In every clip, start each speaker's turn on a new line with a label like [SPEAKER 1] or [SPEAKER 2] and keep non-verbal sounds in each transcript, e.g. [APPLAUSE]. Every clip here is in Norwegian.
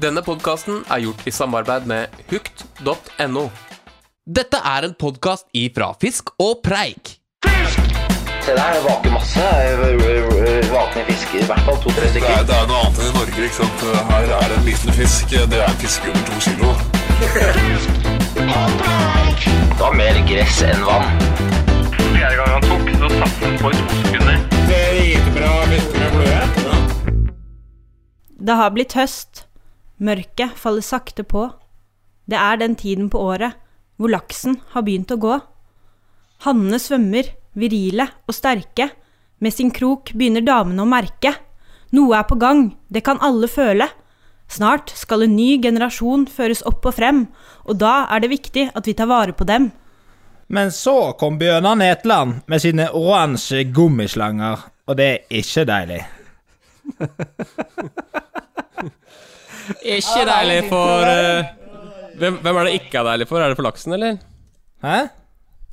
[SPEAKER 1] Denne podkasten er gjort i samarbeid med hukt.no. Dette er en podkast ifra Fisk og Preik.
[SPEAKER 2] Se der, det vaker masse. Vakne fisker, i hvert fall to-tre
[SPEAKER 3] Det
[SPEAKER 2] stykker.
[SPEAKER 3] er, det er noe annet enn i Norge, ikke sant? Her er det en liten fisk. Det er en fisk under to kilo.
[SPEAKER 2] Det var mer gress enn vann.
[SPEAKER 4] Fjerde gang han tok, så satt han på i to sekunder.
[SPEAKER 5] Det har blitt høst. Mørket faller sakte på. Det er den tiden på året hvor laksen har begynt å gå. Hannene svømmer, virile og sterke. Med sin krok begynner damene å merke. Noe er på gang, det kan alle føle. Snart skal en ny generasjon føres opp og frem, og da er det viktig at vi tar vare på dem.
[SPEAKER 6] Men så kom Bjørnar Netland med sine oransje gummislanger, og det er ikke deilig.
[SPEAKER 1] Ikke deilig for eh, hvem, hvem er det ikke er deilig for? Er det for laksen, eller?
[SPEAKER 6] Hæ?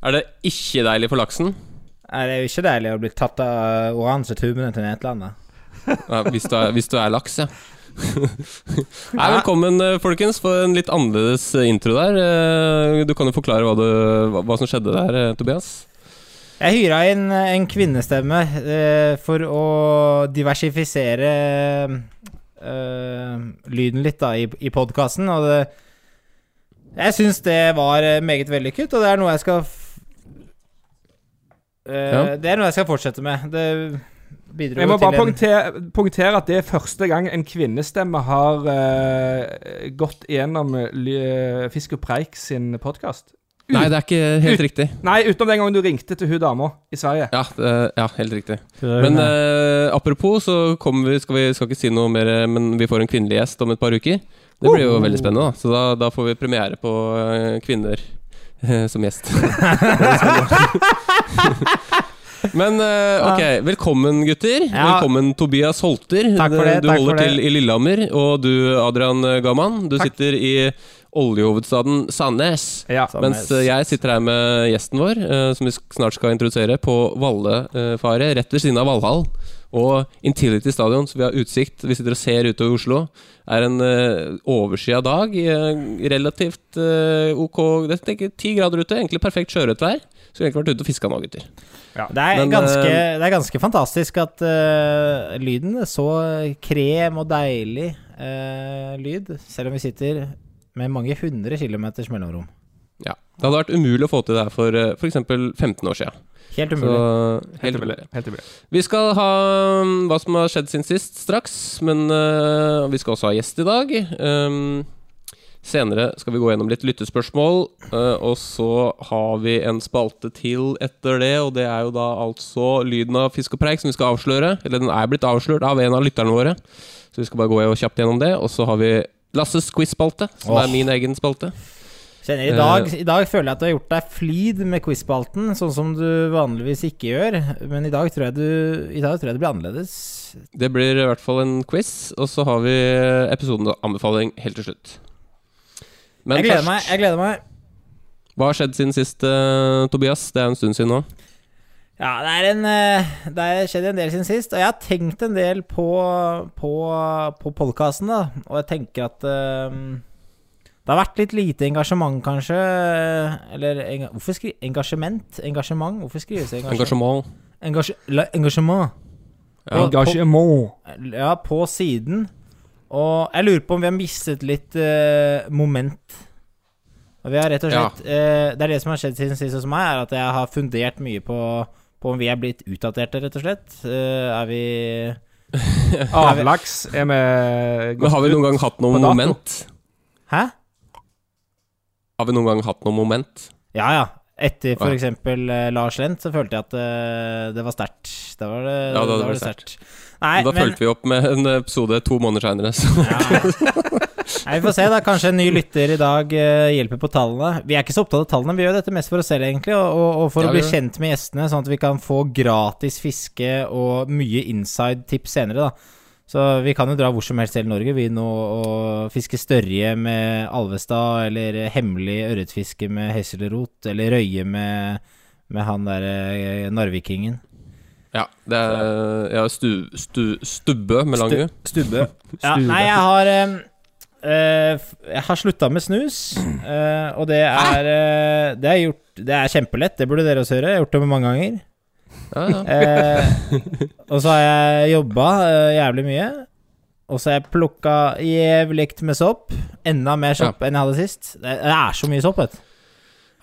[SPEAKER 1] Er det ikke deilig for laksen?
[SPEAKER 6] Nei, det er jo ikke deilig å bli tatt av oransje tubene til Netland. da.
[SPEAKER 1] Ja, hvis, du er, hvis du er laks, [LAUGHS] ja. Nei, velkommen, eh, folkens, for en litt annerledes eh, intro der. Eh, Du kan jo forklare hva, du, hva, hva som skjedde der, eh, Tobias.
[SPEAKER 6] Jeg hyra inn en kvinnestemme eh, for å diversifisere eh, lyden litt da i, i podkasten, og det Jeg syns det var eh, meget vellykket, og det er noe jeg skal f eh,
[SPEAKER 1] Ja.
[SPEAKER 6] Det er noe jeg skal fortsette med. Det bidro
[SPEAKER 7] Jeg må
[SPEAKER 6] jo
[SPEAKER 7] bare
[SPEAKER 6] til en
[SPEAKER 7] poengtere, poengtere at det er første gang en kvinnestemme har eh, gått gjennom eh, ly- eh, Fisk og Preik sin podkast.
[SPEAKER 1] Nei, det er ikke helt riktig.
[SPEAKER 7] Nei, utenom den gangen du ringte til hun dama i Sverige.
[SPEAKER 1] Ja, det, ja helt riktig. Men eh, apropos, så kommer vi skal, vi skal ikke si noe mer, eh, men vi får en kvinnelig gjest om et par uker. Det blir
[SPEAKER 6] Oh.
[SPEAKER 1] jo veldig spennende, da. Så da, da får vi premiere på eh, kvinner eh, som
[SPEAKER 6] [LAUGHS]
[SPEAKER 1] gjest. men eh, ok, velkommen gutter.
[SPEAKER 6] Ja.
[SPEAKER 1] Velkommen Tobias Holter.
[SPEAKER 6] Takk for det,
[SPEAKER 1] Du
[SPEAKER 6] takk for
[SPEAKER 1] holder
[SPEAKER 6] det.
[SPEAKER 1] til i Lillehammer. Og du Adrian Gaman, du
[SPEAKER 6] Takk.
[SPEAKER 1] sitter i oljehovedstaden Sandnes.
[SPEAKER 7] Ja.
[SPEAKER 1] Mens eh, jeg sitter her med gjesten vår, eh, som vi sk- snart skal introdusere, på Vallefaret, rett ved siden av Valhall. Og Intility Stadion, så vi har utsikt. Vi sitter og ser utover Oslo. er en uh, overskya dag. eh, relativt eh, ok det er ikke ti grader ute. Egentlig perfekt sjørøttvær. Skulle egentlig vært ute og fiska nå, gutter.
[SPEAKER 6] Det er,
[SPEAKER 1] Men,
[SPEAKER 6] ganske,
[SPEAKER 1] eh,
[SPEAKER 6] det er ganske fantastisk at eh, lyden er så krem og deilig eh, lyd, selv om vi sitter med mange hundre kilometers mellomrom.
[SPEAKER 1] Ja. Det hadde vært umulig å få til det her for eh, for eksempel 15 år siden.
[SPEAKER 6] Helt
[SPEAKER 1] Så,
[SPEAKER 6] umulig.
[SPEAKER 1] helt
[SPEAKER 7] Helt
[SPEAKER 1] umulig.
[SPEAKER 7] umulig. Helt umulig.
[SPEAKER 1] Vi skal ha um, hva som har skjedd siden sist, straks. Men uh, vi skal også ha gjest i dag. Um, senere skal vi gå gjennom litt lyttespørsmål. Uh, og så har vi en spalte til etter det, og det er jo da altså lyden av fisk og preik som vi skal avsløre. Eller den er blitt avslørt av en av lytterne våre. Så vi skal bare gå kjapt gjennom det. Og så har vi Lasses quiz-spalte, som
[SPEAKER 6] Åh.
[SPEAKER 1] er min egen spalte.
[SPEAKER 6] Kjenner, i, dag,
[SPEAKER 1] eh,
[SPEAKER 6] I dag føler jeg at du har gjort deg flid med quiz-spalten, sånn som du vanligvis ikke gjør. Men i dag tror jeg, du, i dag tror jeg det blir annerledes.
[SPEAKER 1] Det blir i hvert fall en quiz, og så har vi episodens anbefaling helt til slutt. Men
[SPEAKER 6] Jeg gleder
[SPEAKER 1] først-
[SPEAKER 6] meg. jeg gleder meg
[SPEAKER 1] Hva har skjedd siden sist, eh, Tobias? Det er en stund siden nå.
[SPEAKER 6] Ja, det er en eh, Det har skjedd en del siden sist, og jeg har tenkt en del på På, på podkasten, da. Og jeg tenker at eh, det har vært litt lite engasjement, kanskje. Eller enga hvorfor skri engasjement? Engasjement? Hvorfor skrives det engasjement?
[SPEAKER 1] Engasjement.
[SPEAKER 6] Engasje la- engasjement.
[SPEAKER 1] Ja.
[SPEAKER 6] På- på-
[SPEAKER 7] Engasjement.
[SPEAKER 6] Ja, på siden. Og jeg lurer på om vi har mistet litt eh, moment. Og vi har rett og
[SPEAKER 1] Ja.
[SPEAKER 6] slett eh, Det er det som har skjedd siden sist hos meg, er at jeg har fundert mye på, på om vi er blitt utdaterte, rett og slett. Eh, er vi
[SPEAKER 7] Avlaks er vi
[SPEAKER 1] Men har vi noen gang hatt noe
[SPEAKER 7] På dato.
[SPEAKER 1] moment?
[SPEAKER 6] Hæ?
[SPEAKER 1] Har vi noen gang hatt noe moment?
[SPEAKER 6] Ja ja. Etter
[SPEAKER 1] Å,
[SPEAKER 6] for
[SPEAKER 1] ja.
[SPEAKER 6] eksempel eh, Lars Lent, så følte jeg at eh, det var sterkt. Da var det,
[SPEAKER 1] Ja, da
[SPEAKER 6] da
[SPEAKER 1] var
[SPEAKER 6] var
[SPEAKER 1] det
[SPEAKER 6] det sterkt. Nei,
[SPEAKER 1] da
[SPEAKER 6] men
[SPEAKER 1] fulgte vi opp med en episode to måneder seinere. [LAUGHS]
[SPEAKER 6] ja. Nei, Vi får se, da. Kanskje en ny lytter i dag eh, hjelper på tallene. Vi er ikke så opptatt av tallene, vi gjør dette mest for oss selv, egentlig. Og, og, og for
[SPEAKER 1] Ja,
[SPEAKER 6] å
[SPEAKER 1] vi
[SPEAKER 6] bli
[SPEAKER 1] gjør det.
[SPEAKER 6] kjent med gjestene, sånn at vi kan få gratis fiske og mye inside-tips senere, da. Så vi kan jo dra hvor som helst i hele Norge, vi nå, og fiske størje med Alvestad, eller hemmelig ørretfiske med hesselrot, eller røye med, med han derre eh, narvikingen.
[SPEAKER 1] Ja, det er ja, stu, stu, Stubbe med lang U.
[SPEAKER 6] Stubbe. Ja, nei, jeg har eh, Eh, f- jeg har slutta med snus, eh, og det er eh, Det er gjort Det er kjempelett, det burde dere også gjøre. Jeg har gjort det mange ganger.
[SPEAKER 1] Ja, ja.
[SPEAKER 6] Eh, og så har jeg jobba eh, jævlig mye. Og så har jeg plukka jævlig med sopp. Enda mer sopp enn jeg hadde sist. Det, det er så mye sopp, vet du.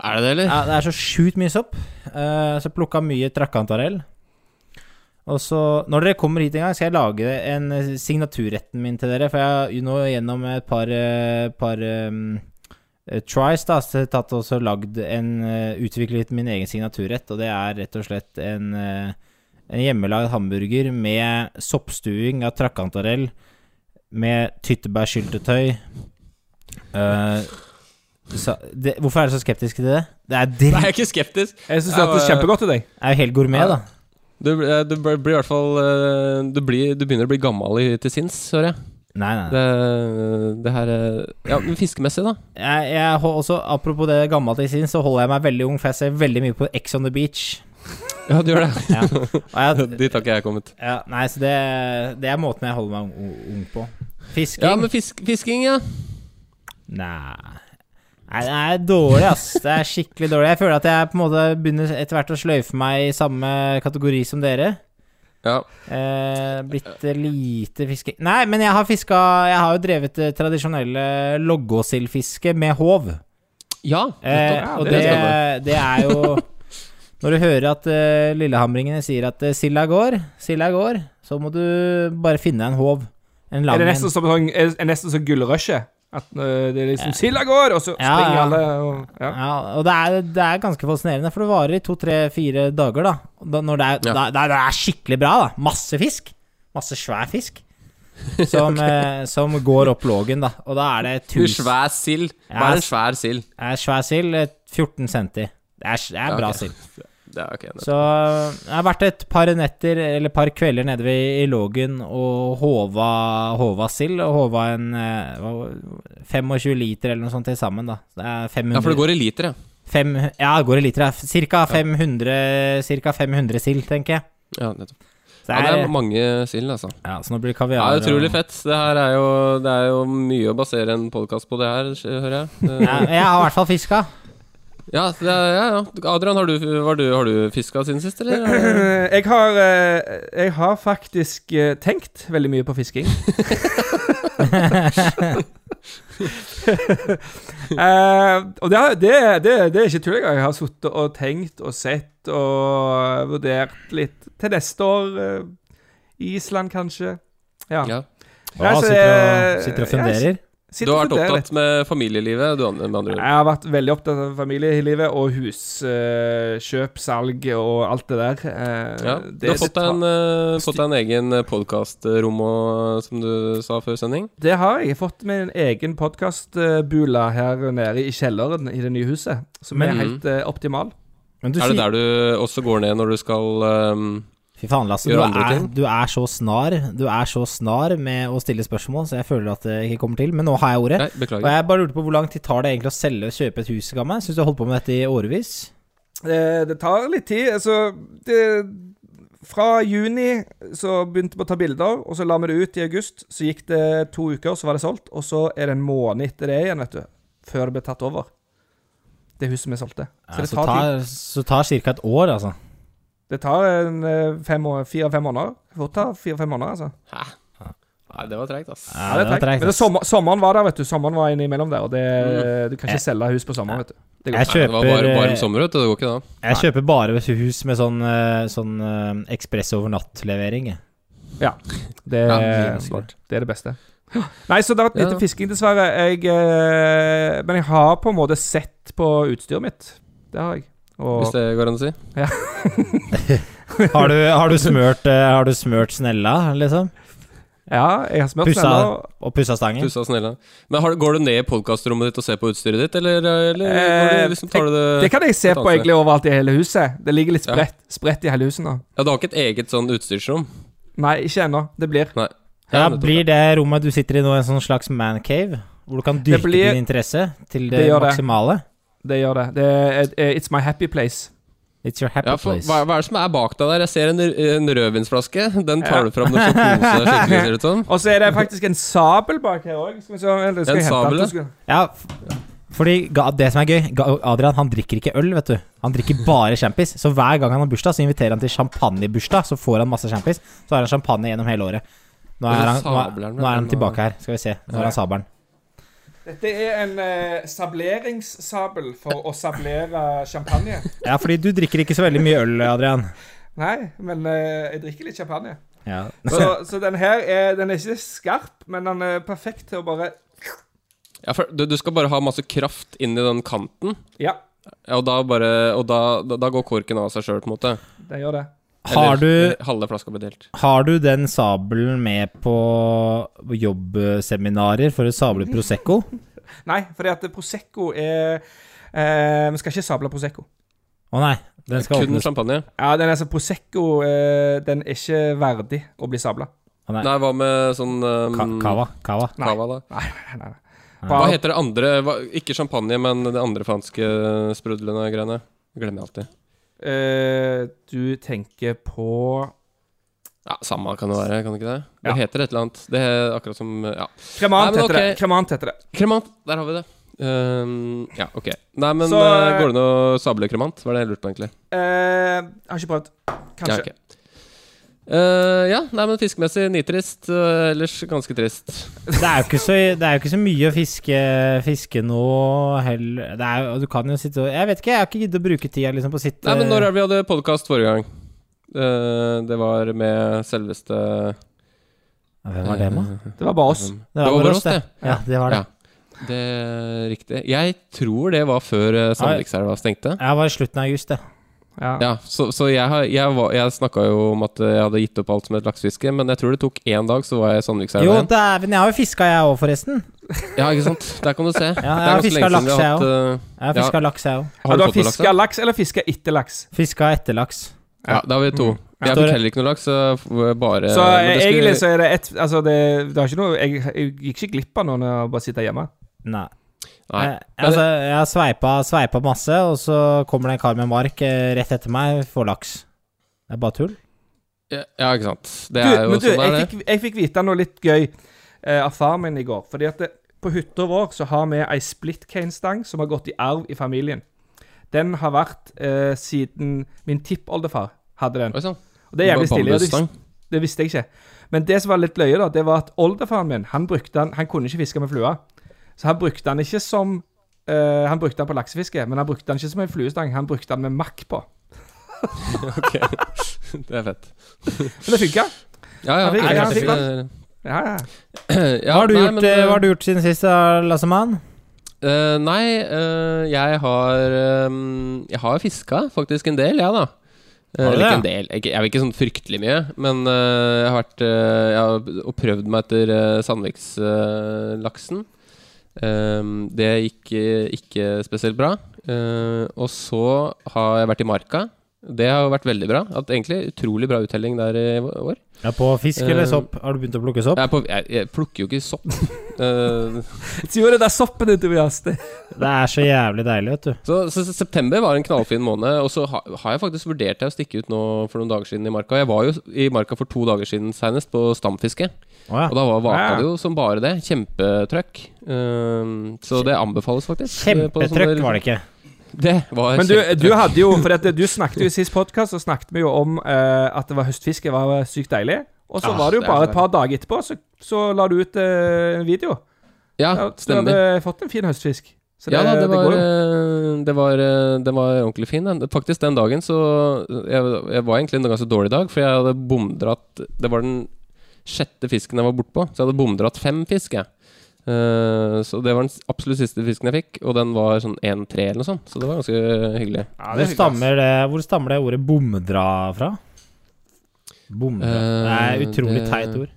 [SPEAKER 1] Er det det, eller?
[SPEAKER 6] Ja, det er så sjukt mye sopp. Eh, så plukka mye trakantarell. Og så, når dere kommer hit en gang, skal jeg lage en eh, signaturretten min til dere. For jeg har jo nå gjennom et par, eh, par eh, eh, tries da, så jeg har tatt og så lagd en eh, Utviklet min egen signaturrett, og det er rett og slett en, eh, en hjemmelagd hamburger med soppstuing av trakantarell med tyttebærsyltetøy. Eh, sa- det, hvorfor er du så skeptisk til det? Det
[SPEAKER 1] [LAUGHS] Nei,
[SPEAKER 6] er
[SPEAKER 1] jeg
[SPEAKER 6] dritt.
[SPEAKER 1] er ikke skeptisk.
[SPEAKER 7] Jeg syns det hørtes
[SPEAKER 1] Ja, ja.
[SPEAKER 7] kjempegodt ut, jeg.
[SPEAKER 6] Det er jo helt gourmet, da.
[SPEAKER 1] Du, eh, du blir blir i hvert fall eh, du, blir, du begynner å bli gammel i, til sinns, hører jeg.
[SPEAKER 6] Nei, nei. nei.
[SPEAKER 1] Det, det her eh, Ja, men fiskemessig, da.
[SPEAKER 6] Jeg, jeg hol- også, apropos det gammelt i sin, så holder jeg meg veldig ung, for jeg ser veldig mye på Ex on the Beach.
[SPEAKER 1] [LAUGHS] Ja, du gjør det.
[SPEAKER 6] Ja.
[SPEAKER 1] [LAUGHS]
[SPEAKER 6] Og jeg,
[SPEAKER 1] Dit har ikke jeg kommet.
[SPEAKER 6] ja, nei, så det, det er måten jeg holder meg ung, ung på. Fisking?
[SPEAKER 1] Ja, men fisk, fisking, ja.
[SPEAKER 6] Nei. Nei, det er dårlig, ass. Det er skikkelig dårlig. Jeg føler at jeg på en måte begynner etter hvert å sløyfe meg i samme kategori som dere.
[SPEAKER 1] Ja,
[SPEAKER 6] Eh, blitt lite fiske... Nei, men jeg har fiska Jeg har jo drevet det tradisjonelle loggåsildfiske med håv.
[SPEAKER 1] ja
[SPEAKER 6] Eh,
[SPEAKER 1] nettopp.
[SPEAKER 6] og
[SPEAKER 1] Det
[SPEAKER 6] det,
[SPEAKER 1] er spennende.
[SPEAKER 6] det er jo Når du hører at eh, lillehamringene sier at eh, silda går, silda går, så må du bare finne en håv. En
[SPEAKER 7] Er
[SPEAKER 6] lang
[SPEAKER 7] det
[SPEAKER 6] en.
[SPEAKER 7] nesten som, sånn, er er nesten som gullrushet? At øh, det er liksom Silda går, og så
[SPEAKER 6] Ja,
[SPEAKER 7] springer
[SPEAKER 6] ja.
[SPEAKER 7] alle og ja. [CLEARS THROAT]
[SPEAKER 6] Ja, og det er, det er ganske fascinerende, for det varer i to-tre-fire dager, da. da når det er,
[SPEAKER 1] Ja.
[SPEAKER 6] da, da, det er skikkelig bra, da. Masse fisk. Masse svær fisk.
[SPEAKER 1] [LAUGHS]
[SPEAKER 6] Som, eh, som går opp lågen, da. Og da er det
[SPEAKER 1] Du,
[SPEAKER 6] tusen
[SPEAKER 1] svær sild. Hva
[SPEAKER 6] Ja,
[SPEAKER 1] er en svær sild?
[SPEAKER 6] det er Svær sild, eh, 14 centi. Det er, det er
[SPEAKER 1] Ja,
[SPEAKER 6] bra
[SPEAKER 1] ok.
[SPEAKER 6] sild.
[SPEAKER 1] Ja, ok, nettopp.
[SPEAKER 6] Så eh, jeg har vært et par netter, eller par kvelder nede ved, i lågen og håva, håva sild. Og håva en eh, hva- 25 liter eller noe sånt til sammen, da. Det er 500
[SPEAKER 1] ja, for det går i liter, ja.
[SPEAKER 6] Fem, ja, det går i liter. ja. Cirka 500, cirka 500 sild, tenker jeg.
[SPEAKER 1] Ja, nettopp.
[SPEAKER 6] Så,
[SPEAKER 1] Ja,
[SPEAKER 6] det
[SPEAKER 1] det
[SPEAKER 6] er,
[SPEAKER 1] er mange sild, altså.
[SPEAKER 6] ja, så nå blir det
[SPEAKER 1] Ja,
[SPEAKER 6] kaviar.
[SPEAKER 1] utrolig
[SPEAKER 6] og-
[SPEAKER 1] fett. Det her er jo, det er jo mye å basere en podkast på, det her, hører jeg. Det-
[SPEAKER 6] Ja, jeg har i hvert fall fiska.
[SPEAKER 1] [LAUGHS] Ja, det er, ja, ja. Adrian, har du, var du, har du fiska siden sist, eller?
[SPEAKER 7] Jeg har, øh, jeg har faktisk øh, tenkt veldig mye på fisking. [LAUGHS] Eh, og det, har- det, det, det er ikke tull engang. Jeg har sittet og tenkt og sett og vurdert litt til neste år. øh, Island, kanskje. Ja.
[SPEAKER 1] Ja.
[SPEAKER 6] Ja,
[SPEAKER 7] Ja, så
[SPEAKER 6] sitter, og,
[SPEAKER 7] jeg-
[SPEAKER 6] sitter og
[SPEAKER 7] jeg-
[SPEAKER 6] funderer.
[SPEAKER 7] Sitter
[SPEAKER 1] Du har
[SPEAKER 7] og
[SPEAKER 1] vært
[SPEAKER 7] funderer litt.
[SPEAKER 1] opptatt med familielivet, du andre- med andre ord.
[SPEAKER 7] Jeg har vært veldig opptatt av familielivet og huskjøp, salg og alt det der. Eh,
[SPEAKER 1] Ja.
[SPEAKER 7] det-
[SPEAKER 1] Du har fått
[SPEAKER 7] det
[SPEAKER 1] deg
[SPEAKER 7] tar-
[SPEAKER 1] en, eh, fått deg en egen podkastrom, og- som du sa før sending.
[SPEAKER 7] Det har jeg. Jeg har fått med en egen podkastbula her nede i kjelleren i det nye huset, som er
[SPEAKER 1] Men-
[SPEAKER 7] helt eh, optimal.
[SPEAKER 6] Men du
[SPEAKER 1] Er det der
[SPEAKER 6] sier
[SPEAKER 1] du også går ned når du skal ehm,
[SPEAKER 6] Fy faen, Lasse. Du
[SPEAKER 1] Gjør andre
[SPEAKER 6] er,
[SPEAKER 1] ting?
[SPEAKER 6] du er så snar Du er så snar med å stille spørsmål, så jeg føler at det ikke kommer til. Men nå har jeg ordet.
[SPEAKER 1] Nei,
[SPEAKER 6] Og
[SPEAKER 1] beklager.
[SPEAKER 6] jeg bare lurte på Hvor lang tid tar det egentlig å selge og kjøpe et hus? Gammel? Syns du har holdt på med dette i årevis?
[SPEAKER 7] Eh, det tar litt tid. Altså det, Fra juni så begynte vi å ta bilder, og så la vi det ut i august. Så gikk det to uker, så var det solgt, og så er det en måned etter det igjen, vet du. Før det ble tatt over. Det huset vi solgte. Så
[SPEAKER 6] Ja,
[SPEAKER 7] det
[SPEAKER 6] så
[SPEAKER 7] tar tid.
[SPEAKER 6] tar, så tar ca. et år, altså.
[SPEAKER 7] Det tar en, eh, fem år- fire-fem måneder. Fort ta fire-fem måneder, altså.
[SPEAKER 1] Hæ? Nei, det var treigt, ass.
[SPEAKER 6] Ja,
[SPEAKER 7] Ja, det er tregt. Men det,
[SPEAKER 6] ass.
[SPEAKER 7] sommer, sommeren var der, vet du. Sommeren var innimellom der, og det, du kan ikke selge hus på sommeren, vet du. Det går
[SPEAKER 6] Jeg
[SPEAKER 1] Nei, det var bare
[SPEAKER 6] kjøper
[SPEAKER 1] varm sommer, vet du. Det går ikke da.
[SPEAKER 6] Jeg kjøper bare hus med sånn, eh, sånn eh, ekspress over natt-levering. jeg.
[SPEAKER 7] Det,
[SPEAKER 1] Ja, det er
[SPEAKER 7] det,
[SPEAKER 1] smart.
[SPEAKER 7] er det beste. Nei, så det har vært
[SPEAKER 1] Ja.
[SPEAKER 7] lite fisking, dessverre. Jeg, eh, men jeg har på en måte sett på utstyret mitt. Det har jeg.
[SPEAKER 1] Hvis
[SPEAKER 7] Og
[SPEAKER 1] det går an å si.
[SPEAKER 6] Har du, har du, smørt, eh, har du smørt snella, liksom?
[SPEAKER 7] ja, jeg har smurt
[SPEAKER 6] Pussa.
[SPEAKER 7] sneller.
[SPEAKER 6] Og pussa stangen?
[SPEAKER 1] Du sa snella. Men har, går du ned i podkastrommet ditt og ser på utstyret ditt, eller, eller går
[SPEAKER 7] Eh,
[SPEAKER 1] du, liksom, tar du det
[SPEAKER 7] Det kan jeg se
[SPEAKER 1] Et
[SPEAKER 7] på
[SPEAKER 1] annet
[SPEAKER 7] egentlig overalt i hele huset. Det ligger litt
[SPEAKER 1] Ja.
[SPEAKER 7] spredt, spredt i hele huset nå.
[SPEAKER 1] Ja, du har ikke et eget sånn utstyrsrom?
[SPEAKER 7] Nei, ikke ennå. Det blir.
[SPEAKER 1] Nei.
[SPEAKER 6] Ja,
[SPEAKER 1] nettopp.
[SPEAKER 6] blir det rommet du sitter i nå, en sånn slags mancave? Hvor du kan
[SPEAKER 7] Det
[SPEAKER 6] dyrke
[SPEAKER 7] blir-
[SPEAKER 6] din interesse til det,
[SPEAKER 7] Det gjør det.
[SPEAKER 6] maksimale?
[SPEAKER 7] Det gjør det. det er, eh, it's my happy place.
[SPEAKER 6] It's your happy
[SPEAKER 1] Ja, for,
[SPEAKER 6] place.
[SPEAKER 1] hva, hva er det som er bak deg der? Jeg ser en, en rødvinsflaske. Den
[SPEAKER 7] Ja.
[SPEAKER 1] tar du fram når du skal kose
[SPEAKER 6] [LAUGHS]
[SPEAKER 1] deg skikkelig, ser det ut som.
[SPEAKER 7] Og så er det faktisk en sabel bak her òg. Skal vi se eller skal
[SPEAKER 1] En
[SPEAKER 7] jeg hente
[SPEAKER 1] sabel,
[SPEAKER 7] den? Skal-
[SPEAKER 6] Ja, f- fordi ga- det som er gøy ga- Adrian han drikker ikke øl, vet du. Han drikker bare champis. Så hver gang han har bursdag, så inviterer han til champagnebursdag. Så får han masse champis. Så har han champagne gjennom hele året. Nå er
[SPEAKER 1] Og så
[SPEAKER 6] han, nå er,
[SPEAKER 1] sabler han
[SPEAKER 6] nå er han
[SPEAKER 1] den,
[SPEAKER 6] tilbake her. Skal vi se. Nå er han sabelen.
[SPEAKER 7] Dette er en eh, sableringssabel for å sablere champagne.
[SPEAKER 6] Ja, fordi du drikker ikke så veldig mye øl, Adrian.
[SPEAKER 7] Nei, men eh, jeg drikker litt champagne.
[SPEAKER 6] Ja.
[SPEAKER 7] Så, så den her er, den er ikke skarp, men den er perfekt til å bare
[SPEAKER 1] Ja, for du, du skal bare ha masse kraft inn i den kanten,
[SPEAKER 7] Ja,
[SPEAKER 1] ja, og, da, bare, og da, da, da går korken av seg sjøl, på en måte.
[SPEAKER 7] den gjør det.
[SPEAKER 6] Har du,
[SPEAKER 1] eh, halve flaska blir delt.
[SPEAKER 6] har du den sabelen med på jobbseminarer for å sable Prosecco?
[SPEAKER 7] Nei, fordi at Prosecco er eh, Vi skal ikke sable Prosecco.
[SPEAKER 6] Å nei, den skal
[SPEAKER 1] Kun
[SPEAKER 6] åpnes.
[SPEAKER 1] champagne.
[SPEAKER 7] Ja, den er så Prosecco eh, Den er ikke verdig å bli sabla.
[SPEAKER 1] Nei, hva med sånn um,
[SPEAKER 6] Ka kava. kava.
[SPEAKER 7] Nei.
[SPEAKER 1] Cava, da.
[SPEAKER 7] Nei, nei, nei. nei.
[SPEAKER 1] Hva
[SPEAKER 7] Bare,
[SPEAKER 1] heter det andre hva, Ikke champagne, men det andre franske sprudlende greiene. Glemmer jeg alltid.
[SPEAKER 7] eh, du tenker på
[SPEAKER 1] Ja, Samme kan det være, kan det ikke det? Det
[SPEAKER 7] Ja.
[SPEAKER 1] heter et eller annet. Det er akkurat som Ja.
[SPEAKER 7] Kremant
[SPEAKER 1] Nei, men
[SPEAKER 7] heter det.
[SPEAKER 1] ok.
[SPEAKER 7] Kremant heter det.
[SPEAKER 1] Kremant! Der har vi det. Um, ja, OK. Nei, men
[SPEAKER 7] Så,
[SPEAKER 1] eh,
[SPEAKER 7] eh,
[SPEAKER 1] går det an å sable kremant? Hva er det jeg lurte på, egentlig?
[SPEAKER 7] Eh, har ikke prøvd. Kanskje.
[SPEAKER 1] Ja, ok. Eh, ja, nei, men fiskemessig nitrist. eh, ellers ganske trist.
[SPEAKER 6] Det er jo ikke så, det er jo ikke så mye å fiske, fiske nå heller det er, jo- Du kan jo sitte og Jeg vet ikke, jeg har ikke giddet å bruke tida liksom, på å sitte
[SPEAKER 1] Nei, men når er det vi hadde podkast forrige gang? Eh, det var med selveste
[SPEAKER 6] Ja, Hvem var det, da?
[SPEAKER 1] Eh,
[SPEAKER 7] Det var bare oss.
[SPEAKER 1] Det var bare oss, det.
[SPEAKER 6] Ja, det var det.
[SPEAKER 1] Ja. Det er riktig. Jeg tror det var før eh, Sandvikselva stengte.
[SPEAKER 6] Jeg var i slutten av august, det.
[SPEAKER 7] Ja.
[SPEAKER 1] Ja, så, så jeg, har- jeg, var- jeg snakka jo om at eh, jeg hadde gitt opp alt som het laksefiske, men jeg tror det tok én dag, så var jeg i Sandvikselva
[SPEAKER 6] Jo,
[SPEAKER 1] igjen.
[SPEAKER 6] dæven, jeg har jo fiska, jeg òg, forresten.
[SPEAKER 1] Ja, ikke sant? Der kan du se.
[SPEAKER 6] jeg har fisket laks, jeg
[SPEAKER 1] òg.
[SPEAKER 6] Jeg har fiska laks, jeg òg.
[SPEAKER 7] Har du,
[SPEAKER 1] eh, fått noe laks?
[SPEAKER 7] fiska
[SPEAKER 1] da?
[SPEAKER 7] laks eller fiska etter laks?
[SPEAKER 6] Fiska etter laks.
[SPEAKER 1] Ja, da har vi to. Jeg fikk
[SPEAKER 6] Står det-
[SPEAKER 1] heller ikke noe laks, så f- eh, bare
[SPEAKER 7] Så eh,
[SPEAKER 1] men det skulle-
[SPEAKER 7] egentlig så er det ett Altså, det, det er ikke noe jeg, jeg gikk ikke glipp av noen av å bare sitte hjemme.
[SPEAKER 6] Nei.
[SPEAKER 1] Nei.
[SPEAKER 6] Jeg, altså, jeg har sveipa, sveipa masse, og så kommer det en kar med mark eh, rett etter meg, får laks. Det er bare tull.
[SPEAKER 1] Ja, ikke sant. Det
[SPEAKER 7] Du,
[SPEAKER 1] er jo
[SPEAKER 7] men du,
[SPEAKER 1] sånn det
[SPEAKER 7] jeg
[SPEAKER 1] er det.
[SPEAKER 7] fikk, jeg fikk vite noe litt gøy eh, av far min i går. Fordi at det, på hytta vår så har vi ei splitcane-stang som har gått i arv i familien. Den har vært eh, siden min tippoldefar hadde den.
[SPEAKER 1] Oi sann.
[SPEAKER 7] Og det er jævlig stilig. og det vis-
[SPEAKER 1] Bambusstang. [LAUGHS]
[SPEAKER 7] Det visste jeg ikke. Men det som var litt løye, da, det var at oldefaren min han brukte den, han kunne ikke fiske med flua. Så han brukte den ikke som eh, Han brukte den på laksefiske, men han brukte den ikke som en fluestang. Han brukte den med makk på.
[SPEAKER 1] Det er fett.
[SPEAKER 7] Men det funka.
[SPEAKER 1] Ja, ja.
[SPEAKER 7] Han fikk-
[SPEAKER 1] nei,
[SPEAKER 7] han
[SPEAKER 1] jeg
[SPEAKER 7] fikk
[SPEAKER 1] fikk-
[SPEAKER 7] Ja, ja.
[SPEAKER 1] [CLEARS THROAT] Ja,
[SPEAKER 6] Hva har du,
[SPEAKER 1] nei,
[SPEAKER 6] gjort,
[SPEAKER 1] men,
[SPEAKER 6] eh, hva har du gjort siden sist, da, Lassemann?
[SPEAKER 1] Eh, nei, eh, jeg har ehm, Jeg har fiska faktisk en del, jeg, da. Eh,
[SPEAKER 6] Har du
[SPEAKER 1] Eller ikke en
[SPEAKER 6] det?
[SPEAKER 1] del. Ikke, jeg vil ikke sånn fryktelig mye, men eh, jeg har vært eh, Jeg har og prøvd meg etter eh, Sandvikslaksen. Ehm, det gikk eh, ikke spesielt bra. Eh, og så har jeg vært i marka. Det har jo vært veldig bra. Hatt egentlig utrolig bra uttelling der i år.
[SPEAKER 6] Ja, på fisk
[SPEAKER 1] Eh,
[SPEAKER 6] eller sopp? Har du begynt å plukke sopp?
[SPEAKER 1] Jeg, er på, jeg, jeg plukker jo ikke sopp. [LAUGHS] Eh,
[SPEAKER 7] Så gjorde det der soppen din, Tobias. Det-
[SPEAKER 6] Det er så jævlig deilig, vet du.
[SPEAKER 1] Så, så så september var en knallfin måned, og så ha, har jeg faktisk vurdert jeg å stikke ut nå for noen dager siden i marka. Jeg var jo i marka for to dager siden senest på stamfiske,
[SPEAKER 6] Å ja.
[SPEAKER 1] og da var vaka
[SPEAKER 7] Ja.
[SPEAKER 1] det jo som bare det. Kjempetrøkk. Um, så det anbefales faktisk. eh, sånn
[SPEAKER 6] Kjempetrøkk var det ikke.
[SPEAKER 1] ikke. Det var
[SPEAKER 7] Men du, du
[SPEAKER 1] kjempetrøkk.
[SPEAKER 7] hadde jo For
[SPEAKER 1] [LAUGHS]
[SPEAKER 7] at du snakket jo i sist podkast, så snakket vi jo om eh, at det var høstfiske var sykt deilig. Og så
[SPEAKER 1] Ah,
[SPEAKER 7] var det jo
[SPEAKER 1] det er så
[SPEAKER 7] bare et par dager etterpå, så, så la du ut eh, en video.
[SPEAKER 1] Ja,
[SPEAKER 7] Ja, så du
[SPEAKER 1] stemmer.
[SPEAKER 7] hadde fått en fin høstfisk. Så det,
[SPEAKER 1] ja, da, det, var,
[SPEAKER 7] går jo.
[SPEAKER 1] eh, det, var, eh, det var ordentlig fin. den. Faktisk den dagen så jeg, jeg var egentlig en ganske dårlig dag, for jeg hadde bomdratt Det var den sjette fisken jeg var bortpå, så jeg hadde bomdratt fem fisk, jeg. Eh, så det var den s- absolutt siste fisken jeg fikk, og den var sånn 1-3 eller noe sånt. Så det var ganske hyggelig.
[SPEAKER 7] Ja, det
[SPEAKER 6] Hvor
[SPEAKER 7] er hyggelig, ass.
[SPEAKER 6] stammer det, hvor stammer det ordet 'bomdra' fra? Bomdra
[SPEAKER 1] Eh,
[SPEAKER 6] Det er utrolig
[SPEAKER 1] det-
[SPEAKER 6] teit ord.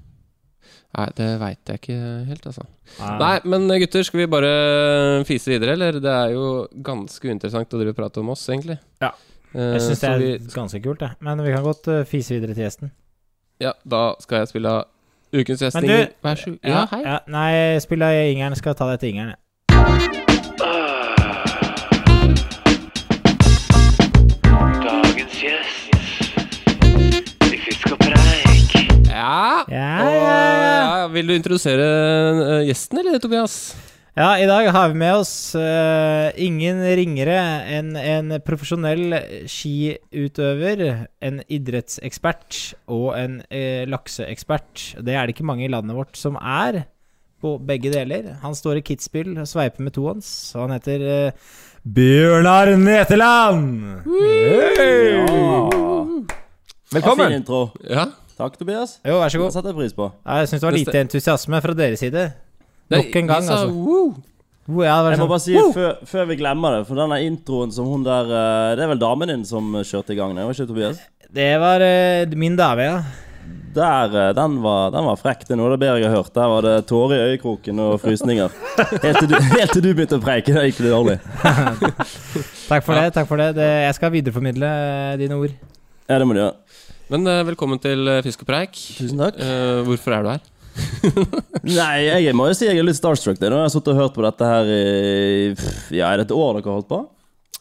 [SPEAKER 1] Nei, det veit jeg ikke helt, altså.
[SPEAKER 6] Nei.
[SPEAKER 1] Nei, men eh, gutter, skal vi bare fise videre, eller? Det er jo ganske uinteressant å drive og prate om oss, egentlig.
[SPEAKER 7] Ja.
[SPEAKER 1] Eh,
[SPEAKER 6] Jeg syns det
[SPEAKER 1] så
[SPEAKER 6] er
[SPEAKER 1] vi-
[SPEAKER 6] ganske kult, jeg. Men vi kan godt eh, fise videre til gjesten.
[SPEAKER 1] Ja, da skal jeg spille av Ukens
[SPEAKER 6] Men
[SPEAKER 1] gjestning.
[SPEAKER 6] du-
[SPEAKER 1] Vær så god. Ja, hei.
[SPEAKER 6] nei, spill av Ingeren. Skal ta deg etter Ingeren, jeg.
[SPEAKER 4] Da
[SPEAKER 1] vil du introdusere eh, gjesten, eller, Tobias?
[SPEAKER 6] Ja, i dag har vi med oss eh, ingen ringere enn en profesjonell skiutøver, en idrettsekspert og en eh, lakseekspert. Det er det ikke mange i landet vårt som er, på begge deler. Han står i Kitzbühel og sveiper med tohånds, og han heter eh, Bjørnar Neteland!
[SPEAKER 8] Velkommen! Fin intro.
[SPEAKER 1] Ja.
[SPEAKER 8] Takk, Tobias.
[SPEAKER 6] Jo, vær så
[SPEAKER 8] Det
[SPEAKER 6] god.
[SPEAKER 8] setter jeg pris på.
[SPEAKER 6] Ja, jeg syns det var lite entusiasme fra deres side.
[SPEAKER 1] Det er-
[SPEAKER 6] Nok en gang,
[SPEAKER 1] vi sa,
[SPEAKER 6] altså.
[SPEAKER 1] «Woo!»
[SPEAKER 6] Oh, ja, det var
[SPEAKER 8] Jeg må
[SPEAKER 6] sånn.
[SPEAKER 8] bare si før, før vi glemmer det, for denne introen som hun der eh, Det er vel damen din som kjørte i gang den, var ikke det, Tobias?
[SPEAKER 6] Det var eh, min dame, ja.
[SPEAKER 8] Der, eh, den var, den var frekk. Det er noe av det bedre jeg har hørt. Der var det tårer i øyekroken og frysninger. Helt til du, helt til du begynte å preike. Det gikk det dårlig.
[SPEAKER 6] Takk for det. takk for det. det jeg skal videreformidle eh, dine ord.
[SPEAKER 8] Ja, det må du gjøre.
[SPEAKER 1] Men eh, velkommen til eh, Fisk og preik.
[SPEAKER 8] Tusen takk.
[SPEAKER 1] Eh, hvorfor er du her?
[SPEAKER 8] Nei, jeg må jo si jeg er litt starstruck. Det. Nå har jeg sittet og hørt på dette her i pff, Ja, er det et år dere har holdt på?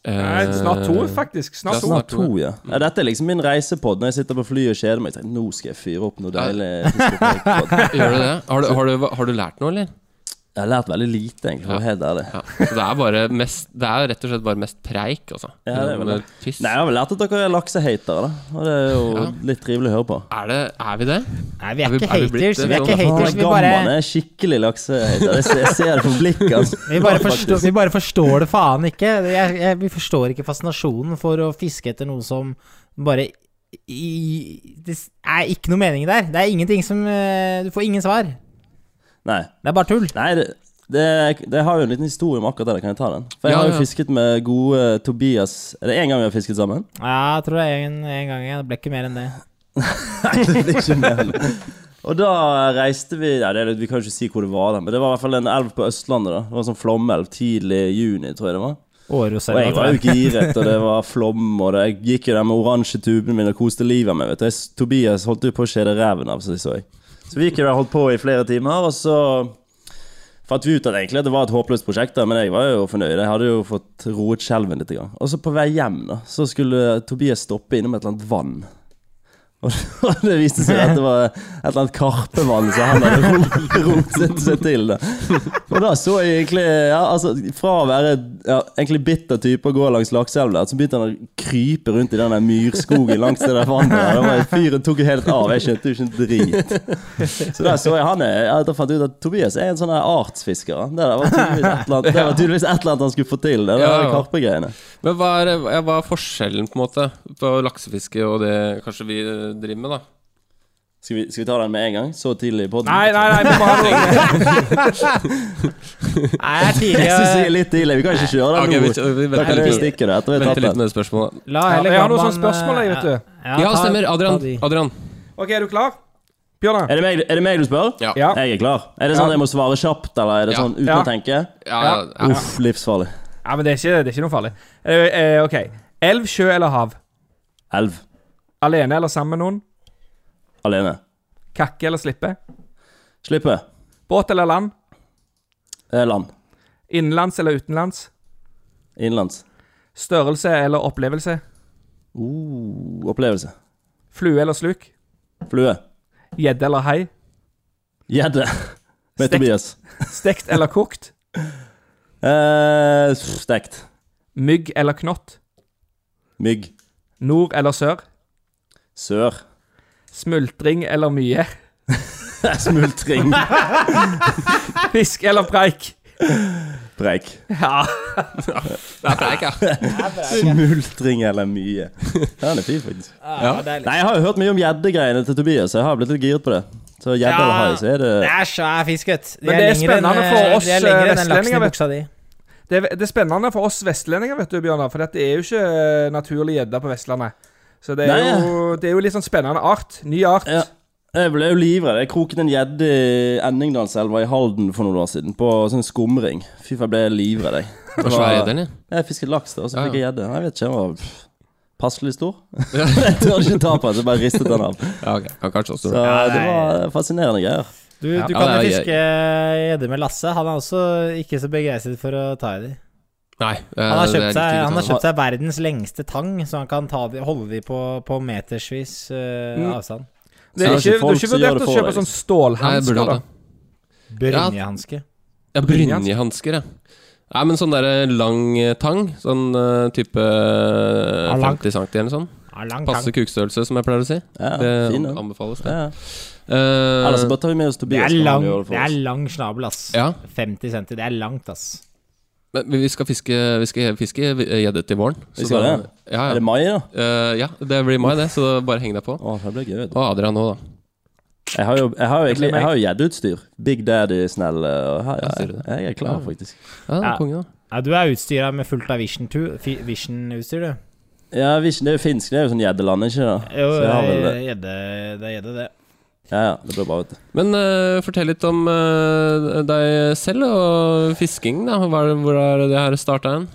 [SPEAKER 7] Nei, snart to,
[SPEAKER 1] Eh,
[SPEAKER 7] faktisk.
[SPEAKER 1] det
[SPEAKER 7] Snart
[SPEAKER 1] er
[SPEAKER 7] to.
[SPEAKER 1] snart
[SPEAKER 8] To, ja. ja. Dette er liksom min reisepod når jeg sitter på flyet og kjeder meg. Jeg tenker, nå skal jeg fyre opp noe deilig. fiskepod.
[SPEAKER 1] [LAUGHS] Gjør du det? Har du, har, du, har du lært noe, eller?
[SPEAKER 8] Jeg har lært veldig lite, egentlig. for å være Helt ærlig.
[SPEAKER 1] Ja. Så det er bare mest Det er rett og slett bare mest preik, altså.
[SPEAKER 8] Ja, det er vel det.
[SPEAKER 1] Tyst.
[SPEAKER 8] Nei, jeg har vel lært at dere er laksehatere, da. Og det er jo litt trivelig å høre på.
[SPEAKER 1] Er, det, er vi det?
[SPEAKER 6] Nei, vi
[SPEAKER 1] Er
[SPEAKER 6] er
[SPEAKER 1] vi-
[SPEAKER 6] ikke
[SPEAKER 1] er vi blitt
[SPEAKER 6] haters.
[SPEAKER 1] det?
[SPEAKER 6] Vi er ikke
[SPEAKER 1] Sånn-
[SPEAKER 8] Han
[SPEAKER 6] haters,
[SPEAKER 8] er
[SPEAKER 6] vi bare,
[SPEAKER 8] gammel, han er skikkelig laksehater. Jeg ser, jeg ser det på blikket hans.
[SPEAKER 6] [LAUGHS] vi bare,
[SPEAKER 8] Ja,
[SPEAKER 6] forstår,
[SPEAKER 8] faktisk.
[SPEAKER 6] vi bare forstår det faen ikke. Jeg, jeg, vi forstår ikke fascinasjonen for å fiske etter noe som bare i, Det s- er ikke noe mening der. Det er ingenting som eh, Du får ingen svar.
[SPEAKER 8] Nei,
[SPEAKER 6] Det er bare tull.
[SPEAKER 8] Nei det, det, det har jo en liten historie om akkurat det. Kan jeg ta den? For jeg
[SPEAKER 1] Ja,
[SPEAKER 8] har jo
[SPEAKER 1] ja.
[SPEAKER 8] fisket med gode eh, Tobias Er det én gang vi har fisket sammen? [LAUGHS]
[SPEAKER 6] Ja, jeg tror det er en, en gang. ja. Det ble ikke mer enn det.
[SPEAKER 8] Nei, det blir ikke mer enn det. Og da reiste vi ja, det er, litt- Vi kan jo ikke si hvor det var, da men det var i hvert fall en elv på Østlandet. da Det var en sånn flommelv tidlig i juni, tror jeg det var. Og jeg var jo
[SPEAKER 6] Åroservat.
[SPEAKER 8] giret, og det var flom, og det, jeg gikk jo der med oransje tubene mine og koste livet av meg. vet du. Jeg, s- Tobias holdt jo på å skjede ræven av seg, så jeg. Så vi gikk jo der og holdt på i flere timer, og så fant vi ut at egentlig at det var et håpløst prosjekt, da, men jeg var jo fornøyd. Jeg hadde jo fått roet skjelven litt. grann. Og så på vei hjem da, så skulle Tobias stoppe innom et eller annet vann. [LAUGHS] Og det viste seg at det var et eller annet karpevann som han hadde ro- rotet seg til. da og da så jeg egentlig ja, altså, Fra å være ja, egentlig bitter type og gå langs lakseelva, der, så begynte han å krype rundt i den der myrskogen langs det der vannet. der. Det var, fyren tok jo helt av. Jeg skjønte jo ikke en drit. Så da så jeg han er, ja, Da fant jeg ut at Tobias er en sånn her artsfisker. da. Det der var tydeligvis et eller annet, det var tydeligvis et eller annet han skulle få til. Det, det
[SPEAKER 1] Ja,
[SPEAKER 8] der
[SPEAKER 1] ja.
[SPEAKER 8] karpegreiene.
[SPEAKER 1] Men hva er, ja, hva er forskjellen på en måte på laksefiske og det kanskje vi eh, driver med, da?
[SPEAKER 8] Skal vi, skal vi ta den med en gang? Så tidlig i podden?
[SPEAKER 7] Nei, nei, nei, vi må
[SPEAKER 1] [LAUGHS]
[SPEAKER 7] ha noe.
[SPEAKER 6] Nei, det er
[SPEAKER 8] [LAUGHS] [LAUGHS] Jeg synes jeg er
[SPEAKER 6] tidlig. eh,
[SPEAKER 8] litt tidlig. Vi kan ikke kjøre
[SPEAKER 1] Ok,
[SPEAKER 8] den
[SPEAKER 1] vi,
[SPEAKER 8] nå.
[SPEAKER 1] vi
[SPEAKER 8] Da kan
[SPEAKER 1] venter
[SPEAKER 8] vi
[SPEAKER 1] litt,
[SPEAKER 8] stikke det etter vi har
[SPEAKER 1] venter
[SPEAKER 8] tatt
[SPEAKER 1] litt
[SPEAKER 8] den.
[SPEAKER 1] med spørsmålet.
[SPEAKER 6] La
[SPEAKER 7] Ja,
[SPEAKER 6] heller
[SPEAKER 7] jeg har noen
[SPEAKER 6] Gamman,
[SPEAKER 7] sånne spørsmål, jeg,
[SPEAKER 6] eh,
[SPEAKER 7] vet du.
[SPEAKER 1] Ja,
[SPEAKER 6] ta-
[SPEAKER 1] stemmer. Adrian.
[SPEAKER 6] ta de.
[SPEAKER 1] Adrian.
[SPEAKER 7] OK, er du klar? Bjørnar?
[SPEAKER 8] Er det meg, er det meg du spør?
[SPEAKER 1] Ja.
[SPEAKER 7] Ja.
[SPEAKER 8] Jeg er klar. Er det sånn at jeg må svare kjapt, eller er det
[SPEAKER 1] Ja.
[SPEAKER 8] sånn uten
[SPEAKER 7] Ja.
[SPEAKER 8] å tenke?
[SPEAKER 1] Ja, ja, ja.
[SPEAKER 8] Uff, livsfarlig.
[SPEAKER 7] Ja, men det er ikke, det er ikke noe farlig. Eh, eh, OK. Elv, sjø eller hav?
[SPEAKER 8] Elv.
[SPEAKER 7] Alene eller sammen med noen?
[SPEAKER 8] Alene.
[SPEAKER 7] Kakke eller slippe?
[SPEAKER 8] Slippe.
[SPEAKER 7] Båt eller land?
[SPEAKER 8] Eh, Land.
[SPEAKER 7] Innenlands eller utenlands?
[SPEAKER 8] Innenlands.
[SPEAKER 7] Størrelse eller opplevelse?
[SPEAKER 8] Uh, opplevelse.
[SPEAKER 7] Flue eller sluk?
[SPEAKER 8] Flue.
[SPEAKER 7] Gjedde eller hai?
[SPEAKER 8] Gjedde. [LAUGHS] Med
[SPEAKER 7] Stekt.
[SPEAKER 8] Tobias.
[SPEAKER 7] Stekt eller kokt?
[SPEAKER 8] Eh, stekt.
[SPEAKER 7] Mygg eller knott?
[SPEAKER 8] Mygg.
[SPEAKER 7] Nord eller sør?
[SPEAKER 8] Sør. [LAUGHS]
[SPEAKER 7] Smultring eller mye? [LAUGHS]
[SPEAKER 8] Smultring.
[SPEAKER 7] Fisk eller preik?
[SPEAKER 8] Preik.
[SPEAKER 7] Ja.
[SPEAKER 1] Det er preik, ja.
[SPEAKER 8] Smultring eller mye. Ja, Den er fin, faktisk.
[SPEAKER 6] Ja, det er litt-
[SPEAKER 8] Nei, Jeg har jo hørt mye om gjeddegreiene til Tobias, så jeg har blitt litt giret på det. Så gjedde
[SPEAKER 6] Ja.
[SPEAKER 8] eller hai, så er det
[SPEAKER 6] Det er svær fisk, vet du. De
[SPEAKER 7] Men det er
[SPEAKER 6] lengre enn,
[SPEAKER 7] spennende for
[SPEAKER 6] eh,
[SPEAKER 7] oss,
[SPEAKER 6] de er lengre
[SPEAKER 7] eh,
[SPEAKER 6] enn den laksen i
[SPEAKER 7] vestlendinger, vet
[SPEAKER 6] buksa di.
[SPEAKER 7] Det, er- det er spennende for oss vestlendinger, vet du, Bjørnar. For dette er jo ikke eh, naturlig gjedde på Vestlandet. Så det er,
[SPEAKER 8] Nei.
[SPEAKER 7] jo, det er jo litt sånn spennende art. Ny art.
[SPEAKER 8] Ja. Jeg ble jo livredd. Jeg kroket en gjedde i Enningdalselva i Halden for noen år siden, på sånn skumring. Fy faen, jeg ble livredd, jeg. Det
[SPEAKER 1] Var svær gjedde, eller?
[SPEAKER 8] Jeg fisket laks, da, og så
[SPEAKER 1] Ja,
[SPEAKER 8] fikk jeg gjedde. Jeg vet ikke, den var pff, passelig stor.
[SPEAKER 1] Ja. [LAUGHS]
[SPEAKER 8] jeg tør ikke ta på den, så jeg bare ristet den av.
[SPEAKER 1] Ja, ok. Ja, kanskje også.
[SPEAKER 8] Så eh, det var fascinerende greier.
[SPEAKER 1] Ja.
[SPEAKER 6] Du, du
[SPEAKER 1] Ja, det
[SPEAKER 6] kan jo
[SPEAKER 1] er gøy.
[SPEAKER 6] fiske eh, gjedde med Lasse. Han er også ikke så begeistret for å ta i de.
[SPEAKER 1] Nei. eh,
[SPEAKER 6] Han har kjøpt seg, han har kjøpt seg verdens lengste tang, så han kan ta de, holde de på, på metersvis eh,
[SPEAKER 7] Mm.
[SPEAKER 6] avstand.
[SPEAKER 7] Det
[SPEAKER 8] Så
[SPEAKER 7] er
[SPEAKER 8] det er
[SPEAKER 7] ikke,
[SPEAKER 8] ikke
[SPEAKER 7] du har
[SPEAKER 8] folk
[SPEAKER 7] ikke
[SPEAKER 8] som gjør
[SPEAKER 7] vurdert
[SPEAKER 8] det
[SPEAKER 7] å
[SPEAKER 8] for
[SPEAKER 7] kjøpe
[SPEAKER 8] deg,
[SPEAKER 7] sånn
[SPEAKER 1] Nei, jeg burde
[SPEAKER 7] stålhansker,
[SPEAKER 1] hatt
[SPEAKER 7] da?
[SPEAKER 1] det.
[SPEAKER 6] Brynjehanske.
[SPEAKER 1] Ja, brynjehansker, ja. Nei, men sånn derre lang eh, tang. Sånn eh, type eh,
[SPEAKER 6] Ja, lang.
[SPEAKER 1] 50 cm eller sånn.
[SPEAKER 6] Ja, lang
[SPEAKER 1] Passe
[SPEAKER 6] tang.
[SPEAKER 1] kukstørrelse, som jeg pleier å si.
[SPEAKER 8] Ja,
[SPEAKER 1] det
[SPEAKER 8] fin den.
[SPEAKER 1] anbefales, det.
[SPEAKER 8] Ja.
[SPEAKER 1] Eh,
[SPEAKER 8] Ellers så bare tar vi med oss
[SPEAKER 6] Det
[SPEAKER 8] Tobias.
[SPEAKER 6] er
[SPEAKER 8] når han
[SPEAKER 6] lang,
[SPEAKER 8] gjør det for
[SPEAKER 6] det er
[SPEAKER 8] oss.
[SPEAKER 6] lang snabel, ass.
[SPEAKER 1] Ja.
[SPEAKER 6] 50 cm, det er langt, ass.
[SPEAKER 1] men vi skal fiske Vi skal fiske gjedde til våren.
[SPEAKER 8] Vi skal
[SPEAKER 1] da-
[SPEAKER 8] det?
[SPEAKER 1] Ja,
[SPEAKER 8] Er
[SPEAKER 1] ja.
[SPEAKER 8] det mai, da?
[SPEAKER 1] Eh, ja, det blir mai, det, så bare heng deg på.
[SPEAKER 8] Å, det blir gøy. vet du.
[SPEAKER 1] Og Adrian nå, da.
[SPEAKER 8] Jeg har jo, jeg har jo egentlig
[SPEAKER 1] blir meg.
[SPEAKER 8] Jeg har jo gjeddeutstyr. Big Daddy-snell. og her-
[SPEAKER 1] Ja, ser du det?
[SPEAKER 8] Jeg, jeg er klar, faktisk.
[SPEAKER 1] Ja,
[SPEAKER 6] Ja.
[SPEAKER 1] konge, da.
[SPEAKER 6] Ja, du er utstyra med fullt av Vision 2 fi- Vision-utstyr, du.
[SPEAKER 8] Ja, Vision, det er jo finsk. Det er jo sånn gjeddeland, ikke det?
[SPEAKER 6] Jo,
[SPEAKER 8] Så
[SPEAKER 6] det
[SPEAKER 8] jeg har vel
[SPEAKER 6] er
[SPEAKER 8] det.
[SPEAKER 6] gjedde, det er Eh, gjedde, det.
[SPEAKER 8] Ja, ja. Det blir bra, vet du.
[SPEAKER 1] Men eh, fortell litt om eh, deg selv og fisking, da. Hva er det, hvor er det her starta hen?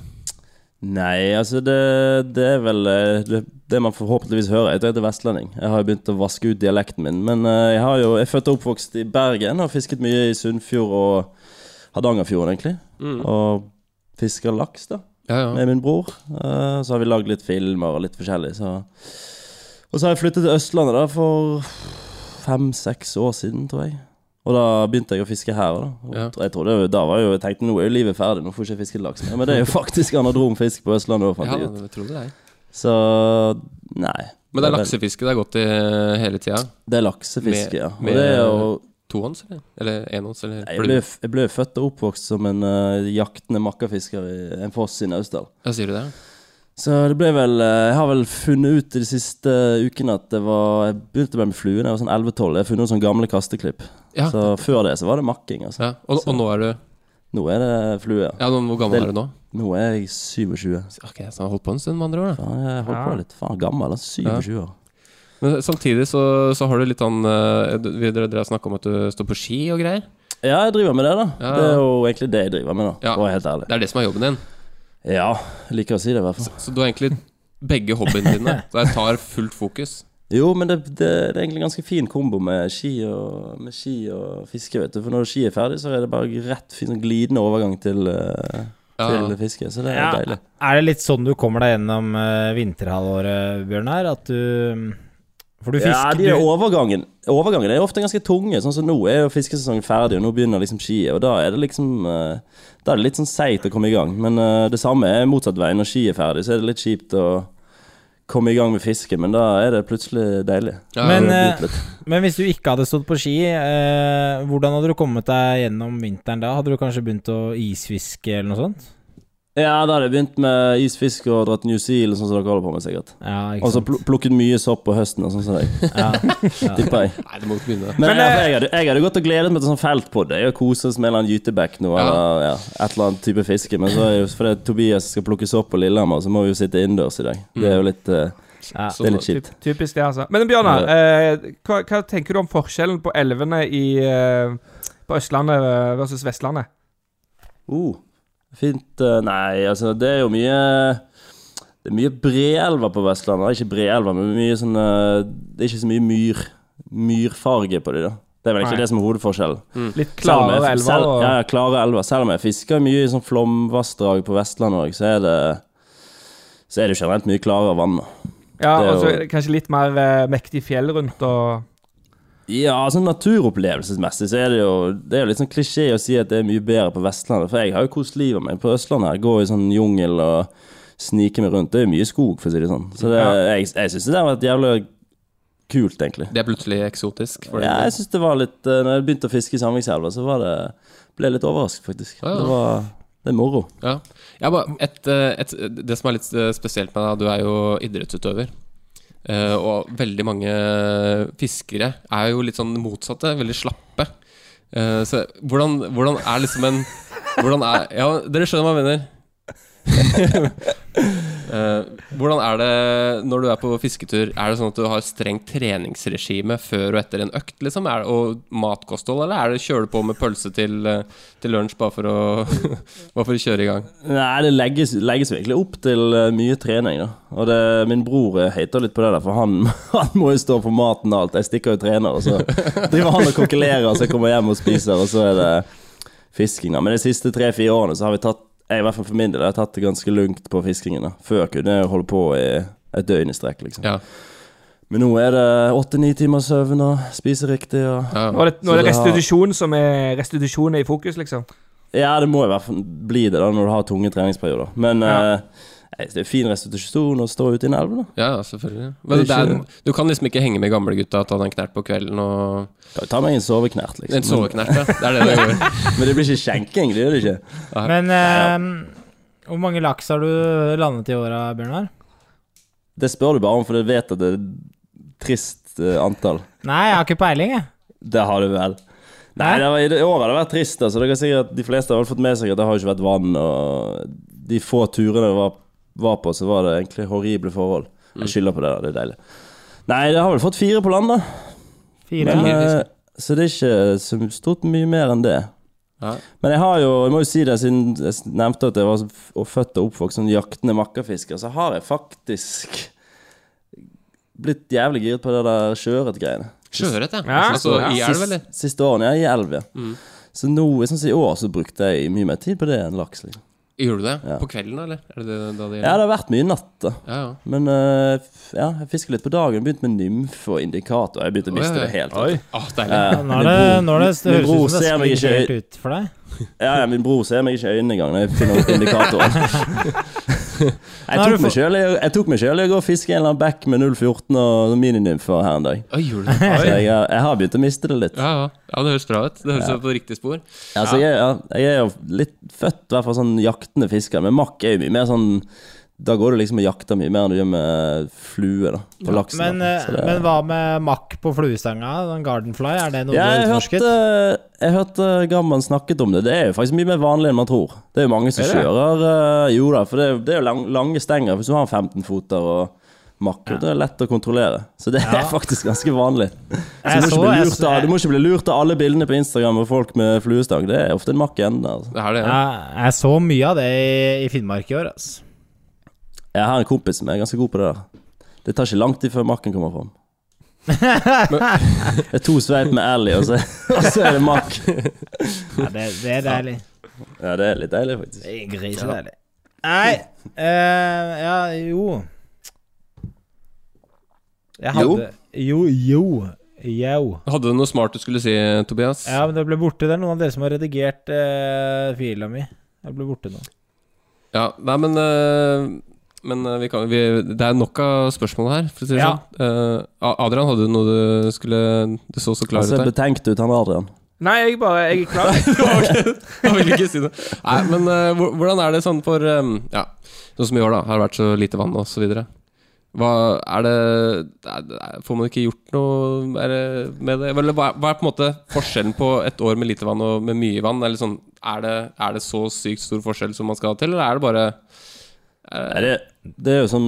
[SPEAKER 8] Nei, altså det, det er vel eh, det, det man forhåpentligvis hører. Jeg heter vestlending. Jeg har jo begynt å vaske ut dialekten min. Men eh, jeg har jo, jeg er født og oppvokst i Bergen og har fisket mye i Sunnfjord og Hardangerfjorden, egentlig. Og fisker laks, da,
[SPEAKER 1] Ja, ja.
[SPEAKER 8] med min bror. Eh, så har vi lagd litt filmer og litt forskjellig, så Og så har jeg flyttet til Østlandet da for fem-seks år siden, tror jeg. Og da begynte jeg å fiske her. Da. Og
[SPEAKER 1] Ja.
[SPEAKER 8] jeg trodde, da var jeg jo, jeg tenkte nå er jo livet ferdig, nå får jeg ikke fiske laks mer. Men det er jo
[SPEAKER 1] [LAUGHS]
[SPEAKER 8] faktisk anadrom fisk på Østlandet òg, fant
[SPEAKER 1] ja
[SPEAKER 8] jeg ut.
[SPEAKER 1] det tror jeg det er.
[SPEAKER 8] Så nei.
[SPEAKER 1] Men det er
[SPEAKER 8] vel-
[SPEAKER 1] laksefiske det er godt i eh, hele tida?
[SPEAKER 8] Det er laksefiske,
[SPEAKER 1] Med-
[SPEAKER 8] ja. Og
[SPEAKER 1] med-
[SPEAKER 8] det er jo
[SPEAKER 1] Tohånds, eller? Eller enhånds, eller
[SPEAKER 8] Jeg ble, jeg ble født og oppvokst som en eh, jaktende makkerfisker i en foss i Naustdal.
[SPEAKER 1] Ja, sier du det?
[SPEAKER 8] Så det ble vel eh, Jeg har vel funnet ut i de siste eh, ukene at det var Jeg begynte med, med flue da jeg var sånn 11-12. Jeg har funnet noen sånne gamle kasteklipp.
[SPEAKER 1] Ja.
[SPEAKER 8] Så før det så var det makking, altså.
[SPEAKER 1] Ja. Og, og nå er du
[SPEAKER 8] Nå er det flue.
[SPEAKER 1] Ja, nå- Hvor gammel
[SPEAKER 8] Det-
[SPEAKER 1] er du nå?
[SPEAKER 8] Nå er jeg 27.
[SPEAKER 1] Ok, så jeg har holdt på en stund, med andre ord. da.
[SPEAKER 8] Faen, jeg holdt på litt. Faen, gammel. Altså, 27 år.
[SPEAKER 1] Men eh, samtidig så, så har du litt sånn eh, du- vi- Dere dere har snakka om at du står på ski og greier.
[SPEAKER 8] Ja, jeg driver med det, da.
[SPEAKER 1] Ja.
[SPEAKER 8] Det er jo egentlig det jeg driver med, da.
[SPEAKER 1] Ja.
[SPEAKER 8] For å være helt ærlig.
[SPEAKER 1] Det er det som er jobben din.
[SPEAKER 8] Ja, jeg liker å si det, i hvert fall.
[SPEAKER 1] Så du har egentlig begge hobbyene dine. Så jeg tar fullt fokus.
[SPEAKER 8] Jo, men det, det, det er egentlig en ganske fin kombo med ski, og, med ski og fiske, vet du. For når ski er ferdig, så er det bare rett fin sånn glidende overgang til, eh,
[SPEAKER 1] Ja,
[SPEAKER 8] til fiske. Så det er
[SPEAKER 6] Ja,
[SPEAKER 8] deilig.
[SPEAKER 6] er det litt sånn du kommer deg gjennom eh, vinterhalvåret, Bjørnar? At du For du fisker
[SPEAKER 8] Ja, de er
[SPEAKER 6] du,
[SPEAKER 8] overgangen. Overgangen er ofte ganske tunge. Sånn som nå er jo fiskesesongen ferdig, og nå begynner liksom skiet. Og da er det liksom eh, Da er det litt sånn seigt å komme i gang. Men eh, det samme er motsatt vei. Når skiet er ferdig, så er det litt kjipt å komme i gang med fiske, men da er det plutselig deilig.
[SPEAKER 1] Ja,
[SPEAKER 6] Men,
[SPEAKER 8] Det
[SPEAKER 6] eh,
[SPEAKER 8] er litt-
[SPEAKER 6] men hvis du ikke hadde stått på ski, eh, hvordan hadde du kommet deg gjennom vinteren da? Hadde du kanskje begynt å isfiske eller noe sånt?
[SPEAKER 8] Ja, da hadde jeg begynt med isfiske og dratt New Zealand, sånn som dere holder på med, sikkert.
[SPEAKER 6] Ja, ikke
[SPEAKER 8] Og så
[SPEAKER 6] sant.
[SPEAKER 8] pl plukket mye sopp på høsten, og sånn som deg. [LAUGHS] Tipper jeg.
[SPEAKER 1] Nei, du må ikke begynne.
[SPEAKER 8] Men, jeg, jeg, hadde, jeg hadde gått og gledet meg til sånn feltpod. Jeg og koset oss med en eller annen gytebekk nå,
[SPEAKER 1] Ja.
[SPEAKER 8] eller ja, et eller annet type fiske. Men så er jo fordi Tobias skal plukke sopp på Lillehammer, så må vi jo sitte innendørs i dag. Det er jo litt, eh,
[SPEAKER 6] Ja.
[SPEAKER 8] det er litt
[SPEAKER 7] Typ,
[SPEAKER 8] kjipt.
[SPEAKER 7] typisk det, altså. Men Bjørnar, eh, hva, hva tenker du om forskjellen på elvene i, eh, på Østlandet versus Vestlandet?
[SPEAKER 8] Uh, fint eh, Nei, altså, det er jo mye Det er mye breelver på Vestlandet. Det er Ikke breelver, men mye sånn eh, Det er ikke så mye myr. Myrfarge på de, da. Det er vel
[SPEAKER 7] Nei.
[SPEAKER 8] egentlig det som er hovedforskjellen.
[SPEAKER 7] Litt
[SPEAKER 8] Selv om jeg-
[SPEAKER 7] klarere elver
[SPEAKER 8] selv,
[SPEAKER 7] og
[SPEAKER 8] ja, ja, klare elver. Selv om jeg fisker mye i sånn flomvassdrag på Vestlandet òg, så er det så er det jo generelt mye klarere vann. da.
[SPEAKER 7] Ja,
[SPEAKER 8] det er
[SPEAKER 7] og så
[SPEAKER 8] jo-
[SPEAKER 7] er det kanskje litt mer eh, mektig fjell rundt og
[SPEAKER 8] Ja, sånn naturopplevelsesmessig så er det jo Det er jo litt sånn klisjé å si at det er mye bedre på Vestlandet, for jeg har jo kost livet mitt på Østlandet. her. Gå i sånn jungel og snike meg rundt. Det er jo mye skog, for å si det sånn. Så det, jeg, jeg syns det har vært jævlig kult, egentlig.
[SPEAKER 1] Det er plutselig eksotisk. For
[SPEAKER 8] Ja,
[SPEAKER 1] din
[SPEAKER 8] jeg
[SPEAKER 1] del.
[SPEAKER 8] synes det var litt eh, Når jeg begynte å fiske i Sandvikselva, så var det, ble jeg litt overrasket, faktisk.
[SPEAKER 1] Ja, ja.
[SPEAKER 8] Det var Det er moro.
[SPEAKER 1] ja. Ja, bare et, eh, et, det som er litt eh, spesielt med deg, du er jo idrettsutøver. Eh, og veldig mange fiskere er jo litt sånn motsatte, veldig slappe. Eh, så hvordan, hvordan er liksom en Hvordan er Ja, dere skjønner hva jeg mener. [LAUGHS] Eh, hvordan er det når du er på fisketur? Er det sånn at du har strengt treningsregime før og etter en økt, liksom? Er det, og matkosthold, eller er det kjører du på med pølse til, eh, til lunsj bare for, å, [LAUGHS] bare for å kjøre i gang?
[SPEAKER 8] Nei, det legges, legges virkelig opp til eh, mye trening, da. Og det, min bror eh, hater litt på det der, for han, [LAUGHS] han må jo stå for maten og alt. Jeg stikker jo og trener, og så driver han og kokkelerer, og så kommer jeg hjem og spiser, og så er det fisking, da. Men de siste tre-fire årene så har vi tatt jeg, i hvert fall for min del, jeg har tatt det ganske lungt på fiskingen. da Før kunne jeg holde på i et døgn i strekk, liksom.
[SPEAKER 1] Ja.
[SPEAKER 8] Men nå er det åtte-ni timer søvn og spise riktig og
[SPEAKER 1] Ja.
[SPEAKER 7] Nå er det, nå er det
[SPEAKER 8] Så det har-
[SPEAKER 7] restitusjon som er restitusjon er i fokus, liksom.
[SPEAKER 8] Ja, det må i hvert fall bli det da når du har tunge treningsperioder. Men
[SPEAKER 7] Ja.
[SPEAKER 8] eh, nei, det er fin restitusjon å stå ute i en elv, da.
[SPEAKER 1] Ja, ja, selvfølgelig. Men
[SPEAKER 8] Det
[SPEAKER 1] det
[SPEAKER 8] er
[SPEAKER 1] er,
[SPEAKER 8] ikke-
[SPEAKER 1] du kan liksom ikke henge med gamlegutta at han er knert på kvelden og
[SPEAKER 8] Kan jo ta meg en soveknert, liksom.
[SPEAKER 1] En soveknert, ja. Det er det det går i.
[SPEAKER 8] Men, men det blir ikke skjenking, det gjør det ikke.
[SPEAKER 6] Men eh, hvor mange laks har du landet i åra, Bjørnar?
[SPEAKER 8] Det spør du bare om, for du vet at det er trist eh, antall.
[SPEAKER 6] Nei, jeg har ikke peiling, jeg.
[SPEAKER 8] Det har du vel. Nei,
[SPEAKER 6] Hæ?
[SPEAKER 8] det var, i det året har det vært trist. Altså. Det kan sikkert, de fleste har vel fått med seg at det har ikke vært vann. Og de få turene jeg var, var på, så var det egentlig horrible forhold.
[SPEAKER 1] Mm.
[SPEAKER 8] Jeg skylder på det, da. Det er deilig. Nei, det har vel fått fire på land, da.
[SPEAKER 6] Fire.
[SPEAKER 8] Men,
[SPEAKER 1] Ja.
[SPEAKER 8] eh, så det er ikke så stort mye mer enn det.
[SPEAKER 1] Nei.
[SPEAKER 8] Men jeg har jo, jeg må jo si det siden jeg s- nevnte at jeg var så f- og født og oppvokst som jaktende makkerfisker, så har jeg faktisk blitt jævlig giret på det der sjøørretgreiene.
[SPEAKER 1] Sjøørret, ja.
[SPEAKER 7] Ja,
[SPEAKER 1] altså
[SPEAKER 7] ja.
[SPEAKER 1] i elv, eller?
[SPEAKER 8] Sist- Siste årene, ja, i elv, ja. Så nå, sånn som i år, så brukte jeg mye mer tid på det enn laks. Liksom.
[SPEAKER 1] Gjorde du det?
[SPEAKER 8] Ja.
[SPEAKER 1] På kvelden, da, eller? Er det det da det
[SPEAKER 8] Ja,
[SPEAKER 1] gjelder?
[SPEAKER 8] det har vært mye natt, da.
[SPEAKER 1] Ja, ja.
[SPEAKER 8] Men eh, f- ja, jeg fisker litt på dagen. Begynte med nymfe og indikator. Jeg begynte å
[SPEAKER 1] Oi,
[SPEAKER 8] miste
[SPEAKER 1] oi.
[SPEAKER 8] det helt.
[SPEAKER 7] Oi.
[SPEAKER 8] vet du.
[SPEAKER 1] Å, deilig.
[SPEAKER 8] Eh,
[SPEAKER 6] Nå er det, nå er det, det
[SPEAKER 8] min
[SPEAKER 6] høres
[SPEAKER 8] bror
[SPEAKER 6] ut som det
[SPEAKER 8] ser meg
[SPEAKER 6] sklir
[SPEAKER 8] ikke-
[SPEAKER 6] helt ut for deg.
[SPEAKER 8] Ja, ja, min bror ser meg ikke i øynene engang når jeg finner opp indikatoren. jeg,
[SPEAKER 6] Nei, du
[SPEAKER 8] tok meg
[SPEAKER 6] får-
[SPEAKER 8] selv, i- jeg tok meg sjøl i å gå og fiske en eller annen bekk med 0,14 og mininymfer her en dag.
[SPEAKER 1] Å, gjorde du det?
[SPEAKER 8] Så jeg, har- jeg har begynt å miste det litt.
[SPEAKER 1] Ja, ja. ja, det høres bra ut. Det høres ut på riktig spor.
[SPEAKER 8] Altså, jeg, ja, jeg er jo litt født i hvert fall sånn jaktende fisker, men makk er jo mye mer sånn Da går du liksom og jakter mye mer enn du gjør med flue da, på laksen. da.
[SPEAKER 6] Men, eh,
[SPEAKER 8] Så det-
[SPEAKER 6] men hva med makk på fluestanga? Den gardenfly, er det noe du
[SPEAKER 8] Ja, jeg eh,
[SPEAKER 6] har utforsket?
[SPEAKER 8] hørte, jeg hørte Gamman snakket om det. Det er jo faktisk mye mer vanlig enn man tror. Det er jo mange som kjører eh, Jo da, for det er, det er jo lang, lange stenger hvis du har en 15-foter og makker. Det er lett å kontrollere. Så det er [LAUGHS] faktisk ganske vanlig.
[SPEAKER 6] Jeg
[SPEAKER 8] Så du, må
[SPEAKER 6] så-
[SPEAKER 8] ikke bli
[SPEAKER 6] jeg
[SPEAKER 8] lurt
[SPEAKER 6] så-
[SPEAKER 8] av, du må ikke bli lurt av alle bildene på Instagram av folk med fluestang. Det er ofte en makk i enden. Altså.
[SPEAKER 1] Det er det, ja.
[SPEAKER 6] Jeg, jeg så mye av det i, i Finnmark i år, altså.
[SPEAKER 8] Jeg har en kompis som er ganske god på det der. Det tar ikke lang tid før makken kommer
[SPEAKER 6] [LAUGHS]
[SPEAKER 8] fram. [LAUGHS] det er to sveip med Ally, og, så- [LAUGHS] og så er det makk.
[SPEAKER 6] Ja, det, det er deilig.
[SPEAKER 8] Ja, det er litt deilig, faktisk.
[SPEAKER 6] Det er Grisedeilig. Nei eh, Ja, jo Jeg hadde Jo, jo. Yo.
[SPEAKER 1] Hadde du noe smart du skulle si, Tobias?
[SPEAKER 6] Ja, men det ble borte. Det er noen av dere som har redigert eh, fila mi. Jeg ble borte nå.
[SPEAKER 1] Ja, nei, men øh, Men øh, vi kan, vi, det er nok av spørsmål her, for å si det
[SPEAKER 6] Ja.
[SPEAKER 1] sånn. Eh, A- Adrian, hadde du noe du skulle Du så så
[SPEAKER 8] Han
[SPEAKER 1] klar ut
[SPEAKER 8] ser
[SPEAKER 1] der.
[SPEAKER 8] betenkt ut, han Adrian.
[SPEAKER 7] Nei, jeg bare Jeg er klar.
[SPEAKER 8] [LAUGHS]
[SPEAKER 1] Jeg vil ikke si det. Nei, men øh, hvor- hvordan er det sånn for øhm, Ja, sånn som i år, da. Har det vært så lite vann og så videre. Hva er det er, det- Får man ikke gjort noe er det, med det? Eller hva, hva er på en måte forskjellen på et år med lite vann og med mye vann? Eller sånn, er, det, er det så sykt stor forskjell som man skal ha til, eller er det bare
[SPEAKER 8] Nei, det, det er jo som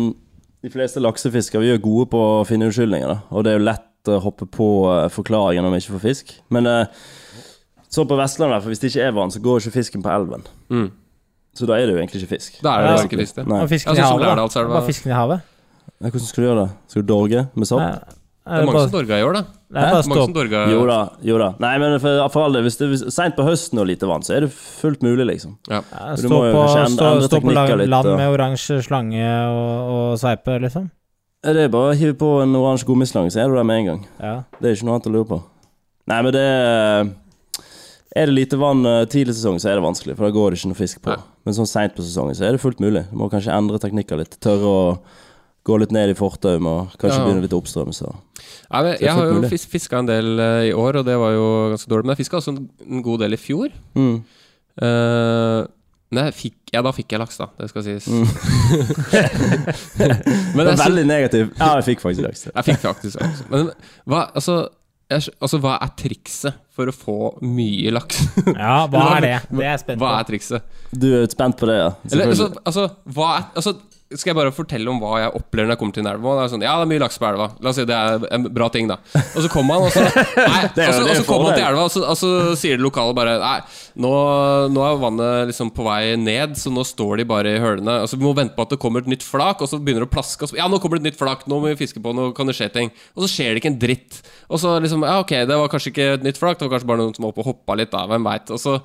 [SPEAKER 8] de fleste laksefiskere, vi er gode på å finne unnskyldninger. da. Og det er jo lett å hoppe på eh, forklaringen om ikke får fisk. Men eh, så på Vestlandet, for hvis det ikke er vann, så går ikke fisken på elven.
[SPEAKER 1] Mm.
[SPEAKER 8] Så da er det jo egentlig ikke fisk.
[SPEAKER 1] Da er det
[SPEAKER 6] Ja.
[SPEAKER 1] liksom ikke visst, det.
[SPEAKER 8] Nei.
[SPEAKER 6] Og fisken
[SPEAKER 1] Ja,
[SPEAKER 6] i
[SPEAKER 1] sånn som
[SPEAKER 6] havet. da.
[SPEAKER 1] Lærdalselva.
[SPEAKER 6] Bare fisken i havet.
[SPEAKER 8] Nei, Hvordan skal du gjøre det? Skal du dorge med sopp?
[SPEAKER 6] Nei,
[SPEAKER 1] Det
[SPEAKER 6] er
[SPEAKER 1] er
[SPEAKER 6] det
[SPEAKER 1] mange som
[SPEAKER 6] bare,
[SPEAKER 1] dorga i år, da.
[SPEAKER 6] det er bare
[SPEAKER 1] Mange
[SPEAKER 6] å stå
[SPEAKER 1] som dorga
[SPEAKER 8] Jo da, jo da. Nei, men for, for all del, hvis det er seint på høsten og lite vann, så er det fullt mulig, liksom.
[SPEAKER 6] Ja,
[SPEAKER 8] Du
[SPEAKER 6] Stå
[SPEAKER 8] må jo
[SPEAKER 6] på,
[SPEAKER 8] kanskje endre-
[SPEAKER 6] stå,
[SPEAKER 8] endre
[SPEAKER 6] stå på
[SPEAKER 8] teknikker
[SPEAKER 6] land,
[SPEAKER 8] litt,
[SPEAKER 6] land
[SPEAKER 8] og-
[SPEAKER 6] med oransje slange og, og sveipe, liksom?
[SPEAKER 8] Det er bare å hive på en oransje gummislange, så er du der med en gang.
[SPEAKER 6] Ja.
[SPEAKER 8] Det er ikke noe annet å lure på. Nei, men det Er det lite vann eh, tidlig i sesongen, så er det vanskelig, for da går det ikke noe fisk på.
[SPEAKER 1] Nei.
[SPEAKER 8] Men sånn seint på sesongen, så er det fullt mulig. Du må kanskje endre teknikker litt. Tørre å gå litt ned i fortauet og kanskje
[SPEAKER 1] Ja.
[SPEAKER 8] begynne litt oppstrøms. og-
[SPEAKER 1] Nei, men
[SPEAKER 8] er
[SPEAKER 1] jeg har
[SPEAKER 8] fullt
[SPEAKER 1] jo
[SPEAKER 8] mulig.
[SPEAKER 1] fis fiska en del eh, i år, og det var jo ganske dårlig. Men jeg fiska også en, en god del i fjor.
[SPEAKER 8] Mm.
[SPEAKER 1] Eh, nei, fikk, ja, da fikk jeg laks, da. Det skal sies.
[SPEAKER 8] Mm.
[SPEAKER 1] men jeg,
[SPEAKER 8] Det er
[SPEAKER 1] sy-
[SPEAKER 8] veldig negativ. Ja, jeg fikk faktisk laks.
[SPEAKER 1] jeg fikk faktisk laks. Men hva, altså, jeg, skj- altså, hva er trikset for å få mye laks? [LAUGHS]
[SPEAKER 6] ja, hva er det? Det er jeg spent på.
[SPEAKER 1] hva er trikset?
[SPEAKER 8] Du er spent på det, ja?
[SPEAKER 1] Eller, altså,
[SPEAKER 8] Selvfølgelig.
[SPEAKER 1] altså, hva er, altså, skal jeg bare fortelle om hva jeg opplever når jeg kommer til en elv? Og Det er sånn, ja, det er mye laks på elva. La oss si det er en bra ting, da. Og så kommer han, og
[SPEAKER 8] [LAUGHS]
[SPEAKER 1] så, nei,
[SPEAKER 8] er jo-
[SPEAKER 1] og så,
[SPEAKER 8] det er
[SPEAKER 1] og
[SPEAKER 8] jo
[SPEAKER 1] så Altså, kommer han til
[SPEAKER 8] fordel.
[SPEAKER 1] elva, og så, og så sier det lokale bare Nei, nå, nå er vannet liksom på vei ned, så nå står de bare i hølene. Altså, vi må vente på at det kommer et nytt flak, og så begynner det å plaske. Og så, ja, nå kommer det et nytt flak, nå må vi fiske på, nå kan det skje ting. Og så skjer det ikke en dritt. Og så liksom, ja, ok, det var kanskje ikke et nytt flak, det var kanskje bare noen som var oppe og hoppa litt, da, hvem veit. Og så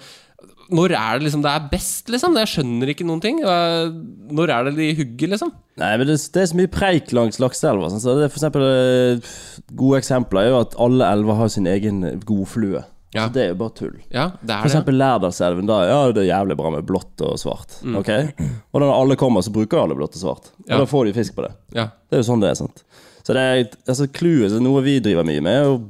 [SPEAKER 1] når er det liksom det er best, liksom? Jeg skjønner ikke noen ting. Og jeg- Når er det de hugger, liksom?
[SPEAKER 8] Nei, men det, det er så mye preik langs lakseelva. Sånn, så det er for eksempel, eh, gode eksempler er jo at alle elver har sin egen godflue.
[SPEAKER 1] Ja.
[SPEAKER 8] Så det er jo bare tull.
[SPEAKER 1] Ja, det
[SPEAKER 8] For
[SPEAKER 1] er det.
[SPEAKER 8] eksempel Lærdalselven. Da ja, det er jævlig bra med blått og svart.
[SPEAKER 6] Mm.
[SPEAKER 8] Ok? Og når alle kommer, så bruker alle blått og svart. Og
[SPEAKER 1] Ja.
[SPEAKER 8] da får de fisk på det.
[SPEAKER 1] Ja.
[SPEAKER 8] Det er jo sånn det er. sant? Så det er altså, clouet så noe vi driver mye med, er å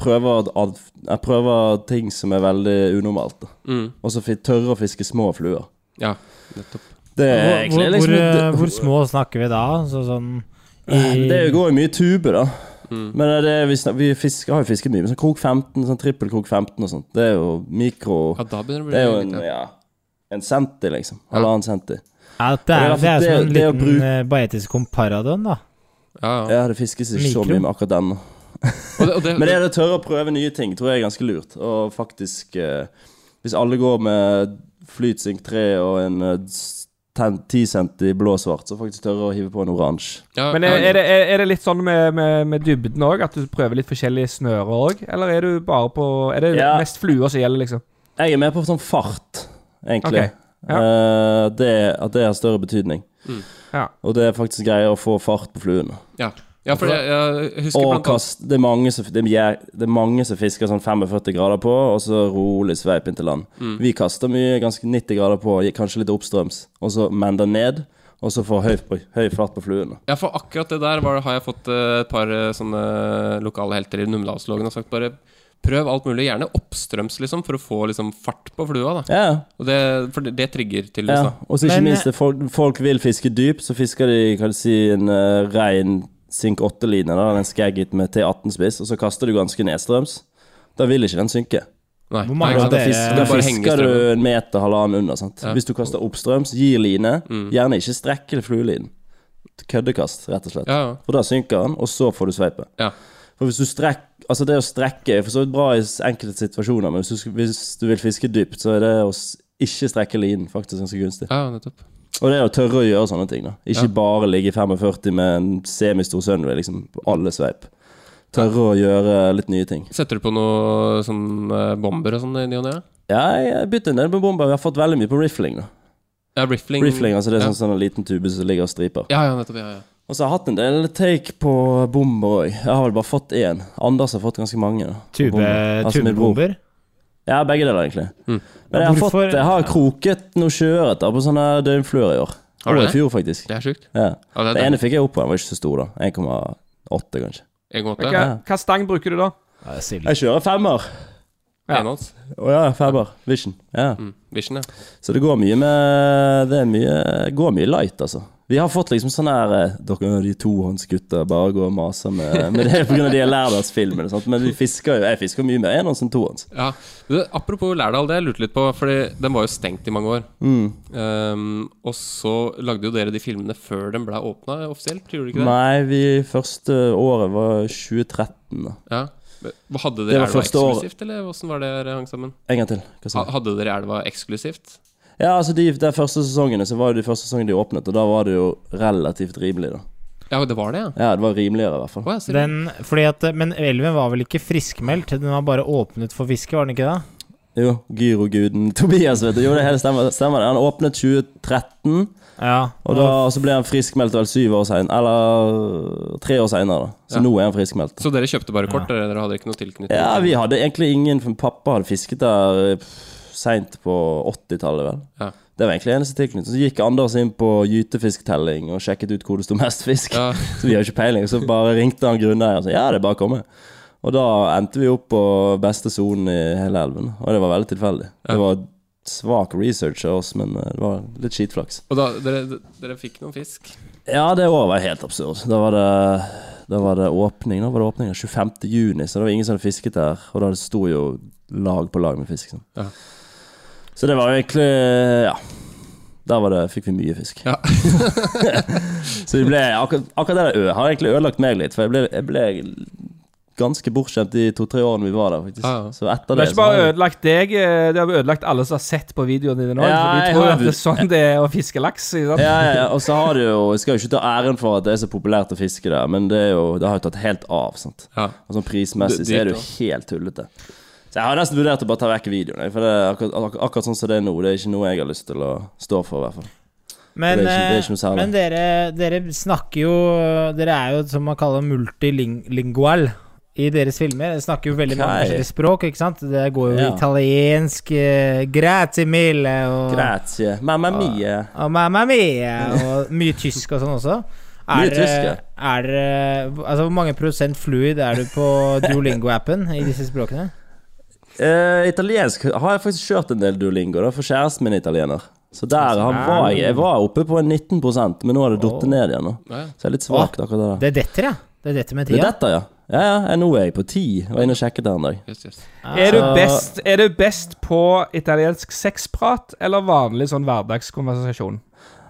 [SPEAKER 8] prøve at- at- jeg prøver ting som er veldig unormalt. da.
[SPEAKER 1] Mm.
[SPEAKER 8] Og så fi- tørre å fiske små fluer.
[SPEAKER 1] ja. Nettopp.
[SPEAKER 8] Det
[SPEAKER 6] Hvor,
[SPEAKER 8] er egentlig
[SPEAKER 6] hvor,
[SPEAKER 8] liksom
[SPEAKER 6] hvor, eh,
[SPEAKER 8] det-
[SPEAKER 6] hvor små snakker vi da? Så, sånn i,
[SPEAKER 8] Det går jo mye i tube, da.
[SPEAKER 6] Mm.
[SPEAKER 8] Men det er, vi, snak- vi fisker, har jo fisket mye med sånn krok 15, sånn trippel krok 15 og sånt. Det er jo mikro
[SPEAKER 1] Ja, da begynner det å bli
[SPEAKER 8] Det er jo en,
[SPEAKER 1] litt, ja.
[SPEAKER 8] ja, en centi, liksom. Halvannen centi.
[SPEAKER 6] ja, det, er, det er som en
[SPEAKER 8] det å
[SPEAKER 6] liten
[SPEAKER 8] bruke-
[SPEAKER 6] eh, baetisk komparadon, da.
[SPEAKER 1] Ja, ja.
[SPEAKER 8] Ja, det fiskes ikke så
[SPEAKER 6] Mikro?
[SPEAKER 8] mye med akkurat den.
[SPEAKER 1] Og det, og det,
[SPEAKER 8] Men det er det å tørre å prøve nye ting, tror jeg er ganske lurt. Og faktisk eh, Hvis alle går med flytsink 3 og en eh, s- 10 10 centi blå-svart, så faktisk tørre å hive på en oransje.
[SPEAKER 1] ja,
[SPEAKER 7] Men
[SPEAKER 1] ja,
[SPEAKER 7] er, er, det, er, er det litt sånn med, med, med dybden òg, at du prøver litt forskjellige snører òg? Eller er du bare på Er det
[SPEAKER 8] Ja.
[SPEAKER 7] mest fluer som gjelder, liksom?
[SPEAKER 8] Jeg er mer på sånn fart, egentlig.
[SPEAKER 7] Ok, ja. Mm,
[SPEAKER 8] Eh, det, at det har større betydning.
[SPEAKER 7] Ja.
[SPEAKER 8] Og det er faktisk greier å få fart på fluene.
[SPEAKER 1] ja. ja, for jeg, jeg husker
[SPEAKER 8] Og
[SPEAKER 1] blant annet
[SPEAKER 8] kast, det, er mange som, det, er, jæ- det er mange som fisker sånn 45 grader på, og så rolig sveip inn til land. Vi kaster mye, ganske 90 grader på, kanskje litt oppstrøms, og så mender ned, og så får høy, høy fart på fluene.
[SPEAKER 1] Ja, for akkurat det der var, har jeg fått eh, et par eh, sånne lokale helter i Numedalslågen og sagt bare prøv alt mulig, gjerne oppstrøms, liksom, for å få liksom fart på flua, da.
[SPEAKER 8] Ja,
[SPEAKER 1] Og det, for det, det trigger til
[SPEAKER 8] ja.
[SPEAKER 1] ja.
[SPEAKER 8] Og så ikke
[SPEAKER 6] Men-
[SPEAKER 8] minst, det, folk, folk vil fiske dyp, så fisker de, kan du si, en uh, rein sink 8-line, da, den skagget med T18-spiss, og så kaster du ganske nedstrøms. Da vil ikke den synke.
[SPEAKER 1] Nei,
[SPEAKER 6] Hvor mange
[SPEAKER 1] nei, ikke
[SPEAKER 6] av
[SPEAKER 1] sant?
[SPEAKER 8] Da,
[SPEAKER 6] dere-
[SPEAKER 1] Det
[SPEAKER 8] fis,
[SPEAKER 1] er
[SPEAKER 8] da
[SPEAKER 1] bare å henge i
[SPEAKER 8] fisker
[SPEAKER 1] strømmen.
[SPEAKER 8] du en meter, halvannen under. Sant?
[SPEAKER 1] Ja. Mm.
[SPEAKER 8] Hvis du kaster oppstrøms, gir line. Gjerne ikke strekkelig fluelinen. Køddekast, rett og slett.
[SPEAKER 1] Ja,
[SPEAKER 8] For da synker den, og så får du sveipet.
[SPEAKER 1] ja.
[SPEAKER 8] For hvis du strekk, altså det å strekke er for så vidt bra i s- enkelte situasjoner, men hvis du, sk- hvis du vil fiske dypt, så er det å s- ikke strekke linen faktisk ganske gunstig.
[SPEAKER 1] ja, nettopp.
[SPEAKER 8] Og det er å tørre å gjøre sånne ting. da Ikke
[SPEAKER 1] Ja.
[SPEAKER 8] bare ligge i 45 med en semistor Sunway, liksom, på alle sveip. Tørre å gjøre litt nye ting.
[SPEAKER 1] Setter du på noe sånn eh, bomber og sånn i ny og ne?
[SPEAKER 8] Ja, jeg bytter en del på bomber. Vi har fått veldig mye på rifling. da
[SPEAKER 1] Ja, rifling.
[SPEAKER 8] Rifling, altså det er
[SPEAKER 1] ja.
[SPEAKER 8] sånn, sånn en liten tube som ligger og striper.
[SPEAKER 1] Ja, ja, nettopp. Ja, ja.
[SPEAKER 8] Og så har jeg hatt en del take på bomber òg. Jeg har vel bare fått én. Anders har fått ganske mange. da, på
[SPEAKER 6] Tube,
[SPEAKER 8] bomber. Altså, min bror.
[SPEAKER 6] tubebomber.
[SPEAKER 8] Ja, begge deler, egentlig.
[SPEAKER 1] Mm.
[SPEAKER 8] Men jeg har,
[SPEAKER 6] Hvorfor-
[SPEAKER 8] fått, jeg har kroket noen sjøørreter på sånne døgnfluer i år.
[SPEAKER 1] Har du
[SPEAKER 8] og i
[SPEAKER 1] det?
[SPEAKER 8] fjor, faktisk.
[SPEAKER 1] Det er sjukt.
[SPEAKER 8] Ja.
[SPEAKER 1] Ja, det
[SPEAKER 8] Det
[SPEAKER 1] er
[SPEAKER 8] ene fikk jeg opp på, den var ikke så stor, da. 1,8, kanskje.
[SPEAKER 7] Hva,
[SPEAKER 1] 1,8.
[SPEAKER 7] hva stang bruker du da?
[SPEAKER 6] Ja, det er silden.
[SPEAKER 8] Jeg kjører femmer.
[SPEAKER 7] Ja.
[SPEAKER 1] Enhånds.
[SPEAKER 8] Å ja, femmer. Vision. Ja.
[SPEAKER 1] Mm. Vision, ja.
[SPEAKER 8] Så det går mye med Det er mye, går mye light, altså. Vi har fått liksom sånn her eh, Dere de tohåndsgutta bare går og maser med, [LAUGHS] med det pga. de lærdagsfilmene. sant? Men vi fisker jo, jeg fisker mye mer enhånds enn tohånds.
[SPEAKER 1] ja. Du, apropos Lærdal, det jeg lurte litt på, Fordi den var jo stengt i mange år.
[SPEAKER 8] Mm.
[SPEAKER 1] Ehm, og så lagde jo dere de filmene før den ble åpna offisielt, gjorde dere ikke det?
[SPEAKER 8] Nei, vi første året var 2013. da.
[SPEAKER 1] Ja. Men Hadde
[SPEAKER 8] Det
[SPEAKER 1] dere
[SPEAKER 8] var
[SPEAKER 1] elva
[SPEAKER 8] første året.
[SPEAKER 1] eksklusivt, eller hvordan var det dere hang sammen?
[SPEAKER 8] En gang til. Hva sa
[SPEAKER 1] Ha-
[SPEAKER 8] du?
[SPEAKER 1] Hadde dere elva eksklusivt?
[SPEAKER 8] Ja, altså de, de første sesongene så var det de første sesongene de åpnet, og da var det jo relativt rimelig, da.
[SPEAKER 1] Ja, det var det, ja.
[SPEAKER 8] Ja, det var rimeligere, i hvert fall.
[SPEAKER 1] Å, jeg ser det.
[SPEAKER 6] Den, fordi at, eh, men elven var vel ikke friskmeldt? Den var bare åpnet for fiske, var den ikke det?
[SPEAKER 8] Jo, gyroguden Tobias, vet du. Jo, det hele stemmer. stemmer det. Han åpnet 2013.
[SPEAKER 6] Ja.
[SPEAKER 8] Og da og så ble han friskmeldt vel syv år senere, eller tre år senere, da. Så
[SPEAKER 1] Ja.
[SPEAKER 8] nå er han friskmeldt.
[SPEAKER 1] Så dere kjøpte bare kort? Dere, dere hadde ikke noe tilknytning?
[SPEAKER 8] Ja, vi hadde egentlig ingen for Pappa hadde fisket der eh, seint på 80-tallet, vel.
[SPEAKER 1] Ja.
[SPEAKER 8] Det var egentlig eneste tilknytning. Så gikk Anders inn på gytefisktelling og sjekket ut hvor det sto mest fisk.
[SPEAKER 1] Ja.
[SPEAKER 8] [LAUGHS] Så vi har ikke peiling. Så bare ringte han grunneieren og sa ja, det er bare å komme. Og da endte vi opp på beste sonen i hele elven, og det var veldig tilfeldig.
[SPEAKER 1] Ja.
[SPEAKER 8] Det var svak research av oss, men eh, det var litt skitflaks.
[SPEAKER 1] Og da, dere, dere fikk noen fisk?
[SPEAKER 8] Ja, det året var helt absurd. Da var det, da var det åpning. Da var det åpning 25. juni, så det var ingen som hadde fisket der. Og da sto jo lag på lag med fisk. Sånn.
[SPEAKER 1] Ja.
[SPEAKER 8] Så det var jo egentlig Ja. Der var det, fikk vi mye fisk.
[SPEAKER 1] Ja.
[SPEAKER 8] [LAUGHS] så vi ble, akkurat, akkurat det der ø- har egentlig ødelagt meg litt, for jeg ble, jeg ble ganske bortskjemt de to-tre årene vi var der. faktisk
[SPEAKER 1] Ja, ja.
[SPEAKER 8] Så etter
[SPEAKER 7] Det har
[SPEAKER 8] det sånn-
[SPEAKER 7] ikke
[SPEAKER 8] så har
[SPEAKER 7] bare
[SPEAKER 8] jeg-
[SPEAKER 7] ødelagt deg, eh, det har ødelagt alle som har sett på videoene dine nå.
[SPEAKER 8] Ja,
[SPEAKER 7] for de
[SPEAKER 8] jeg
[SPEAKER 7] tror
[SPEAKER 8] har
[SPEAKER 7] at det er
[SPEAKER 8] jo-
[SPEAKER 7] sånn det er å fiske laks. ikke sant?
[SPEAKER 8] ja, ja, ja, og så har det jo Jeg skal jo ikke ta æren for at det er så populært å fiske der, men det, er jo, det har jo tatt helt av. sant
[SPEAKER 1] Ja.
[SPEAKER 8] Og sånn prismessig så er det jo helt tullete. Så jeg har nesten vurdert å bare ta vekk videoen. jeg, For det er akkurat, akkurat, akkurat sånn som det er nå, det er ikke noe jeg har lyst til å stå for, i hvert fall.
[SPEAKER 6] Men,
[SPEAKER 8] Det er ikke- det er ikke noe
[SPEAKER 6] eh,
[SPEAKER 8] særlig.
[SPEAKER 6] men dere, dere snakker jo Dere er jo som man kaller multilingual i deres filmer. Dere snakker jo veldig mange
[SPEAKER 8] Ok.
[SPEAKER 6] forskjellige språk, ikke sant? Det går jo
[SPEAKER 8] Ja.
[SPEAKER 6] italiensk eh, Grazie mille og,
[SPEAKER 8] Grazie. Mamma mia.
[SPEAKER 6] og mamma mia og mye tysk og sånn også.
[SPEAKER 8] Mye
[SPEAKER 6] Er,
[SPEAKER 8] tysk, ja.
[SPEAKER 6] dere- er dere Altså, hvor mange prosent fluid er du på Duolingo-appen i disse språkene?
[SPEAKER 8] Eh, italiensk har jeg faktisk kjørt en del duolingo, da, for kjæresten min er italiener. Så der han var jeg. Jeg var oppe på en 19 men nå har det datt ned igjen. nå Så jeg er litt svak akkurat der.
[SPEAKER 6] Det detter, ja. Det detter med
[SPEAKER 8] Det er
[SPEAKER 6] tida.
[SPEAKER 8] dette, ja. Ja, ja. jeg- Nå er jeg på 10. Jeg var inne og sjekket der en dag.
[SPEAKER 1] Yes, yes.
[SPEAKER 7] Er du, best, er du best på italiensk sexprat eller vanlig sånn hverdagskonversasjon?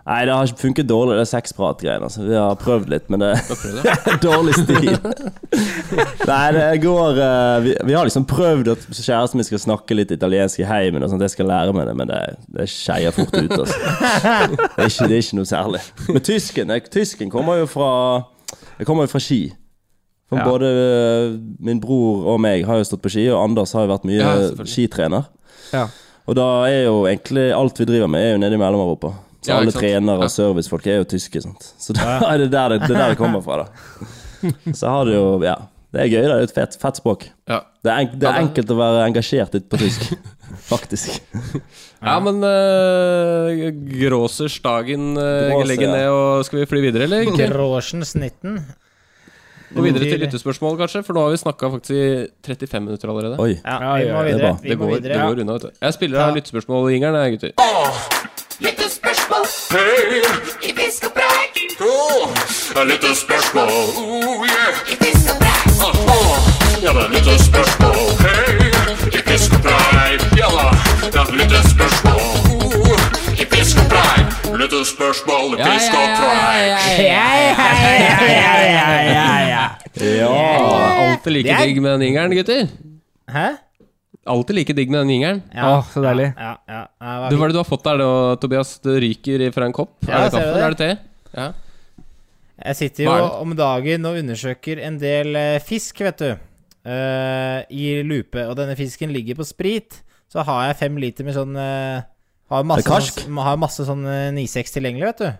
[SPEAKER 8] Nei, det har ikke funket dårlig, det sexprat-greiene. Altså. Vi har prøvd litt, men det [LAUGHS] er dårlig stil. Nei, det går eh, vi, vi har liksom prøvd at kjæresten min skal snakke litt italiensk i heimen, og sånn at jeg skal lære meg det, men det, det skeier fort ut, altså. Det er, ikke, det er ikke noe særlig. Men tysken jeg, Tysken kommer jo fra Jeg kommer jo fra ski. For
[SPEAKER 7] Ja.
[SPEAKER 8] Både eh, min bror og meg har jo stått på ski, og Anders har jo vært mye
[SPEAKER 1] Ja,
[SPEAKER 8] eh,
[SPEAKER 1] selvfølgelig.
[SPEAKER 8] skitrener.
[SPEAKER 7] Ja.
[SPEAKER 8] Og da er jo egentlig alt vi driver med, er jo nede i Mellom-Europa. Så
[SPEAKER 1] Ja, ikke
[SPEAKER 8] alle
[SPEAKER 1] sant?
[SPEAKER 8] trenere
[SPEAKER 1] Ja.
[SPEAKER 8] og servicefolk er jo tyske, sant. Så da er det der det, det, er der det kommer
[SPEAKER 1] [LAUGHS]
[SPEAKER 8] fra, da. Så har det jo Ja. Det er gøy, da. Det er et fett, fett språk.
[SPEAKER 1] Ja.
[SPEAKER 8] Det er, enk, det
[SPEAKER 1] Ja,
[SPEAKER 8] er
[SPEAKER 1] det-
[SPEAKER 8] enkelt å være engasjert litt på tysk.
[SPEAKER 1] [LAUGHS]
[SPEAKER 8] Faktisk.
[SPEAKER 1] Ja, men uh, Gråsers dagen eh,
[SPEAKER 8] Gråser,
[SPEAKER 1] legger
[SPEAKER 8] ja.
[SPEAKER 1] ned, og skal vi fly videre,
[SPEAKER 8] [LAUGHS]
[SPEAKER 1] eller? Ikke?
[SPEAKER 6] Grosjen snitten.
[SPEAKER 1] Gå videre til lyttespørsmål, kanskje, for nå har vi snakka faktisk i 35 minutter allerede.
[SPEAKER 8] Oi.
[SPEAKER 6] Ja, vi
[SPEAKER 7] ja,
[SPEAKER 6] må
[SPEAKER 7] ja,
[SPEAKER 8] det er
[SPEAKER 6] videre.
[SPEAKER 8] bra.
[SPEAKER 6] Vi
[SPEAKER 1] Det
[SPEAKER 6] må
[SPEAKER 1] går, det
[SPEAKER 6] videre.
[SPEAKER 1] går unna, vet du. Jeg spiller av lyttespørsmål i jingeren, jeg, gutter.
[SPEAKER 3] Det er litt et spørsmål. Oh, yeah. Aha. Ja, det er litt et spørsmål. Hei, i fiskepreik. Ja da, det er litt et spørsmål. Oh, I fiskepreik. Litt et spørsmål i fiskepreik.
[SPEAKER 8] Ja.
[SPEAKER 1] Alltid like
[SPEAKER 6] Det er-
[SPEAKER 1] digg med den jingeren, gutter.
[SPEAKER 6] Hæ?
[SPEAKER 1] Alltid like digg med den jingeren.
[SPEAKER 7] Å, så deilig.
[SPEAKER 6] Ja, ja. ja det var
[SPEAKER 1] Du, hva er det du har fått der, da, Tobias? Det ryker fra en kopp.
[SPEAKER 6] Ja,
[SPEAKER 1] er det
[SPEAKER 6] ser du
[SPEAKER 1] kaffe,
[SPEAKER 6] det?
[SPEAKER 1] eller er det te? Ja.
[SPEAKER 6] Jeg sitter jo
[SPEAKER 1] Hva er det?
[SPEAKER 6] om dagen og undersøker en del eh, fisk, vet du. eh, I lupe. Og denne fisken ligger på sprit. Så har jeg fem liter med sånn eh, Har masse,
[SPEAKER 8] Med karsk?
[SPEAKER 6] sånn, har masse sånn eh, 96 tilgjengelig, vet du.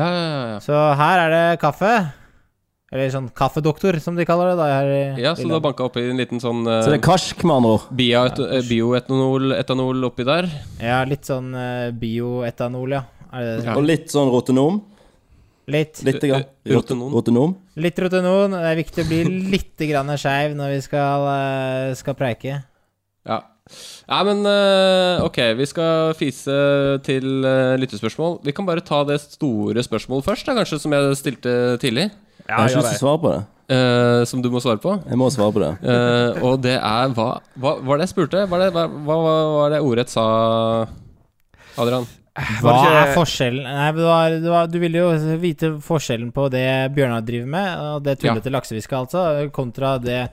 [SPEAKER 1] Ja, ja, ja,
[SPEAKER 6] Så her er det kaffe. Eller sånn kaffedoktor, som de kaller det. Da, her i
[SPEAKER 1] ja. ja, så du har banka oppi en liten sånn
[SPEAKER 8] Så det er
[SPEAKER 1] uh,
[SPEAKER 8] karsk, med andre ord.
[SPEAKER 1] bioetanol etanol oppi der.
[SPEAKER 6] Ja, litt sånn eh, bioetanol, ja. Er det det?
[SPEAKER 1] Ja.
[SPEAKER 8] Og litt sånn rotenom.
[SPEAKER 6] Litt.
[SPEAKER 8] Litt grann.
[SPEAKER 1] Eh, rotenom.
[SPEAKER 8] rotenom.
[SPEAKER 6] Litt rotenon. Det er viktig å bli
[SPEAKER 1] [LAUGHS]
[SPEAKER 6] litt grann skeiv når vi skal, eh, skal preike.
[SPEAKER 1] Ja. Nei, men eh, ok, vi skal fise til eh, lyttespørsmål. Vi kan bare ta det store spørsmålet først, da, kanskje, som jeg stilte tidlig.
[SPEAKER 8] Jeg har ikke lyst til å svare på det.
[SPEAKER 1] eh, som du må svare på.
[SPEAKER 8] Jeg må svare på det.
[SPEAKER 1] Eh, og det er hva, hva var det jeg spurte? Hva var det, hva, hva var det ordrett sa, Adrian?
[SPEAKER 6] Hva
[SPEAKER 7] Var det
[SPEAKER 6] er
[SPEAKER 7] ikke-
[SPEAKER 6] forskjellen Nei, men det var, det var, Du ville jo vite forskjellen på det Bjørnar driver med, og det tullete laksefisket, altså, kontra det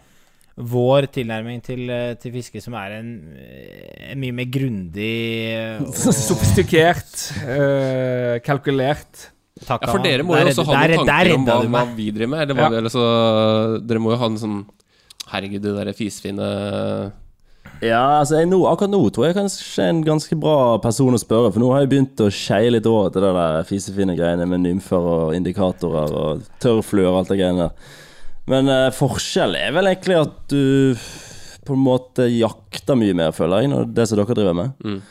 [SPEAKER 6] vår tilnærming til, eh, til fiske, som er en, eh, mye mer grundig eh,
[SPEAKER 8] [LAUGHS]
[SPEAKER 6] og
[SPEAKER 7] Sofistikert, eh, kalkulert.
[SPEAKER 6] takk
[SPEAKER 1] Ja, for
[SPEAKER 6] av
[SPEAKER 1] dere
[SPEAKER 6] han.
[SPEAKER 1] må
[SPEAKER 6] Der-
[SPEAKER 1] jo også ha
[SPEAKER 6] der-
[SPEAKER 1] noen
[SPEAKER 6] der
[SPEAKER 1] tanker om hva,
[SPEAKER 6] redda du
[SPEAKER 1] hva
[SPEAKER 6] meg.
[SPEAKER 1] vi driver med. Eller hva
[SPEAKER 7] Ja.
[SPEAKER 1] vi, eller så, dere må jo ha en sånn Herregud, det derre fisefine
[SPEAKER 8] Ja, altså jeg nå, akkurat nå tror jeg kanskje en ganske bra person å spørre, for nå har jeg begynt å skeie litt over til det der fisefine greiene med nymfer og indikatorer og tørrfluer og alt det greiene der. Men eh, forskjell er vel egentlig at du på en måte jakter mye mer, føler jeg, når det som dere driver med.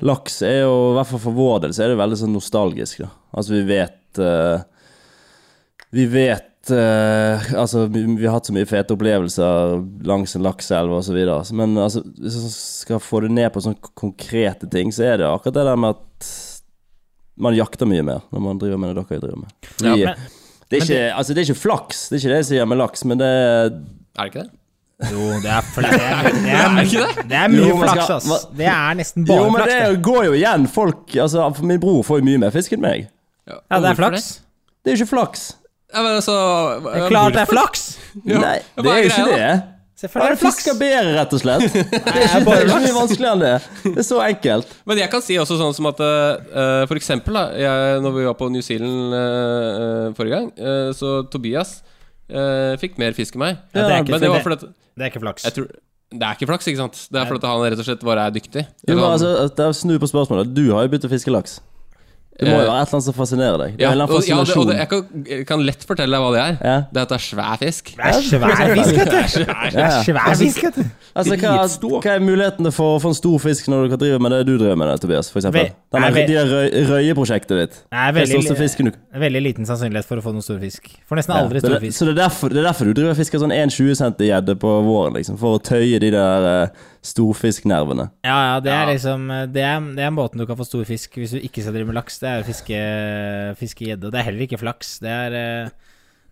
[SPEAKER 8] Laks er jo, i hvert fall for vår del, så er det veldig sånn nostalgisk, da. Altså vi vet eh, vi vet eh, Altså, vi, vi har hatt så mye fete opplevelser langs en lakseelv osv. Men altså, hvis man skal få det ned på sånne konkrete ting, så er det akkurat det der med at man jakter mye mer når man driver med det dere driver med. Vi,
[SPEAKER 6] men-
[SPEAKER 8] det, er ikke, altså, det er ikke flaks, det er ikke det jeg sier med laks, men det
[SPEAKER 1] Er det ikke det?
[SPEAKER 6] Jo, det er
[SPEAKER 1] [LAUGHS]
[SPEAKER 6] flere Det er,
[SPEAKER 1] ikke
[SPEAKER 6] det er
[SPEAKER 8] Jo,
[SPEAKER 6] mye
[SPEAKER 8] men
[SPEAKER 6] flaks,
[SPEAKER 8] skal-
[SPEAKER 6] ass.
[SPEAKER 8] hva-
[SPEAKER 6] Det er nesten
[SPEAKER 8] Jo,
[SPEAKER 6] bare
[SPEAKER 8] men
[SPEAKER 6] flaks.
[SPEAKER 8] det
[SPEAKER 6] det.
[SPEAKER 8] går jo igjen. Folk Altså, for min bror får jo mye mer fisk enn meg.
[SPEAKER 6] Ja, det er
[SPEAKER 1] Hvorfor
[SPEAKER 6] flaks.
[SPEAKER 8] Det er jo ikke flaks.
[SPEAKER 1] Ja, men altså
[SPEAKER 6] Det er klart det er flaks!
[SPEAKER 8] Nei,
[SPEAKER 1] hva
[SPEAKER 8] det
[SPEAKER 1] er
[SPEAKER 8] er jo ikke
[SPEAKER 1] greia,
[SPEAKER 8] det.
[SPEAKER 6] Selvfølgelig er
[SPEAKER 8] Bare
[SPEAKER 6] det flaks.
[SPEAKER 8] fisker bedre, rett og [LAUGHS] slett. Det er ikke, det er ikke mye vanskeligere enn det. Det er så enkelt.
[SPEAKER 1] Men jeg kan si også sånn som at eh, eh, For eksempel da jeg, Når vi var på New Zealand eh, eh, forrige gang eh, Så Tobias eh, fikk mer fisk enn meg
[SPEAKER 6] Ja, det er ikke
[SPEAKER 1] Men det
[SPEAKER 6] for
[SPEAKER 1] var
[SPEAKER 6] det-
[SPEAKER 1] fordi at
[SPEAKER 6] Det er ikke flaks.
[SPEAKER 1] jeg tror, Det er ikke flaks, ikke sant? Det er fordi at han rett og slett bare er dyktig
[SPEAKER 8] Jo, men
[SPEAKER 1] Eller han-
[SPEAKER 8] altså, at jeg snur på spørsmålet. Du har jo begynt å fiske laks. Det må jo være et eller annet som fascinerer deg.
[SPEAKER 1] Eh.
[SPEAKER 8] Det er
[SPEAKER 1] Ja,
[SPEAKER 8] en eller
[SPEAKER 1] og,
[SPEAKER 8] annen
[SPEAKER 1] ja, det, og
[SPEAKER 8] fascinasjon.
[SPEAKER 1] det, jeg, kan, jeg kan lett fortelle deg hva det er.
[SPEAKER 8] Ja.
[SPEAKER 1] Det er at det er svær fisk.
[SPEAKER 6] Det er svær fisk, vet du. Det er svær fisk, vet du.
[SPEAKER 8] Altså, hva,
[SPEAKER 7] Dritstor.
[SPEAKER 8] hva er mulighetene for å få en stor fisk når du kan drive med det du driver med, det, Tobias? For eksempel?
[SPEAKER 6] Ve-
[SPEAKER 8] Den
[SPEAKER 6] Nei,
[SPEAKER 8] der-
[SPEAKER 6] ve-
[SPEAKER 8] de der røy, røyeprosjektet ditt.
[SPEAKER 6] Det er
[SPEAKER 8] Hva er største
[SPEAKER 6] veldig,
[SPEAKER 8] fisken du
[SPEAKER 6] veldig liten sannsynlighet for å få noen stor fisk. For nesten
[SPEAKER 8] Ja, eh,
[SPEAKER 6] aldri
[SPEAKER 8] det er
[SPEAKER 6] stor
[SPEAKER 8] det-
[SPEAKER 6] fisk.
[SPEAKER 8] Så det er, derfor, det er derfor du driver og fisker sånn 1,20 cm gjedde på våren, liksom? For å tøye de der eh, storfisknervene.
[SPEAKER 6] Ja, ja, det er liksom Det er, det er måten du kan få stor fisk hvis du ikke skal drive med laks. Det er å fiske fiske gjedde. Og det er heller ikke flaks. Det er eh,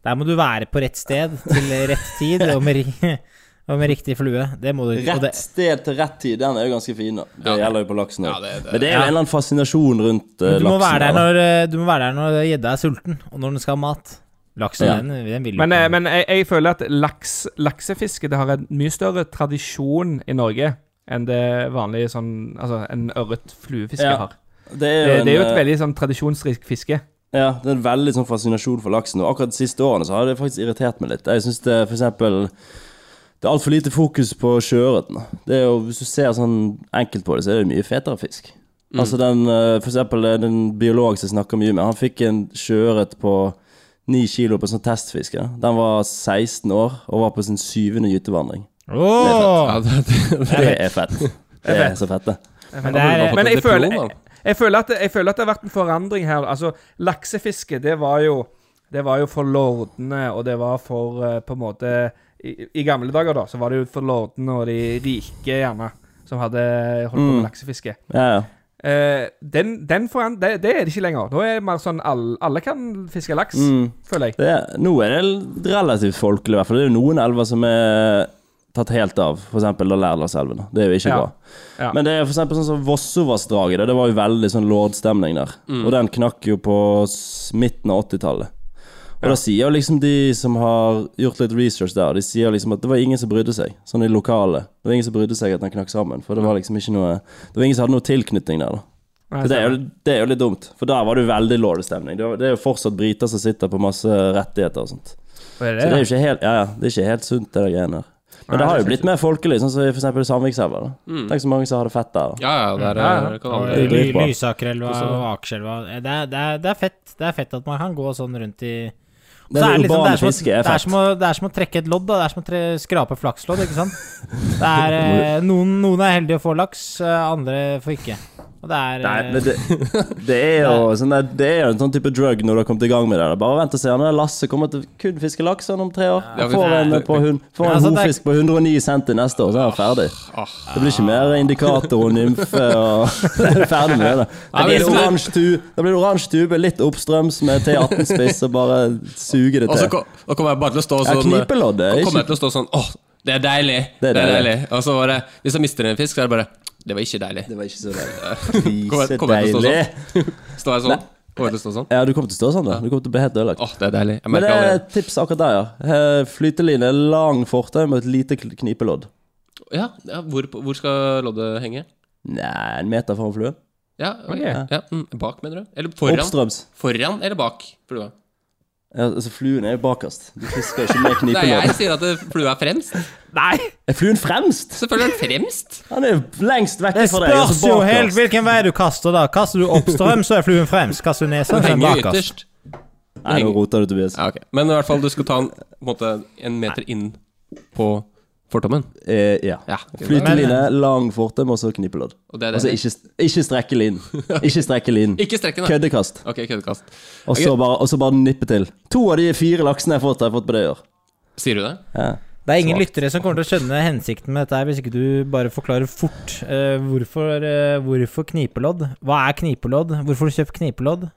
[SPEAKER 6] Der må du være på rett sted til rett tid og med, ri- [LAUGHS] og med riktig flue. Det må du og
[SPEAKER 8] Rett
[SPEAKER 6] det,
[SPEAKER 8] sted til rett tid, den er jo ganske fin, da. Det
[SPEAKER 1] Ja.
[SPEAKER 8] gjelder jo på laksen òg.
[SPEAKER 1] Ja, det- det-
[SPEAKER 8] Men det er jo en eller annen fascinasjon rundt eh,
[SPEAKER 6] du, må
[SPEAKER 8] laksen.
[SPEAKER 6] være der
[SPEAKER 8] da.
[SPEAKER 6] når, eh, du må være der når gjedda er sulten, og når den skal ha mat. Laksen,
[SPEAKER 8] Ja.
[SPEAKER 6] den, den vil jo
[SPEAKER 7] Men, eh,
[SPEAKER 6] ikke.
[SPEAKER 7] men jeg, jeg føler at laks, laksefiske det har en mye større tradisjon i Norge enn det vanlige sånn Altså en ørret-fluefiske
[SPEAKER 8] Ja.
[SPEAKER 7] har.
[SPEAKER 8] det er jo,
[SPEAKER 7] Det, det er jo
[SPEAKER 8] en,
[SPEAKER 7] et
[SPEAKER 8] eh,
[SPEAKER 7] veldig sånn tradisjonsrikt fiske.
[SPEAKER 8] Ja, det er en veldig sånn fascinasjon for laksen. Og akkurat de siste årene så har det faktisk irritert meg litt. Jeg syns det for eksempel Det er altfor lite fokus på sjøørreten. Det er jo- Hvis du ser sånn enkelt på det, så er det mye fetere fisk.
[SPEAKER 1] Mm.
[SPEAKER 8] Altså den eh, For eksempel eh, den biolog som jeg snakker mye med, han fikk en sjøørret på ni kilo på sånn testfiske. Den var 16 år og var på sin syvende gytevandring.
[SPEAKER 6] Åh!
[SPEAKER 1] Ja, det, det, det, [LAUGHS]
[SPEAKER 8] Det er fett. Det er så fett, det.
[SPEAKER 6] Men det er,
[SPEAKER 7] Men jeg føler,
[SPEAKER 1] Depresjon,
[SPEAKER 7] jeg, jeg, føler at, jeg føler at det har vært en forandring her. Altså, laksefiske, det var jo Det var jo for lordene, og det var for eh, på en måte i, I gamle dager, da, så var det jo for lordene og de rike, gjerne, som hadde holdt
[SPEAKER 8] Mm.
[SPEAKER 7] på med laksefiske.
[SPEAKER 8] Ja, ja.
[SPEAKER 7] Eh, den, den foran, det, det er det ikke lenger. Nå er det mer sånn all, alle kan fiske laks,
[SPEAKER 8] Mm.
[SPEAKER 7] føler jeg.
[SPEAKER 8] Det er, nå er det relativt folkelig, i hvert fall. Det er jo noen elver som er tatt helt av, f.eks. Lærlandselven. Det er jo ikke
[SPEAKER 7] Ja.
[SPEAKER 8] bra.
[SPEAKER 7] Ja.
[SPEAKER 8] Men det er for eksempel sånn som Vossovassdraget. Det, det var jo veldig sånn lordstemning der. Og den knakk jo på s- midten av 80-tallet. Og da sier jo liksom de som har gjort litt research der, de sier liksom at det var ingen som brydde seg. Sånn i lokalet. Det var ingen som brydde seg at den knakk sammen. For det var liksom ikke noe Det var ingen som hadde noe tilknytning der, da. Så det, er jo, det er jo litt dumt, for der var det jo veldig lårlig stemning. Det er jo- det er jo fortsatt briter som sitter på masse rettigheter og sånt.
[SPEAKER 7] Og det
[SPEAKER 8] Så
[SPEAKER 7] er
[SPEAKER 8] det er jo
[SPEAKER 7] det,
[SPEAKER 8] ikke helt, ja, ja, det er ikke helt sunt, det der greiene der. Men det har jo blitt mer folkelig, sånn som i for eksempel Sandvikselva. da. Tenk så mange som har det fett der. da.
[SPEAKER 1] Ja, ja, det er,
[SPEAKER 7] Ja, ja.
[SPEAKER 1] kan alle-
[SPEAKER 8] Det er
[SPEAKER 6] Ly-
[SPEAKER 8] dritbra.
[SPEAKER 6] Lysakerelva og Akerselva. eh, Det, er- det, er- det er fett. Det er fett at man kan gå sånn rundt i
[SPEAKER 8] Det
[SPEAKER 6] Så er liksom-
[SPEAKER 8] urbane
[SPEAKER 6] det er som å-
[SPEAKER 8] fisket er
[SPEAKER 6] det er
[SPEAKER 8] fett.
[SPEAKER 6] som å- Det er som å trekke et lodd. Da. Det er som å tre, skrape flakslodd, ikke
[SPEAKER 8] [LAUGHS]
[SPEAKER 6] sant. Det er, eh, noen, noen er heldige og får laks, eh, andre får ikke. Og det er
[SPEAKER 8] Nei,
[SPEAKER 6] eh,
[SPEAKER 8] men det, [LAUGHS] det, er jo sånn der, det er jo en sånn type drug når du har kommet i gang med det. da. Bare vent og se. Han der Lasse kommer til kun fiske laks han om tre år.
[SPEAKER 1] Ja,
[SPEAKER 8] Får en,
[SPEAKER 1] det-
[SPEAKER 8] på hun, får
[SPEAKER 6] Altså,
[SPEAKER 8] en
[SPEAKER 6] det er-
[SPEAKER 8] hofisk på 109 centi neste år, så er han ferdig.
[SPEAKER 1] Ah.
[SPEAKER 8] Det blir ikke mer indikator og nymfe og [LAUGHS] Ferdig med det.
[SPEAKER 1] Nei, men
[SPEAKER 8] Det blir
[SPEAKER 1] liksom-
[SPEAKER 8] oransje tu- det blir oransje tube, litt oppstrøms med T18-spiss og bare suge det
[SPEAKER 1] Og så
[SPEAKER 8] til.
[SPEAKER 1] kom- da kommer jeg bare til å stå
[SPEAKER 8] Ja,
[SPEAKER 1] sånn
[SPEAKER 8] knipeloddet er
[SPEAKER 1] Da kommer jeg
[SPEAKER 8] ikke-
[SPEAKER 1] til å stå sånn Åh, det er deilig!
[SPEAKER 8] Det
[SPEAKER 1] Det
[SPEAKER 8] er
[SPEAKER 1] er deilig.
[SPEAKER 8] deilig.
[SPEAKER 1] Og så bare Hvis jeg mister en fisk, så er det bare Det var ikke deilig.
[SPEAKER 8] Det var ikke så
[SPEAKER 1] Kommer
[SPEAKER 8] deilig.
[SPEAKER 1] jeg- kommer jeg til å stå
[SPEAKER 8] Fisedeilig.
[SPEAKER 1] Står jeg sånn? [LAUGHS] Kommer jeg til å stå sånn?
[SPEAKER 8] Ja, du kommer til å stå sånn, da. Du kommer til å bli helt ødelagt.
[SPEAKER 1] Åh, det er deilig. Jeg
[SPEAKER 8] Men det
[SPEAKER 1] merker
[SPEAKER 8] er
[SPEAKER 1] allerede.
[SPEAKER 8] et tips akkurat der, ja. Eh, Flyteline, lang fortau med et lite kn- knipelodd.
[SPEAKER 1] Ja, ja hvor, hvor skal loddet henge?
[SPEAKER 8] Nei, en meter foran fluen.
[SPEAKER 1] Ja, ok.
[SPEAKER 7] Ok.
[SPEAKER 1] ja mm, Bak, mener du? Eller foran?
[SPEAKER 8] Oppstrøms.
[SPEAKER 1] Foran eller bak flua?
[SPEAKER 8] Ja, altså, fluen er jo bakerst. Du fisker ikke
[SPEAKER 1] [LAUGHS]
[SPEAKER 8] med
[SPEAKER 1] Det er jeg
[SPEAKER 8] knipelodd.
[SPEAKER 1] sier at det- flua er fremst.
[SPEAKER 7] nei!
[SPEAKER 8] Er fluen fremst?
[SPEAKER 1] Selvfølgelig er den
[SPEAKER 8] [LAUGHS]
[SPEAKER 1] fremst.
[SPEAKER 8] Han er jo lengst vekk
[SPEAKER 6] det
[SPEAKER 8] fra deg. altså, og
[SPEAKER 6] spørs
[SPEAKER 8] så
[SPEAKER 6] jo
[SPEAKER 8] bakerst.
[SPEAKER 6] helt hvilken vei du kaster, da. Kaster du oppstrøms, så er fluen fremst. Kaster du nesa,
[SPEAKER 1] Den
[SPEAKER 6] så er den
[SPEAKER 1] henger jo
[SPEAKER 6] bakerst.
[SPEAKER 1] ytterst.
[SPEAKER 8] Nei, nå roter du, Tobias.
[SPEAKER 1] Ja, ok. Men i hvert fall, du skal ta den på en, måte, en meter inn på fortommen.
[SPEAKER 8] Eh, ja.
[SPEAKER 1] Ja.
[SPEAKER 8] Flyteline, lang fortau med også knipelodd.
[SPEAKER 1] Og det er det.
[SPEAKER 8] Altså, ikke, ikke strekke linen. Ikke strekke linen.
[SPEAKER 1] Ikke strekke den.
[SPEAKER 8] Køddekast.
[SPEAKER 1] Ok, køddekast.
[SPEAKER 8] Og så bare, og så bare nippe til. To av de fire laksene jeg har fått, har jeg fått på det i år.
[SPEAKER 1] Sier du det?
[SPEAKER 8] Ja.
[SPEAKER 6] Det er ingen lyttere som kommer til å skjønne hensikten med dette her, hvis ikke du bare forklarer fort eh, hvorfor, eh, hvorfor knipelodd. Hva er knipelodd? Hvorfor har du kjøpt knipelodd?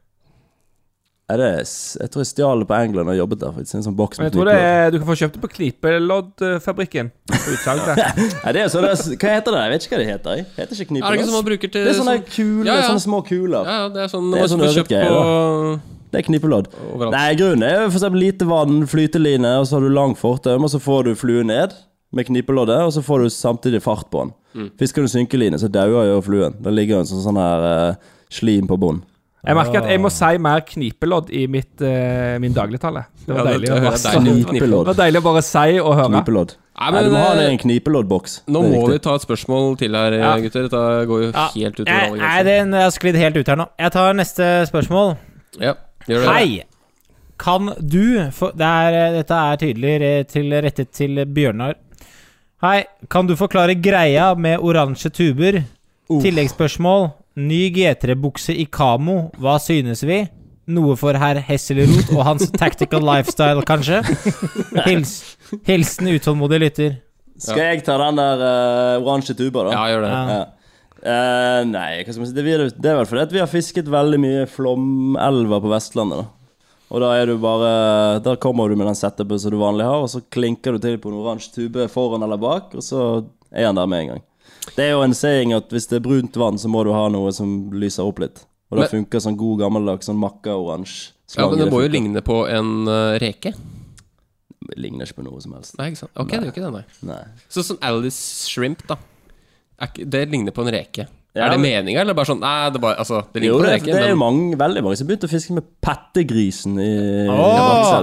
[SPEAKER 8] Er det, jeg tror jeg stjal det på England og jobbet der. faktisk. En sånn boks
[SPEAKER 7] Men
[SPEAKER 8] med
[SPEAKER 7] jeg tror det
[SPEAKER 8] knipelodd.
[SPEAKER 7] er, du kan få kjøpt det på Klipeloddfabrikken. På
[SPEAKER 8] [LAUGHS]
[SPEAKER 7] utsalget.
[SPEAKER 8] Nei, det er sånn, hva heter det? Jeg vet ikke hva det heter. Jeg
[SPEAKER 1] Er
[SPEAKER 8] heter ikke
[SPEAKER 1] det ikke
[SPEAKER 8] knipelodd.
[SPEAKER 1] sånn man bruker til
[SPEAKER 8] Det er sånne kuler,
[SPEAKER 1] Ja, ja.
[SPEAKER 8] sånne små kuler.
[SPEAKER 1] Ja, ja, det er sånn
[SPEAKER 8] Det er
[SPEAKER 1] man
[SPEAKER 8] sånn
[SPEAKER 1] skulle kjøpt
[SPEAKER 8] ørretgreier,
[SPEAKER 1] på
[SPEAKER 8] Det er knipelodd.
[SPEAKER 1] Overalt.
[SPEAKER 8] Nei, grunnen er jo for eksempel lite vann, flyteline, og så har du lang fortøm, og så får du fluen ned med knipeloddet, og så får du samtidig fart på den.
[SPEAKER 1] Mm.
[SPEAKER 8] Fisker du synkeline, så dauer jo fluen. Da ligger jo en sånn, sånn her eh, slim på bunnen.
[SPEAKER 7] Jeg merker at jeg må si mer knipelodd i mitt, eh, min dagligtale. Det var
[SPEAKER 1] Ja, det-
[SPEAKER 7] deilig å
[SPEAKER 1] det
[SPEAKER 7] bare
[SPEAKER 1] høres
[SPEAKER 7] si.
[SPEAKER 1] deilig ut.
[SPEAKER 7] Det var deilig å bare si og høre.
[SPEAKER 8] Knipelodd.
[SPEAKER 1] Nei,
[SPEAKER 8] Nei,
[SPEAKER 1] men
[SPEAKER 8] du må ha den i
[SPEAKER 1] eh,
[SPEAKER 8] en knipeloddboks.
[SPEAKER 1] nå
[SPEAKER 8] Det er
[SPEAKER 1] må vi
[SPEAKER 8] riktig.
[SPEAKER 1] ta et spørsmål til her,
[SPEAKER 6] Ja.
[SPEAKER 1] gutter. Dette går jo
[SPEAKER 6] Ja.
[SPEAKER 1] helt utover
[SPEAKER 6] Nei,
[SPEAKER 1] alle
[SPEAKER 6] Eh, nei,
[SPEAKER 1] grenser.
[SPEAKER 6] den jeg har sklidd helt ut her nå. Jeg tar neste spørsmål.
[SPEAKER 1] Ja, gjør det.
[SPEAKER 6] Hei! Kan du for, det er, eh, Dette er tydelig re- til, rettet til Bjørnar. Hei, kan du forklare greia med oransje tuber? Tilleggsspørsmål. Ny G3-bukse i kamo, hva synes vi? Noe for herr Hesselrot og hans tactical lifestyle, kanskje? Hils, hilsen utålmodig lytter.
[SPEAKER 8] Skal jeg ta den der eh, oransje tuba, da?
[SPEAKER 1] Ja, gjør det.
[SPEAKER 6] Ja.
[SPEAKER 8] Ja. Eh, nei, hva skal man si? Det, vi- det er vel fordi at vi har fisket veldig mye flomelver på Vestlandet. da. Og da er du bare Da kommer du med den setupen som du vanlig har, og så klinker du til på en oransje tube foran eller bak, og så er han der med en gang. Det er jo en saying at hvis det er brunt vann, så må du ha noe som lyser opp litt. Og da
[SPEAKER 1] Men-
[SPEAKER 8] funker sånn god gammeldags sånn makka-oransje.
[SPEAKER 1] Ja, men
[SPEAKER 8] slange,
[SPEAKER 1] det må jo
[SPEAKER 8] funker.
[SPEAKER 1] ligne på en eh, reke.
[SPEAKER 8] Det Ligner ikke på noe som helst.
[SPEAKER 1] Nei, ikke sant? Ok, det gjør ikke det, nei.
[SPEAKER 8] Nei.
[SPEAKER 1] Sånn som Alice Shrimp, da. Er ikke- Det ligner på en reke.
[SPEAKER 8] Ja,
[SPEAKER 1] er det
[SPEAKER 8] men-
[SPEAKER 1] meninga, eller bare sånn Nei, det, bare, altså, det ligner
[SPEAKER 8] Jo,
[SPEAKER 1] på en
[SPEAKER 8] det, er-
[SPEAKER 1] reke,
[SPEAKER 8] det er
[SPEAKER 1] men
[SPEAKER 8] jo mange, veldig mange som begynte å fiske med pettegrisen i
[SPEAKER 6] Åh,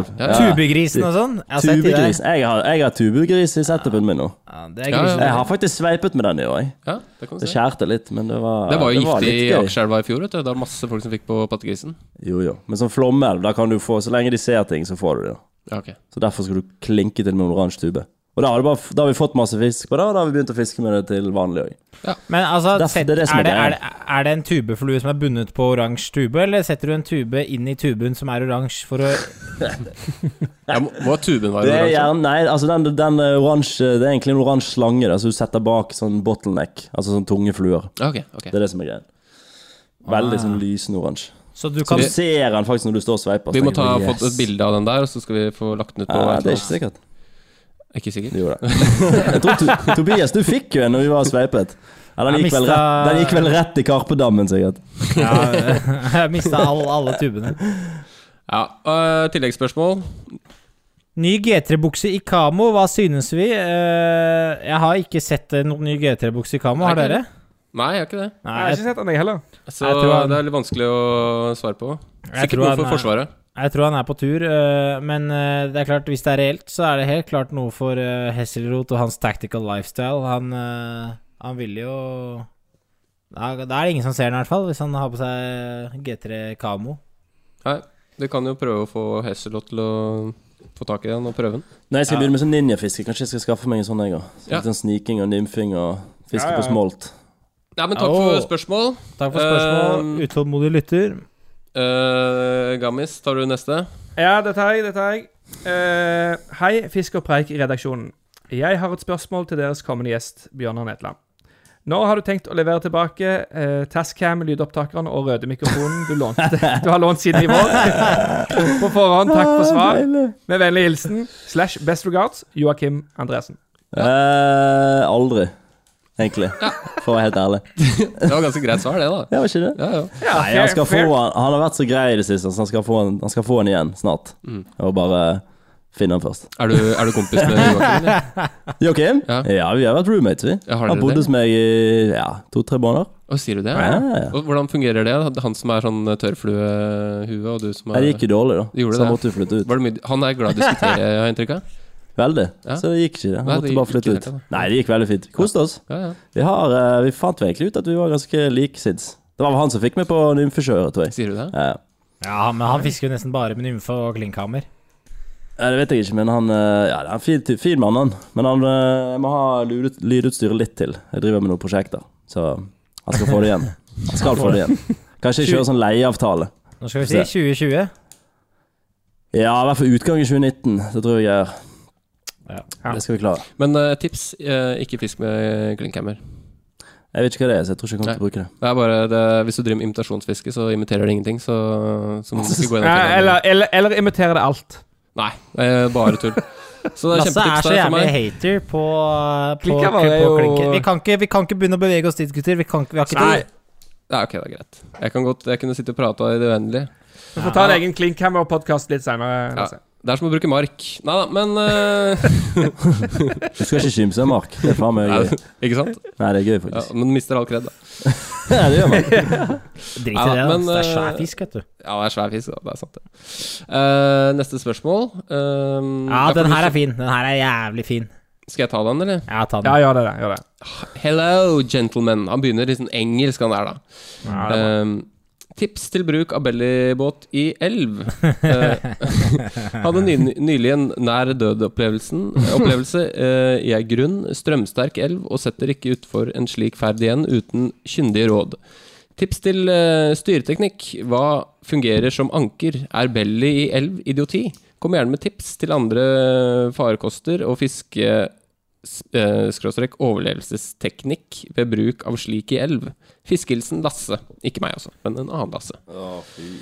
[SPEAKER 8] Lakselv.
[SPEAKER 6] tubegrisen og sånn. Jeg har sett de der.
[SPEAKER 8] Tubegris. Altså, Jeg har, jeg har tubegris i setupen min nå.
[SPEAKER 6] Ja, det er
[SPEAKER 1] Ja, ja.
[SPEAKER 6] grisen.
[SPEAKER 8] Jeg har faktisk sveipet med den i år. jeg.
[SPEAKER 1] ja, det, kan du
[SPEAKER 8] Det
[SPEAKER 1] si.
[SPEAKER 8] skjærte litt, men det var
[SPEAKER 1] det var jo giftig i
[SPEAKER 8] litt gøy.
[SPEAKER 1] Akerselva i fjor, vet du. Det var masse folk som fikk på pattegrisen.
[SPEAKER 8] Jo, jo. Men som flommelv, da kan du få Så lenge de ser ting, så får du det.
[SPEAKER 1] Ja, ok.
[SPEAKER 8] Så derfor skal du klinke til med en oransje tube. Og da har, du bare, da har vi fått masse fisk på det, og da har vi begynt å fiske med det til vanlig òg.
[SPEAKER 6] Men altså,
[SPEAKER 8] Det er-
[SPEAKER 6] sett,
[SPEAKER 8] det
[SPEAKER 6] er, det
[SPEAKER 8] er det som er
[SPEAKER 6] er, det, er,
[SPEAKER 8] greia.
[SPEAKER 6] det en tubeflue som er bundet på oransje tube, eller setter du en tube inn i tuben som er oransje for å
[SPEAKER 1] Ja, må, må tuben være
[SPEAKER 8] [LAUGHS] Det er
[SPEAKER 1] oransje?
[SPEAKER 8] gjerne Nei, altså den, den oransje Det er egentlig en oransje slange da, så du setter bak sånn bottleneck, altså sånn tungefluer.
[SPEAKER 1] Ja, ok, ok.
[SPEAKER 8] Det er det som er greien.
[SPEAKER 1] Ah.
[SPEAKER 8] Veldig sånn lysende oransje.
[SPEAKER 6] Så du
[SPEAKER 8] Så
[SPEAKER 6] kan
[SPEAKER 8] du ser den faktisk når du står og sveiper.
[SPEAKER 1] Vi
[SPEAKER 8] så
[SPEAKER 1] må
[SPEAKER 8] tenker
[SPEAKER 1] ta
[SPEAKER 8] du,
[SPEAKER 1] fått et
[SPEAKER 8] yes.
[SPEAKER 1] bilde av den der, og så skal vi få lagt den ut på
[SPEAKER 8] Ja, det er ikke sikkert.
[SPEAKER 1] Ikke sikkert?
[SPEAKER 8] Jo da. Jeg tror to Tobias, du fikk jo en når vi var sveipet. Ja, den,
[SPEAKER 6] Jeg
[SPEAKER 8] gikk vel
[SPEAKER 6] mista-
[SPEAKER 8] rett, den gikk vel rett i Karpedammen, sikkert.
[SPEAKER 6] [LAUGHS] ja, Jeg mista all, alle tubene.
[SPEAKER 1] Ja, øh, Tilleggsspørsmål?
[SPEAKER 6] Ny G3-bukse i Kamo, hva synes vi? Eh, jeg har ikke sett eh, noen ny G3-bukse i Kamo, har
[SPEAKER 1] Er det-
[SPEAKER 6] dere?
[SPEAKER 1] Nei, jeg har ikke det.
[SPEAKER 6] Nei,
[SPEAKER 7] Jeg har
[SPEAKER 6] jeg,
[SPEAKER 7] ikke sett den, jeg heller.
[SPEAKER 1] Så
[SPEAKER 6] Jeg tror han-
[SPEAKER 1] det er litt vanskelig å svare på.
[SPEAKER 6] Jeg
[SPEAKER 1] Sikkert
[SPEAKER 6] tror
[SPEAKER 1] noe
[SPEAKER 6] han
[SPEAKER 1] for
[SPEAKER 6] er-
[SPEAKER 1] Forsvaret.
[SPEAKER 6] jeg tror han er på tur, eh, men eh, det er klart, hvis det er reelt, så er det helt klart noe for uh, Hesselrot og hans tactical lifestyle. Han, eh, han ville jo da, da er det ingen som ser den, i hvert fall, hvis han har på seg G3 Kamo.
[SPEAKER 1] Nei, du kan jo prøve å få Hesselot til å få tak i den og prøve den.
[SPEAKER 8] Nei, jeg skal begynne med sånn ninjafiske. Kanskje jeg skal skaffe meg en sånn, jeg òg. Så
[SPEAKER 1] Ja.
[SPEAKER 8] litt Sånn sniking og nymfing og fiske
[SPEAKER 7] Ja, ja, ja.
[SPEAKER 8] på smolt.
[SPEAKER 1] Nei, men takk for
[SPEAKER 6] Au.
[SPEAKER 1] spørsmål.
[SPEAKER 6] Takk for spørsmål,
[SPEAKER 1] Um,
[SPEAKER 6] Eh, utålmodig lytter.
[SPEAKER 1] Eh, Gammis, tar du neste?
[SPEAKER 7] Ja, dette er jeg, dette er jeg. Eh, hei, Fisk og Preik-redaksjonen. Jeg har et spørsmål til deres kommende gjest, Bjørnar Netland. Når har du tenkt å levere tilbake eh, Tascam, lydopptakeren og røde mikrofonen du lånte Du har lånt siden i vår? På forhånd, takk for svar. Med vennlig hilsen slash best regards, Joakim Andresen.
[SPEAKER 8] Eh, aldri, egentlig. For å være helt ærlig.
[SPEAKER 1] Det var ganske greit svar, det, da.
[SPEAKER 8] [LAUGHS] Ja, var ikke det?
[SPEAKER 1] Ja, ja.
[SPEAKER 7] Ja,
[SPEAKER 8] Nei, han, skal få, han, han har vært så grei i det siste, så han skal få han, han, skal få han igjen snart. Og bare finne han først.
[SPEAKER 1] Er, du, er du kompis med Joakim?
[SPEAKER 8] [LAUGHS]
[SPEAKER 1] eller?
[SPEAKER 8] Joakim?
[SPEAKER 1] Ja.
[SPEAKER 8] ja, vi har vært roommates, vi.
[SPEAKER 1] Ja, har
[SPEAKER 8] han
[SPEAKER 1] dere
[SPEAKER 8] bodde
[SPEAKER 1] det?
[SPEAKER 8] hos meg i ja, to-tre måneder.
[SPEAKER 1] Å, sier du det?
[SPEAKER 8] Ja, ja, ja.
[SPEAKER 1] Og hvordan fungerer det? Han som er sånn tørrfluehue, og du som
[SPEAKER 8] Nei,
[SPEAKER 1] er
[SPEAKER 8] Det gikk jo dårlig, da.
[SPEAKER 1] Gjorde
[SPEAKER 8] så han
[SPEAKER 1] det?
[SPEAKER 8] måtte jo flytte ut.
[SPEAKER 1] Var det mye, Han er glad i å
[SPEAKER 8] [LAUGHS]
[SPEAKER 1] diskutere, har jeg inntrykk av?
[SPEAKER 8] Veldig.
[SPEAKER 1] Ja.
[SPEAKER 8] Så det gikk ikke. det. Han
[SPEAKER 1] Nei, det
[SPEAKER 8] måtte bare
[SPEAKER 1] gikk
[SPEAKER 8] flytte
[SPEAKER 1] ikke
[SPEAKER 8] ut.
[SPEAKER 1] helt, ja.
[SPEAKER 8] Nei, det gikk veldig fint. Koste oss.
[SPEAKER 1] Ja, ja.
[SPEAKER 8] Vi, har, eh, vi fant vel egentlig ut at vi var ganske like sids. Det var vel han som fikk meg på nymfekjøret, tror jeg.
[SPEAKER 1] Sier du det?
[SPEAKER 8] Eh,
[SPEAKER 6] Ja, men han fisker jo nesten bare med nymfe og klinkhammer.
[SPEAKER 8] Nei, det vet jeg ikke, men han eh, Ja, det er en fin, ty- fin mann, han. Men han eh, jeg må ha lyd- lydutstyret litt til. Jeg driver med noen prosjekter, så han skal få det igjen. Han skal få det igjen. Kanskje jeg kjører sånn leieavtale.
[SPEAKER 6] Nå skal vi si 2020.
[SPEAKER 8] Ja, i hvert fall utgangen 2019. Det tror jeg jeg gjør.
[SPEAKER 6] Ja.
[SPEAKER 8] Det skal vi klare.
[SPEAKER 1] Men eh, tips, eh, ikke fisk med klinkhammer.
[SPEAKER 8] Jeg vet ikke hva det er, så jeg tror ikke jeg kommer til å bruke det.
[SPEAKER 1] Det er bare det, Hvis du driver med imitasjonsfiske, så imiterer det ingenting. Så, så må du ikke gå
[SPEAKER 7] [LAUGHS]
[SPEAKER 1] inn og
[SPEAKER 7] Eller,
[SPEAKER 1] telle.
[SPEAKER 7] eller, eller, eller imitere det alt.
[SPEAKER 1] Nei, eh, bare tull. Så det er
[SPEAKER 6] Lasse
[SPEAKER 1] kjempetips
[SPEAKER 6] er
[SPEAKER 1] der
[SPEAKER 6] så
[SPEAKER 1] for
[SPEAKER 6] jævlig
[SPEAKER 1] meg.
[SPEAKER 6] hater på, eh, på,
[SPEAKER 7] Klinker
[SPEAKER 6] på,
[SPEAKER 7] var jo-
[SPEAKER 6] klinker. Vi kan, ikke, vi kan ikke begynne å bevege oss dit, gutter. Vi, kan, ikke- vi har ikke
[SPEAKER 1] Nei.
[SPEAKER 6] tid.
[SPEAKER 1] Ja, ok, det er greit. Jeg kan godt, jeg kunne sitte og prata i det uendelige.
[SPEAKER 7] Vi får ta en egen Klinkhammer-podkast litt seinere.
[SPEAKER 1] Ja. Det er som å bruke mark. Nei da, men
[SPEAKER 8] [LAUGHS]
[SPEAKER 1] eh,
[SPEAKER 8] Du skal ikke kimse av Mark. Det er faen
[SPEAKER 1] [LAUGHS]
[SPEAKER 8] meg gøy.
[SPEAKER 1] Ikke sant?
[SPEAKER 8] Nei, det er gøy,
[SPEAKER 1] Ja,
[SPEAKER 8] faktisk.
[SPEAKER 1] men mister all kred, da.
[SPEAKER 8] [LAUGHS] Ja, det gjør man.
[SPEAKER 6] Drit i
[SPEAKER 1] Ja,
[SPEAKER 6] det.
[SPEAKER 1] men,
[SPEAKER 6] altså. det er
[SPEAKER 1] eh,
[SPEAKER 6] svær fisk, vet du.
[SPEAKER 1] Ja, det er svær fisk, da. Det er sant, det. Eh, neste spørsmål. Eh,
[SPEAKER 6] Ja,
[SPEAKER 1] jeg får
[SPEAKER 6] den her
[SPEAKER 1] lyst
[SPEAKER 6] er fin. Den her er jævlig fin.
[SPEAKER 1] til- Skal jeg ta den, eller?
[SPEAKER 6] Ja, ta den.
[SPEAKER 7] Ja, gjør det. det, gjør det.
[SPEAKER 1] Hello, gentlemen. Han begynner litt sånn engelsk, han der, da.
[SPEAKER 7] Ja, det er bra.
[SPEAKER 1] Ehm, tips til bruk av bellybåt i
[SPEAKER 7] [LAUGHS]
[SPEAKER 1] elv. Eh, hadde ny, nylig en nær død-opplevelsen opplevelse, eh, i ei grunn, strømsterk elv, og setter ikke utfor en slik ferd igjen uten kyndige råd. Tips til eh, styreteknikk. Hva fungerer som anker? Er belly i elv idioti? Kom gjerne med tips til andre eh, farekoster og fiske s- eh, skråstrek overlevelsesteknikk ved bruk av slik i elv. Fiskehilsen Lasse. Ikke meg, altså, men en annen Lasse.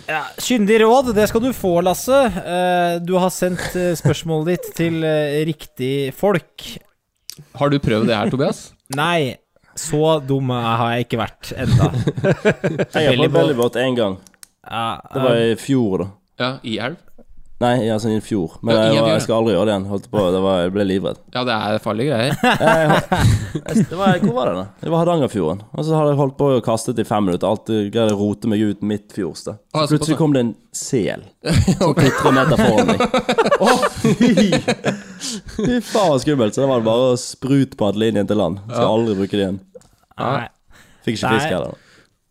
[SPEAKER 6] Ja, Kyndig råd, det skal du få, Lasse. Eh, Du har sendt eh, spørsmålet ditt til eh, riktig folk.
[SPEAKER 1] Har du prøvd det her, Tobias?
[SPEAKER 6] Nei, så dum har jeg ikke vært enda.
[SPEAKER 8] Jeg har prøvd
[SPEAKER 6] Bellybåt.
[SPEAKER 8] bellybåt én gang.
[SPEAKER 6] Ja,
[SPEAKER 8] Det var i fjor, da.
[SPEAKER 1] [LAUGHS] Ja, i elv?
[SPEAKER 8] Nei, altså i fjor. Men
[SPEAKER 1] Ja, i
[SPEAKER 8] jeg, var,
[SPEAKER 1] fjor, ja.
[SPEAKER 8] jeg skal aldri gjøre det igjen. Holdt på, det var, Jeg ble livredd.
[SPEAKER 1] Ja, det er farlige greier.
[SPEAKER 8] Jeg, jeg, det var, hvor var det, da? Det var Hardangerfjorden. Og så hadde jeg holdt på å kaste det i fem minutter. Alltid greide å rote meg ut midtfjords. da.
[SPEAKER 1] Ah,
[SPEAKER 8] Så plutselig
[SPEAKER 1] såpass,
[SPEAKER 8] kom det en sel. Som klitret meter foran meg. Å, fy! Fy faen skummelt. Så det var det bare å sprutpadle inn igjen til land. Skal aldri bruke det igjen.
[SPEAKER 6] Nei.
[SPEAKER 8] Fikk ikke
[SPEAKER 6] Nei.
[SPEAKER 8] fisk heller. da.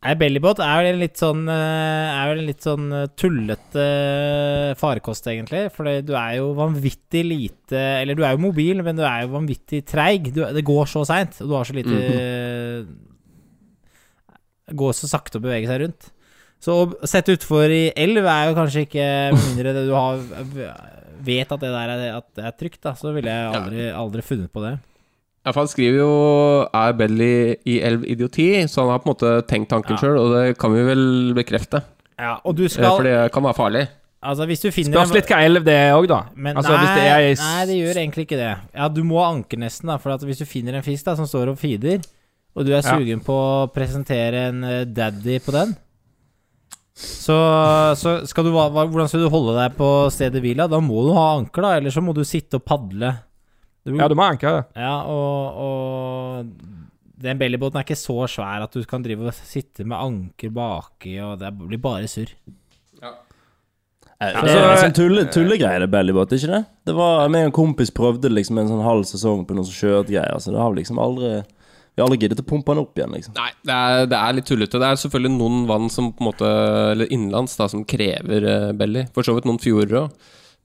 [SPEAKER 6] Nei, Bellybåt er vel en litt sånn eh, Er vel en litt sånn eh, tullete eh, farekost, egentlig. For det- du er jo vanvittig lite Eller du er jo mobil, men du er jo vanvittig treig. Du, det går så seint, og du har så lite eh, Går så sakte å bevege seg rundt. Så å sette utfor i elv er jo kanskje ikke med mindre det du har Vet at det der er, at det er trygt, da. Så ville jeg aldri, aldri funnet på det.
[SPEAKER 1] [LAUGHS] Ja, for han skriver jo 'Er Belly i elv idioti', så han har på en måte tenkt tanken selv sjøl, og det kan vi vel bekrefte.
[SPEAKER 6] Ja, og du
[SPEAKER 1] Eh,
[SPEAKER 6] skal
[SPEAKER 1] For det kan være farlig.
[SPEAKER 6] Altså, hvis du finner
[SPEAKER 7] Spørs litt hva elv det er òg, da.
[SPEAKER 6] Men
[SPEAKER 7] altså,
[SPEAKER 6] nei,
[SPEAKER 7] hvis det er i s-
[SPEAKER 6] nei, det gjør egentlig ikke det. Ja, Du må anke nesten, da. For at hvis du finner en fisk da som står og feeder, og du er
[SPEAKER 7] Ja.
[SPEAKER 6] sugen på å presentere en eh, daddy på den, så, så skal du hva- hva- Hvordan skal du holde deg på stedet hvila? Da må du ha anker, da. Eller så må du sitte og padle. Du-
[SPEAKER 7] Ja, du må anke det.
[SPEAKER 6] ja, og, og den bellybåten er ikke så svær at du kan drive og sitte med anker baki, og det blir bare surr.
[SPEAKER 8] Eh, Det er en sånn tulle, tullegreie, det bellybåt, ikke det? Det var, meg og en kompis prøvde liksom en sånn halv sesong på noen sånn skjøtgreier, så det har vi liksom aldri Vi har aldri giddet å pumpe den opp igjen, liksom.
[SPEAKER 1] Nei, det er, det er litt tullete. Det er selvfølgelig noen vann som på en måte Eller innenlands, da, som krever eh, belly. For så vidt noen fjorder òg.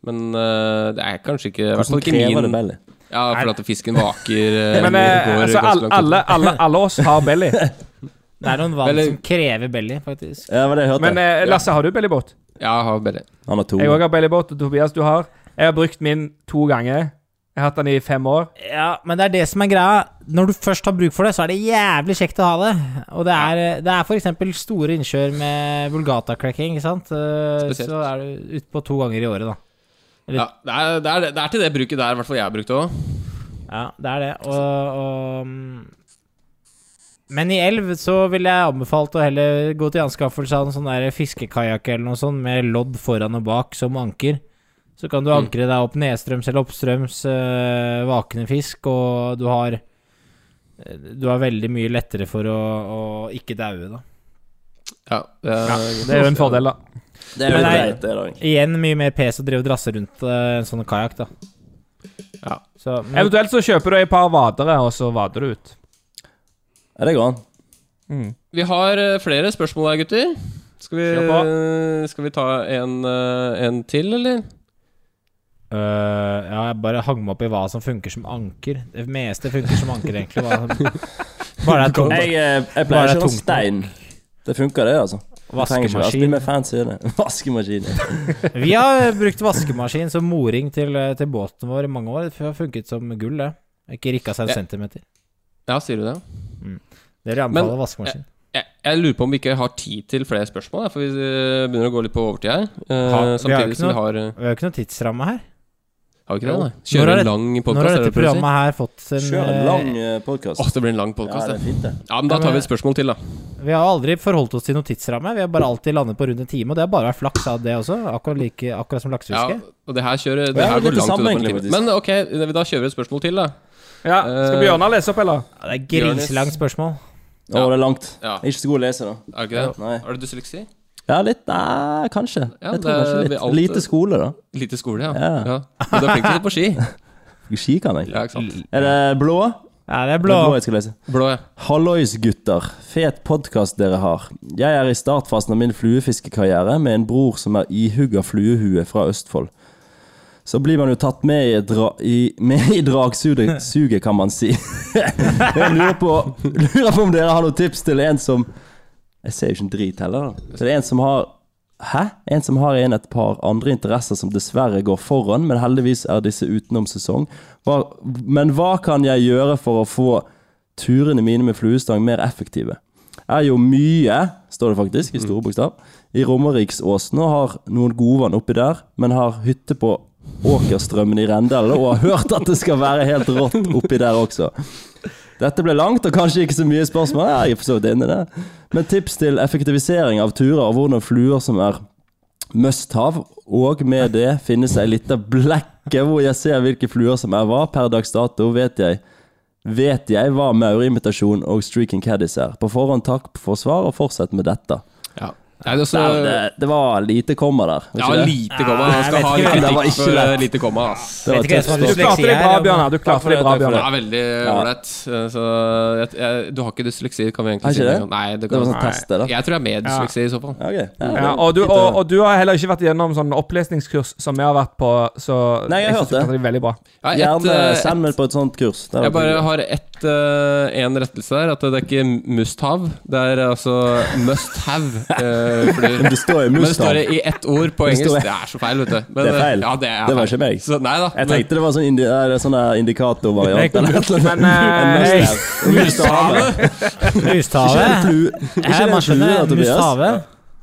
[SPEAKER 1] Men eh, det er kanskje ikke i hvert fall ikke
[SPEAKER 8] Hvordan krever det
[SPEAKER 1] min
[SPEAKER 8] belly?
[SPEAKER 1] Ja, for at fisken vaker eh,
[SPEAKER 7] Men eh,
[SPEAKER 1] går
[SPEAKER 7] altså,
[SPEAKER 1] ganske
[SPEAKER 7] alle,
[SPEAKER 1] langt ut.
[SPEAKER 7] alle, alle, alle oss har
[SPEAKER 1] [LAUGHS]
[SPEAKER 7] belly.
[SPEAKER 6] Det er noen vann
[SPEAKER 1] Eller-
[SPEAKER 6] som krever belly, faktisk.
[SPEAKER 8] Ja, det var det jeg hørte.
[SPEAKER 7] Men eh, Lasse, har du bellybåt?
[SPEAKER 1] Ja, eh, jeg har belly.
[SPEAKER 8] Han har to.
[SPEAKER 7] Jeg òg har bellybåt. Og Tobias, du har. Jeg har brukt min to ganger. Jeg har hatt den i fem år.
[SPEAKER 6] Ja, men det er det som er greia. Når du først har bruk for det, så er det jævlig kjekt å ha det. Og det er, det er f.eks. store innsjøer med vulgata-cracking, ikke sant. Eh,
[SPEAKER 1] Spesielt.
[SPEAKER 6] Så er du utpå to ganger i året, da.
[SPEAKER 1] Ja, det, er, det, er, det er til det bruket der, i hvert fall jeg har brukt det òg.
[SPEAKER 6] Ja, det er det. Og, og mm, Men i elv så ville jeg anbefalt å heller gå til anskaffelse av en sånn der fiskekajakk eller noe sånt med lodd foran og bak som anker. Så kan du ankre deg opp nedstrøms eller oppstrøms øh, vakne fisk, og du har eh, Du har veldig mye lettere for å, å ikke daue, da.
[SPEAKER 1] Ja, det er-
[SPEAKER 7] Det er jo en fordel, da.
[SPEAKER 8] Det er jo
[SPEAKER 6] Men nei.
[SPEAKER 8] greit, det, da. egentlig.
[SPEAKER 6] Igjen mye mer pes å drive og drasse rundt øh, en sånn kajakk, da.
[SPEAKER 1] Ja.
[SPEAKER 6] Så, men,
[SPEAKER 7] Eventuelt så kjøper du et par vadere, og så vader du ut.
[SPEAKER 8] Ja, det går an.
[SPEAKER 1] Vi har eh, flere spørsmål her, gutter. Skal vi,
[SPEAKER 7] Kjør
[SPEAKER 1] skal vi ta en, eh, en til, eller?
[SPEAKER 6] Øh, ja, jeg bare hang meg opp i hva som funker som anker. Det meste funker som anker, egentlig. Hva som, bare det er tomt.
[SPEAKER 8] Jeg, eh,
[SPEAKER 6] Bare
[SPEAKER 8] jeg pleier ikke å ha
[SPEAKER 6] tungt.
[SPEAKER 8] stein. Det funker, det, altså. Du trenger ikke være så mye
[SPEAKER 6] Vaskemaskin.
[SPEAKER 8] mer fancy i det. [LAUGHS] Vaskemaskin. ja.
[SPEAKER 6] Vi har brukt vaskemaskin som moring til, eh, til båten vår i mange år. Det har funket som gull, det. Ikke rikka seg en
[SPEAKER 1] Ja.
[SPEAKER 6] centimeter.
[SPEAKER 1] Ja, sier du det?
[SPEAKER 6] Dere anbefaler vaskemaskin.
[SPEAKER 1] Jeg, jeg lurer på om vi ikke har tid til flere spørsmål, jeg, for vi eh, begynner å gå litt på overtid her. Eh,
[SPEAKER 6] Ha- vi har ikke
[SPEAKER 1] samtidig som
[SPEAKER 6] noe-
[SPEAKER 1] vi har eh,
[SPEAKER 6] Vi har jo ikke noe tidsramme her.
[SPEAKER 1] Har vi ikke
[SPEAKER 6] Jo.
[SPEAKER 1] det? Nei?
[SPEAKER 6] Når
[SPEAKER 1] Kjører
[SPEAKER 6] har det-
[SPEAKER 1] en lang
[SPEAKER 6] Nå har
[SPEAKER 1] podkast?
[SPEAKER 6] dette programmet her fått en
[SPEAKER 8] Kjør en
[SPEAKER 6] eh,
[SPEAKER 8] lang podkast.
[SPEAKER 1] Åh, det blir en lang
[SPEAKER 8] Ja,
[SPEAKER 1] podkast,
[SPEAKER 8] det er
[SPEAKER 1] det.
[SPEAKER 8] fint, det.
[SPEAKER 1] Ja, men da
[SPEAKER 6] Ja,
[SPEAKER 1] tar vi
[SPEAKER 6] men-
[SPEAKER 1] et spørsmål til, da.
[SPEAKER 6] Vi har aldri forholdt oss til noen tidsramme. Vi har bare alltid landet på rundt en time, og det har bare vært flaks av det også. Akkurat, like, akkurat som
[SPEAKER 1] Ja,
[SPEAKER 6] laksefiske.
[SPEAKER 1] og det her kjører
[SPEAKER 8] Ja,
[SPEAKER 1] Det her går
[SPEAKER 8] det er litt det
[SPEAKER 1] langt
[SPEAKER 8] samme
[SPEAKER 1] utover en
[SPEAKER 8] egentlig,
[SPEAKER 1] time.
[SPEAKER 8] faktisk.
[SPEAKER 1] Men ok, da kjører vi et spørsmål til, da.
[SPEAKER 7] Ja,
[SPEAKER 1] Eh,
[SPEAKER 7] Skal Bjørnar lese opp, eller?
[SPEAKER 6] Ja, det er griselangt spørsmål.
[SPEAKER 8] Å, det er langt.
[SPEAKER 1] Ja.
[SPEAKER 8] Ikke så god å lese, da.
[SPEAKER 1] Er det ikke det?
[SPEAKER 8] Nei.
[SPEAKER 1] Har du dysleksi?
[SPEAKER 8] Ja, litt Nei, kanskje.
[SPEAKER 1] Ja, det-
[SPEAKER 8] jeg tror kanskje
[SPEAKER 1] eh, vi
[SPEAKER 8] litt.
[SPEAKER 1] alt-
[SPEAKER 8] Lite skole, da.
[SPEAKER 1] Lite skole, ja.
[SPEAKER 8] Ja. [LAUGHS]
[SPEAKER 1] ja. Men du er flink til å gå på ski.
[SPEAKER 8] Ski kan jeg.
[SPEAKER 1] Ja, ikke sant.
[SPEAKER 8] Er det blå?
[SPEAKER 6] Ja, det er
[SPEAKER 8] Det
[SPEAKER 6] blå.
[SPEAKER 8] er blå jeg skal lese.
[SPEAKER 1] Blå, ja.
[SPEAKER 8] Hallois, gutter. Fet podkast dere har. Jeg er i startfasen av min fluefiskekarriere med en bror som er ihugga fluehue fra Østfold. Så blir man jo tatt med i, et dra i, med i dragsuget, suget, kan man si. [LAUGHS] Jeg lurer på, lurer på om dere har noen tips til en som Jeg ser jo ikke en drit heller, da. Til en som har Hæ? En som har igjen et par andre interesser som dessverre går foran, men heldigvis er disse utenom sesong. Hva, men hva kan jeg gjøre for å få turene mine med fluestang mer effektive? Er jo mye, står det faktisk, i store bokstav, i Romeriksåsen og har noen godvann oppi der, men har hytte på Åkerstrømmen i Rendal og har hørt at det skal være helt rått oppi der også. Dette ble langt og kanskje ikke så mye spørsmål. Ja, Jeg er for så vidt inne i det. Men tips til effektivisering av turer og hvordan fluer som er must have, og med det finnes ei lita blekke hvor jeg ser hvilke fluer som er hva. Per dags dato vet jeg Vet jeg hva maurimitasjon og streaking caddies er. På forhånd takk for svar, og fortsett med dette.
[SPEAKER 1] ja. Nei, det, er også,
[SPEAKER 8] Det, det, det var lite komma der. var
[SPEAKER 1] ja,
[SPEAKER 8] ikke det?
[SPEAKER 1] lite komma. Han
[SPEAKER 6] jeg
[SPEAKER 1] skal ha
[SPEAKER 6] vet
[SPEAKER 1] litt
[SPEAKER 6] ikke.
[SPEAKER 8] Det var
[SPEAKER 1] kritikk
[SPEAKER 8] ikke
[SPEAKER 1] for
[SPEAKER 8] lett.
[SPEAKER 1] lite komma. ass.
[SPEAKER 8] Det var
[SPEAKER 6] Vet ikke hvem som har
[SPEAKER 8] tøft.
[SPEAKER 7] Du klarte det bra, Bjørnar. Du klarte det bra,
[SPEAKER 1] Det
[SPEAKER 7] Bjørnar.
[SPEAKER 1] er veldig ålreit. Eh, Så jeg, jeg, du har ikke dysleksi, kan vi
[SPEAKER 8] Er
[SPEAKER 1] egentlig si.
[SPEAKER 8] ikke det?
[SPEAKER 1] det? Nei, det
[SPEAKER 8] Det
[SPEAKER 1] kan,
[SPEAKER 8] var sånn test, det da.
[SPEAKER 1] Jeg tror jeg er med dysleksi i så fall.
[SPEAKER 8] Ja, ok. Ja,
[SPEAKER 7] Ja, og, du, og, og du har heller ikke vært gjennom sånn opplesningskurs som vi har vært på, så
[SPEAKER 8] Nei, jeg har
[SPEAKER 7] synes
[SPEAKER 8] hørt
[SPEAKER 7] du
[SPEAKER 8] det.
[SPEAKER 7] klarte veldig bra.
[SPEAKER 1] Ja, et,
[SPEAKER 8] Gjerne
[SPEAKER 1] eh, et-
[SPEAKER 8] send meg på et sånt kurs. Det
[SPEAKER 1] jeg
[SPEAKER 8] var
[SPEAKER 1] bare
[SPEAKER 8] kul.
[SPEAKER 1] har ett, eh, en rettelse der. At det er ikke must have, det er altså must have. eh, fordi,
[SPEAKER 8] Men det står jo
[SPEAKER 1] [LAUGHS] men det
[SPEAKER 8] must
[SPEAKER 1] står
[SPEAKER 8] have.
[SPEAKER 1] det i ett ord på
[SPEAKER 8] Det står-
[SPEAKER 1] engelsk. Det er så feil, vet du. Men,
[SPEAKER 8] Det er feil.
[SPEAKER 1] Ja, det, er
[SPEAKER 8] Det var
[SPEAKER 1] feil.
[SPEAKER 8] ikke meg.
[SPEAKER 1] Så, nei da.
[SPEAKER 8] Jeg
[SPEAKER 1] men-
[SPEAKER 8] tenkte det var sånn indi er det sånn der indikatorvariant eller et eller
[SPEAKER 7] Men
[SPEAKER 8] annet.
[SPEAKER 7] eh,
[SPEAKER 8] En must have. Ikke
[SPEAKER 6] [LAUGHS]
[SPEAKER 8] [LAUGHS] en
[SPEAKER 6] Mustave.
[SPEAKER 8] flue- ikke
[SPEAKER 6] Her,
[SPEAKER 8] en
[SPEAKER 6] man skjønner.
[SPEAKER 8] flue, Tobias.
[SPEAKER 6] Mustave.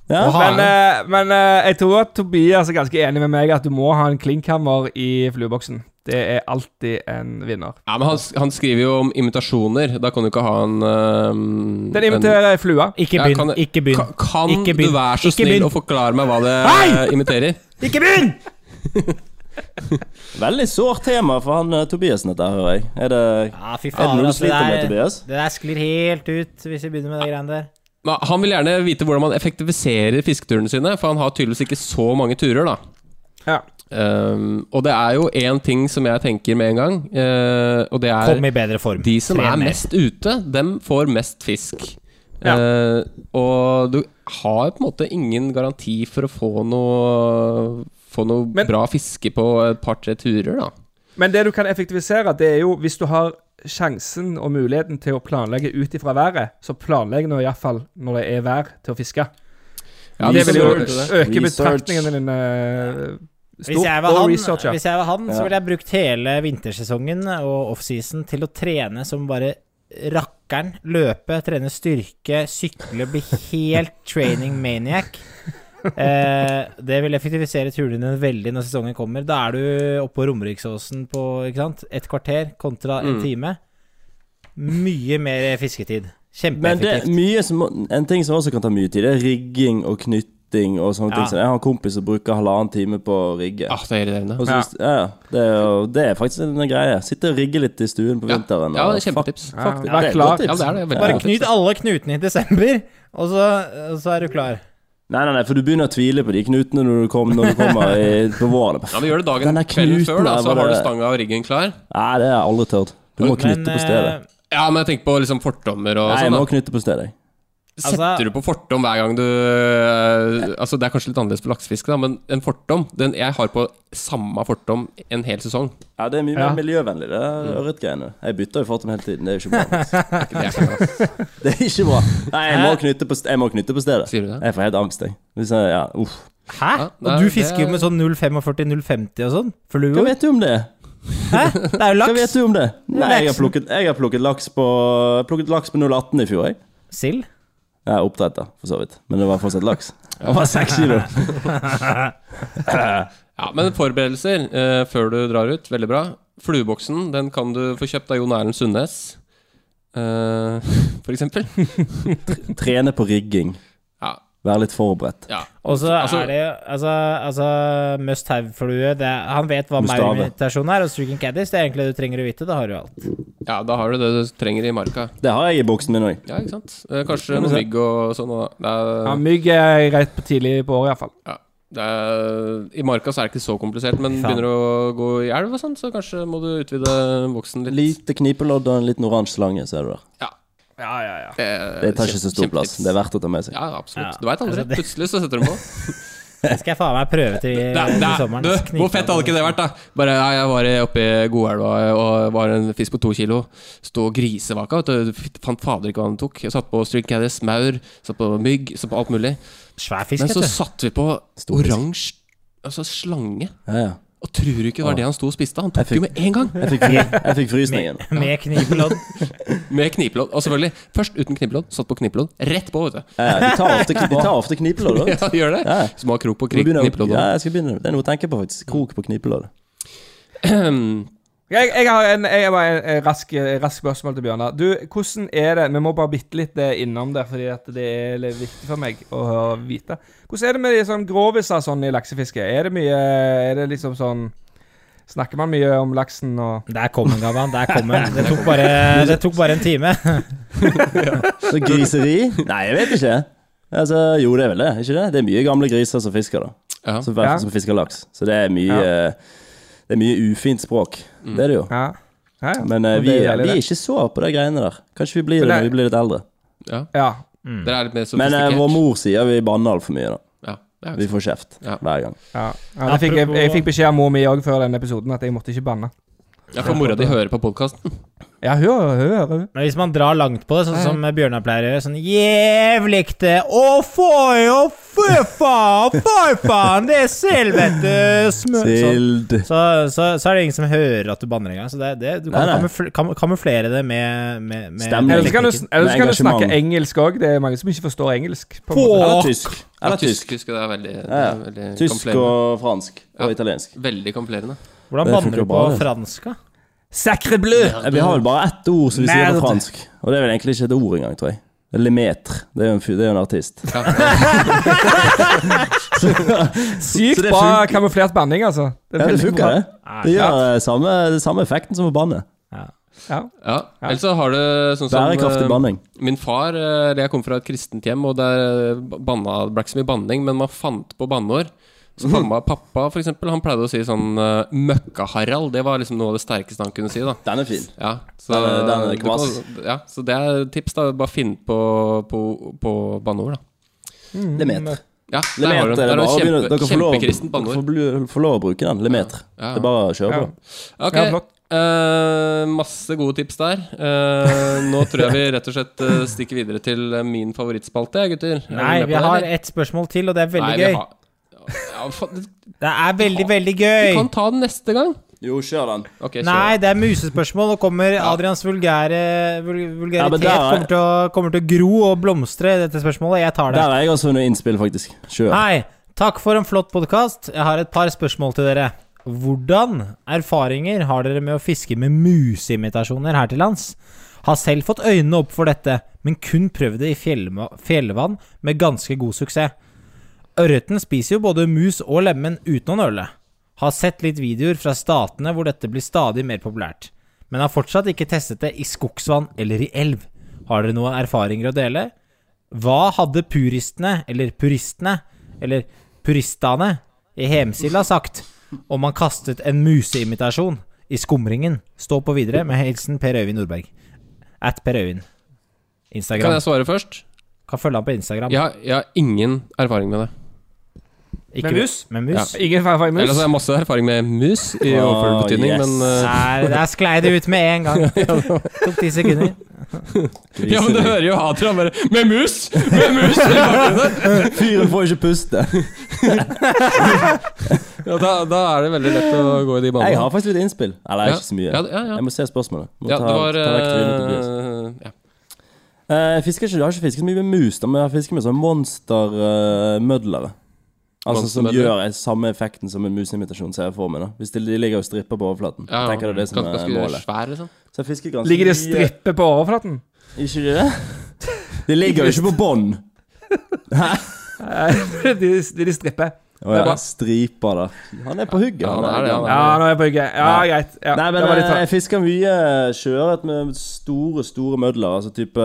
[SPEAKER 8] Ja.
[SPEAKER 6] Og
[SPEAKER 7] men,
[SPEAKER 6] hare.
[SPEAKER 7] eh, men eh, jeg tror at Tobias er ganske enig med meg at du må ha en klinkhammer i flueboksen. Det er alltid en vinner.
[SPEAKER 1] Ja, men han, han skriver jo om imitasjoner. Da kan du ikke ha en ehm,
[SPEAKER 7] Den
[SPEAKER 1] en-
[SPEAKER 7] inviterer ei flue.
[SPEAKER 6] Ikke
[SPEAKER 1] Ja,
[SPEAKER 6] begynn.
[SPEAKER 1] kan-
[SPEAKER 6] Ikke begynn.
[SPEAKER 1] Ka- Kan
[SPEAKER 6] Ikke
[SPEAKER 1] du
[SPEAKER 6] begynn.
[SPEAKER 1] være så
[SPEAKER 6] Ikke
[SPEAKER 1] snill
[SPEAKER 6] begynn.
[SPEAKER 1] å forklare meg hva det
[SPEAKER 6] Hei!
[SPEAKER 1] eh, imiterer?
[SPEAKER 6] Ikke begynn!
[SPEAKER 8] Veldig sårt tema for han eh, Tobiasen, dette her, hører jeg. Er det,
[SPEAKER 6] Ja, fy
[SPEAKER 8] er det
[SPEAKER 6] faen.
[SPEAKER 8] noe du
[SPEAKER 6] altså,
[SPEAKER 8] sliter med,
[SPEAKER 6] det, der,
[SPEAKER 8] Tobias?
[SPEAKER 6] det der sklir helt ut hvis vi begynner med de greiene der.
[SPEAKER 1] Men Han vil gjerne vite hvordan man effektiviserer fisketurene sine, for han har tydeligvis ikke så mange turer, da.
[SPEAKER 7] Ja.
[SPEAKER 1] Ehm, og det er jo én ting som jeg tenker med en gang, eh, og det er
[SPEAKER 6] Kom i bedre form.
[SPEAKER 1] de som er
[SPEAKER 6] Tren mer.
[SPEAKER 1] mest ute, dem får mest fisk.
[SPEAKER 7] Ja.
[SPEAKER 1] Eh, og du har på en måte ingen garanti for å få noe Få noe
[SPEAKER 7] Men-
[SPEAKER 1] bra fiske på et par-tre turer, da.
[SPEAKER 7] Men det du kan effektivisere, det er jo hvis du har sjansen og muligheten til å planlegge ut ifra været, så planlegg nå iallfall når det er vær, til å fiske.
[SPEAKER 1] Ja,
[SPEAKER 7] det vil jo
[SPEAKER 8] Research.
[SPEAKER 7] øke
[SPEAKER 8] Research.
[SPEAKER 7] betraktningene dine eh,
[SPEAKER 6] Hvis jeg
[SPEAKER 7] stort.
[SPEAKER 6] var
[SPEAKER 7] Og
[SPEAKER 6] han,
[SPEAKER 7] research, ja.
[SPEAKER 6] hvis jeg var han
[SPEAKER 8] Ja.
[SPEAKER 6] så ville jeg brukt hele vintersesongen og offseason til å trene som bare rakkeren. Løpe, trene styrke, sykle, bli
[SPEAKER 7] [LAUGHS]
[SPEAKER 6] helt training maniac. Eh, det vil effektivisere turene dine veldig når sesongen kommer. Da er du oppe på Romeriksåsen på ikke sant? et kvarter kontra en
[SPEAKER 1] Mm.
[SPEAKER 6] time. Mye mer fisketid.
[SPEAKER 8] Men det er
[SPEAKER 6] Kjempeeffektivt.
[SPEAKER 8] mye som, en ting som også kan ta mmye tid, det er rigging og knytting og sånne
[SPEAKER 6] Ja.
[SPEAKER 8] ting. Så jeg har en kompis som bruker halvannen time på å rigge.
[SPEAKER 1] Ah, det er irriterende.
[SPEAKER 8] Og så, ja. Ja, det, er jo, det er faktisk en greie. Sitte og rigge litt i stuen på
[SPEAKER 1] Ja.
[SPEAKER 8] vinteren.
[SPEAKER 1] Ja,
[SPEAKER 8] og
[SPEAKER 1] det er kjempetips.
[SPEAKER 7] Ja, vær
[SPEAKER 8] fuck- det er et
[SPEAKER 7] klar.
[SPEAKER 8] godt tips.
[SPEAKER 1] Ja, det er det. Veldig
[SPEAKER 6] Bare
[SPEAKER 1] godt.
[SPEAKER 6] knyt alle knutene i desember, og så, og så er du klar.
[SPEAKER 8] Nei, nei, nei, for du begynner å tvile på de knutene når du, kom, når du kommer i, på våren.
[SPEAKER 1] Ja, men Gjør det dagen
[SPEAKER 8] Den er
[SPEAKER 1] kvelden
[SPEAKER 8] knuten
[SPEAKER 1] før, da,
[SPEAKER 8] der,
[SPEAKER 1] så
[SPEAKER 8] var
[SPEAKER 1] har du
[SPEAKER 8] det-
[SPEAKER 1] stanga og riggen klar.
[SPEAKER 8] Nei, det har jeg aldri tørt. Du må knytte på stedet.
[SPEAKER 6] eh,
[SPEAKER 1] Ja, men jeg tenker på liksom fortommer og
[SPEAKER 8] Nei, jeg
[SPEAKER 1] sånn.
[SPEAKER 8] må
[SPEAKER 1] da.
[SPEAKER 8] knytte på stedet.
[SPEAKER 1] Setter
[SPEAKER 6] Altså-
[SPEAKER 1] du på fortom hver gang du eh, Altså, det er kanskje litt annerledes på laksefiske, da, men en fortom den Jeg har på samme fortom en hel sesong.
[SPEAKER 8] Ja, det er mye
[SPEAKER 7] Ja.
[SPEAKER 8] mer miljøvennlig, det er
[SPEAKER 1] Mm.
[SPEAKER 8] ørretgreiene. Jeg bytter jo fortom hele tiden, det er jo ikke bra. altså.
[SPEAKER 1] Det er ikke bra.
[SPEAKER 8] Det er ikke bra. Nei, jeg må knytte på, st- jeg må knytte på stedet.
[SPEAKER 1] Sier du det?
[SPEAKER 8] Jeg får helt angst, jeg. Hvis jeg ja, uff.
[SPEAKER 6] Hæ?
[SPEAKER 1] Ja, nei,
[SPEAKER 6] og du
[SPEAKER 1] det-
[SPEAKER 6] fisker jo med sånn 0,45, 0,50 og sånn?
[SPEAKER 8] Hva
[SPEAKER 6] Fluor?
[SPEAKER 8] vet du om det?
[SPEAKER 6] Hæ? [LAUGHS] Det er jo
[SPEAKER 8] Hva
[SPEAKER 6] laks.
[SPEAKER 8] vet du om det? Nei, jeg har
[SPEAKER 6] Laksen.
[SPEAKER 8] plukket, jeg har plukket laks på plukket laks på 0,18 i fjor, jeg.
[SPEAKER 6] Sild?
[SPEAKER 8] Jeg er oppdrett, da, for så vidt. Men det var
[SPEAKER 1] [LAUGHS]
[SPEAKER 8] fortsatt laks. Det var seks kilo.
[SPEAKER 1] Ja, Men forberedelser eh, før du drar ut, veldig bra. Flueboksen den kan du få kjøpt av Jon Erlend Sundnes, eh, [LAUGHS] for eksempel.
[SPEAKER 8] Trene på rigging.
[SPEAKER 1] Ja.
[SPEAKER 8] Være litt forberedt.
[SPEAKER 1] Ja.
[SPEAKER 6] Og så
[SPEAKER 1] Altså-
[SPEAKER 6] er det jo Altså, altså must have-flue det er- Han vet hva
[SPEAKER 8] Must have.
[SPEAKER 6] maurimitasjon er, og streaking caddies. Det er egentlig det du trenger å vite. Da har du alt.
[SPEAKER 1] ja, da har du det du trenger i marka.
[SPEAKER 8] Det har jeg i boksen min òg.
[SPEAKER 1] Ja, ikke sant? Eh, Kanskje noe mygg og sånn. og- Det er,
[SPEAKER 7] ja, mygg er greit på tidlig på året, iallfall.
[SPEAKER 1] Ja, Det er, I marka så er det ikke så komplisert, men
[SPEAKER 6] Faen.
[SPEAKER 1] begynner å gå i elv og sånn, så kanskje må du utvide voksen litt.
[SPEAKER 8] Lite knipelodd og en liten oransje slange, ser du der.
[SPEAKER 1] Ja,
[SPEAKER 7] Ja, ja, ja.
[SPEAKER 1] det,
[SPEAKER 8] Det tar ikke så stor
[SPEAKER 1] kjempe-
[SPEAKER 8] plass.
[SPEAKER 1] kjempetips.
[SPEAKER 8] Det er verdt å ta med seg.
[SPEAKER 1] Ja, absolutt. Du veit aldri.
[SPEAKER 6] Altså, det-
[SPEAKER 1] Plutselig så setter de på.
[SPEAKER 6] Det skal jeg faen meg prøve til,
[SPEAKER 1] Det
[SPEAKER 8] Eh,
[SPEAKER 1] er- det
[SPEAKER 6] til
[SPEAKER 1] er-
[SPEAKER 6] sommeren.
[SPEAKER 1] du, hvor fett hadde ikke det vært, da? Bare nei, jeg var oppe i Goelva og var en fisk på to kilo. Stå og grisevaka. Vet du. Fitt- Fant fader ikke hva han tok. Jeg satt på string caddis, maur, satt på mygg, satt på alt mulig.
[SPEAKER 6] Svær fisk,
[SPEAKER 1] Men så
[SPEAKER 6] vet du.
[SPEAKER 1] satte vi på
[SPEAKER 8] Stor fisk.
[SPEAKER 1] oransje altså slange.
[SPEAKER 8] Ja, ja.
[SPEAKER 1] Og tror du ikke det var det han sto og spiste? Han tok
[SPEAKER 8] Jeg
[SPEAKER 1] jo
[SPEAKER 8] fikk-
[SPEAKER 1] med en gang!
[SPEAKER 8] Jeg fikk, fry- jeg fikk
[SPEAKER 1] [LAUGHS]
[SPEAKER 8] frysningen.
[SPEAKER 6] Med knivlodd.
[SPEAKER 1] Med knipelodd. Og selvfølgelig, først uten knipelodd, satt på knipelodd. Rett på, vet du.
[SPEAKER 8] Ja, ja, de tar ofte, de tar ofte knipelodd. vet du.
[SPEAKER 1] Ja, gjør det.
[SPEAKER 8] Ja.
[SPEAKER 1] Små krok på
[SPEAKER 8] Må
[SPEAKER 1] krig,
[SPEAKER 8] begynne å-
[SPEAKER 1] knipelodd.
[SPEAKER 8] Ja, jeg skal begynne. Det er noe å tenke på, faktisk. Krok på knipelodd.
[SPEAKER 7] Jeg, jeg har en, jeg har bare en, en rask, rask spørsmål til Bjørnar. Du, hvordan er det Vi må bare bitte litt eh, innom der, fordi at det er litt viktig for meg å vite. Hvordan er det med de sånn groviser sånn i laksefiske? Er det mye Er det liksom sånn Snakker man mye om laksen og
[SPEAKER 6] Der kom den, Gavan. Der kom
[SPEAKER 1] [LAUGHS]
[SPEAKER 6] den. Det tok bare, det tok bare en time.
[SPEAKER 8] Så griseri? Nei, jeg vet ikke. Altså, jo, det er vel det. Ikke det? Det er mye gamle griser som fisker, da.
[SPEAKER 1] Ja.
[SPEAKER 8] Som,
[SPEAKER 7] Ja.
[SPEAKER 8] som fisker laks. Så det er mye
[SPEAKER 7] Ja.
[SPEAKER 8] eh, Det er mye ufint språk.
[SPEAKER 1] Mm.
[SPEAKER 8] Det er det jo.
[SPEAKER 7] Ja. Ja, ja.
[SPEAKER 8] Men eh,
[SPEAKER 7] Og det
[SPEAKER 8] vi,
[SPEAKER 7] er
[SPEAKER 8] er,
[SPEAKER 7] deilig,
[SPEAKER 8] vi er
[SPEAKER 7] det.
[SPEAKER 8] ikke så på de greiene der. Kanskje vi blir
[SPEAKER 7] Men
[SPEAKER 8] det
[SPEAKER 7] det-
[SPEAKER 8] når vi blir litt eldre.
[SPEAKER 7] ja.
[SPEAKER 1] Dere er litt mer
[SPEAKER 8] Men eh,
[SPEAKER 1] sofistikert.
[SPEAKER 8] vår mor sier vi banner altfor mye, da.
[SPEAKER 1] ja, det er
[SPEAKER 8] Vi
[SPEAKER 1] jo
[SPEAKER 8] får kjeft
[SPEAKER 1] Ja.
[SPEAKER 8] hver gang.
[SPEAKER 7] ja. ja det fikk, jeg, jeg fikk beskjed av mor mi òg før denne episoden at jeg måtte ikke banne.
[SPEAKER 1] ja, for mora di hører på podkasten.
[SPEAKER 7] Ja, hør, hør, hør.
[SPEAKER 6] Men hvis man drar langt på det, sånn som Bjørnar pleier å gjøre, sånn jævlig det Å, fy, å, fy faen, fy faen, det er selvete smø... Sånn.
[SPEAKER 8] Sild.
[SPEAKER 6] Så, så, så er det ingen som hører at du banner engang. Så det, det, du kan
[SPEAKER 8] Nei, nei.
[SPEAKER 6] kamufl- kam- kamuflere det med, med, med
[SPEAKER 8] Stemmer.
[SPEAKER 7] Eller så kan du,
[SPEAKER 6] teknikken.
[SPEAKER 7] eller så kan du
[SPEAKER 8] Engasjement.
[SPEAKER 7] snakke engelsk òg. Det er mange som ikke forstår engelsk. På en
[SPEAKER 6] Få-
[SPEAKER 7] måte.
[SPEAKER 8] Eller
[SPEAKER 6] Åh.
[SPEAKER 8] tysk.
[SPEAKER 1] Ja,
[SPEAKER 8] Eller
[SPEAKER 1] tysk,
[SPEAKER 8] tysk.
[SPEAKER 1] tysk det er veldig, det
[SPEAKER 8] Ja,
[SPEAKER 1] er
[SPEAKER 8] ja.
[SPEAKER 1] veldig
[SPEAKER 8] Tysk
[SPEAKER 1] kamuflerende.
[SPEAKER 8] og fransk.
[SPEAKER 1] Ja.
[SPEAKER 8] Og italiensk.
[SPEAKER 1] Veldig kamuflerende.
[SPEAKER 6] Hvordan
[SPEAKER 8] Det
[SPEAKER 6] banner
[SPEAKER 8] funker
[SPEAKER 6] du på
[SPEAKER 8] bare.
[SPEAKER 6] fransk, da?
[SPEAKER 7] Sacre bleu!
[SPEAKER 8] Eh, Vi har vel bare ett ord som vi sier
[SPEAKER 7] Nerd.
[SPEAKER 8] på fransk, og det er vel egentlig ikke et ord engang, tror jeg. Lemaitre. Det er jo en, fyr- det er jo en artist.
[SPEAKER 7] Sykt
[SPEAKER 8] Så det
[SPEAKER 7] bra
[SPEAKER 8] funker.
[SPEAKER 7] kamuflert banning, altså. Det, er
[SPEAKER 8] Ja, det
[SPEAKER 7] veldig
[SPEAKER 8] funker,
[SPEAKER 7] bra.
[SPEAKER 8] det.
[SPEAKER 1] Ah,
[SPEAKER 8] Det gjør eh, samme, det samme effekten som å banne.
[SPEAKER 7] Ja.
[SPEAKER 1] Ja. Ellers så har du sånn som
[SPEAKER 8] Bærekraftig
[SPEAKER 1] eh,
[SPEAKER 8] banning.
[SPEAKER 1] Min far eh, eller Jeg kom fra et kristent hjem, og der eh, banna, det ble ikke så mye banning, men man fant på banneord.
[SPEAKER 8] [LAUGHS]
[SPEAKER 1] Så mamma og pappa for eksempel, han pleide å si sånn eh, 'Møkka-Harald'. Det var liksom noe av det sterkeste han kunne si. da
[SPEAKER 8] Den er fin.
[SPEAKER 1] Ja, så,
[SPEAKER 8] Den er- den er
[SPEAKER 1] du
[SPEAKER 8] kvass.
[SPEAKER 1] kan- ja, så det er et tips, da. Bare finn på, på, på banneord, da.
[SPEAKER 8] Lemaitre.
[SPEAKER 1] Ja, der har du den.
[SPEAKER 8] Lemaitre det
[SPEAKER 1] Der
[SPEAKER 8] er
[SPEAKER 1] har
[SPEAKER 8] bare å
[SPEAKER 1] du kjempe,
[SPEAKER 8] begynne. Dere får lov,
[SPEAKER 1] kjempekristent
[SPEAKER 8] dere får
[SPEAKER 1] banneord.
[SPEAKER 8] blu- får lov å bruke den. Lemaitre.
[SPEAKER 1] Ja, ja.
[SPEAKER 8] Det er bare å kjøre
[SPEAKER 7] Ja.
[SPEAKER 8] på.
[SPEAKER 1] Ok,
[SPEAKER 7] Ja, flott.
[SPEAKER 1] eh, masse gode tips der. Eh, nå tror jeg vi rett og slett eh, stikker videre til eh, min favorittspalte, jeg, gutter. Er dere
[SPEAKER 6] Nei,
[SPEAKER 1] med
[SPEAKER 6] vi
[SPEAKER 1] på det,
[SPEAKER 6] har
[SPEAKER 1] eller?
[SPEAKER 6] ett spørsmål til, og det er veldig
[SPEAKER 1] Nei, vi
[SPEAKER 6] gøy.
[SPEAKER 1] har- Ja, faen, du
[SPEAKER 6] Det er veldig, veldig gøy.
[SPEAKER 1] kan ta den neste gang.
[SPEAKER 8] Jo, kjør den.
[SPEAKER 1] Ok, kjør.
[SPEAKER 6] Nei, det er musespørsmål. Nå kommer Adrians vulgære vul
[SPEAKER 8] Ja, men
[SPEAKER 6] vulgaritet
[SPEAKER 8] der er-
[SPEAKER 6] kommer, til å, kommer til å gro og blomstre i dette spørsmålet. Jeg tar det.
[SPEAKER 8] Der er jeg også noe innspill, faktisk. Kjør.
[SPEAKER 1] Ah,
[SPEAKER 6] Hei, takk for en flott podkast. Jeg har et par spørsmål til dere. Hvordan erfaringer har dere med å fiske med museimitasjoner her til lands? Har selv fått øynene opp for dette, men kun prøvd det i fjellma- fjellvann med ganske god suksess. Ørreten spiser jo både mus og lemen uten å nøle. Har sett litt videoer fra statene hvor dette blir stadig mer populært, men har fortsatt ikke testet det i skogsvann eller i elv. Har dere noen erfaringer å dele? Hva hadde puristene, eller puristene, eller puristane i Hemsila sagt om man kastet en museimitasjon i skumringen? Stå på videre med hilsen Per Øyvind Nordberg. At Per Øyvind.
[SPEAKER 1] Kan
[SPEAKER 6] Instagram.
[SPEAKER 1] jeg svare først?
[SPEAKER 6] Kan følge ham på Instagram.
[SPEAKER 1] Jeg har, jeg har ingen erfaring med det.
[SPEAKER 6] Ikke
[SPEAKER 7] Med mus?
[SPEAKER 6] Med mus.
[SPEAKER 7] Ingen feil feil
[SPEAKER 1] Eller
[SPEAKER 7] mus.
[SPEAKER 1] altså, jeg har masse erfaring med mus, i
[SPEAKER 8] Ah,
[SPEAKER 1] overført betydning,
[SPEAKER 8] yes.
[SPEAKER 1] men eh,
[SPEAKER 6] Der, der sklei det ut med en [LAUGHS] gang. Tok ti sekunder.
[SPEAKER 1] Ja, men du hører jo Adrian bare 'Med mus! Med mus!' i bakgrunnen.
[SPEAKER 8] Fyren får ikke
[SPEAKER 1] [LAUGHS]
[SPEAKER 8] puste.
[SPEAKER 1] Ja, da, da er det veldig lett å gå i de banene.
[SPEAKER 8] Jeg har faktisk litt innspill. Eller
[SPEAKER 1] Ja.
[SPEAKER 8] ikke så mye.
[SPEAKER 1] Ja, ja, ja.
[SPEAKER 8] Jeg må se spørsmålet. Må
[SPEAKER 1] ja,
[SPEAKER 8] ta-
[SPEAKER 1] det var
[SPEAKER 8] ta vekk trynet til Tobias.
[SPEAKER 1] eh, ja.
[SPEAKER 8] Eh, Jeg fisker ikke, jeg har ikke fisket så mye med mus, da, men jeg har fisket med sånn monstermødlere. altså som gjør
[SPEAKER 1] Monstermødlere?
[SPEAKER 8] samme effekten som en museimitasjon, ser jeg for meg. da Hvis de, de ligger og stripper på overflaten.
[SPEAKER 1] Ja, ja.
[SPEAKER 8] Jeg tenker det er det som
[SPEAKER 1] Ganske-
[SPEAKER 8] er
[SPEAKER 1] ganske
[SPEAKER 8] målet.
[SPEAKER 1] Svær, liksom.
[SPEAKER 8] Så jeg fisker ganske
[SPEAKER 7] Ligger det
[SPEAKER 8] mye-
[SPEAKER 7] stripper på overflaten?
[SPEAKER 8] Ikke det? [LAUGHS] De ligger jo ikke på bånn.
[SPEAKER 7] [LAUGHS] de, de, de stripper.
[SPEAKER 8] Å
[SPEAKER 7] Det er
[SPEAKER 8] ja,
[SPEAKER 7] bra.
[SPEAKER 8] striper der. Han er på hugget.
[SPEAKER 1] Ja,
[SPEAKER 8] han
[SPEAKER 1] han er det, han er
[SPEAKER 8] gammel.
[SPEAKER 7] Ja, nå er jeg på hugget. Ja, greit. Ja,
[SPEAKER 8] Nei, men
[SPEAKER 7] det var
[SPEAKER 8] eh, jeg
[SPEAKER 7] litt
[SPEAKER 8] fisker mye eh, sjøørret med store, store mødler. Altså type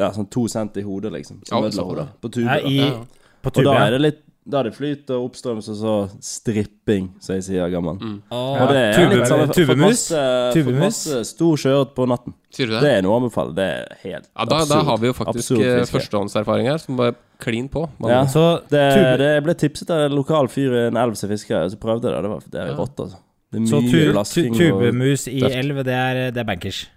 [SPEAKER 8] Ja, sånn to cent i hodet, liksom.
[SPEAKER 1] Ja,
[SPEAKER 8] Som mødlerhoder. På tuber.
[SPEAKER 6] Ja,
[SPEAKER 8] da.
[SPEAKER 6] i, på
[SPEAKER 8] Og da
[SPEAKER 6] tuben.
[SPEAKER 8] er det litt Da det flyter oppstrøms, og så stripping, som jeg sier gammel.
[SPEAKER 1] Mm.
[SPEAKER 6] Og
[SPEAKER 8] Og det er
[SPEAKER 6] Tube,
[SPEAKER 8] litt sånn for- for
[SPEAKER 6] tubemus.
[SPEAKER 8] masse- for
[SPEAKER 6] Tubemus.
[SPEAKER 8] masse Stor sjøørret på natten.
[SPEAKER 1] Sier du
[SPEAKER 8] Det
[SPEAKER 1] det?
[SPEAKER 8] er noe å anbefale. Det er helt
[SPEAKER 1] Ja, da, da
[SPEAKER 8] absurd.
[SPEAKER 1] har vi jo faktisk
[SPEAKER 8] Absurd
[SPEAKER 1] eh,
[SPEAKER 8] fiske.
[SPEAKER 1] førstehåndserfaring her, som bare klin på. Man,
[SPEAKER 8] Ja.
[SPEAKER 6] Så
[SPEAKER 8] det,
[SPEAKER 6] tube-
[SPEAKER 8] det ble tipset av en lokal fyr i en elv som fisker, og så prøvde jeg det. Det var det er rått, altså. Det er
[SPEAKER 6] Så
[SPEAKER 8] mye
[SPEAKER 6] tu, tu,
[SPEAKER 8] lasking og
[SPEAKER 6] tubemus i
[SPEAKER 8] tøft.
[SPEAKER 6] elv, det er, det er bankers.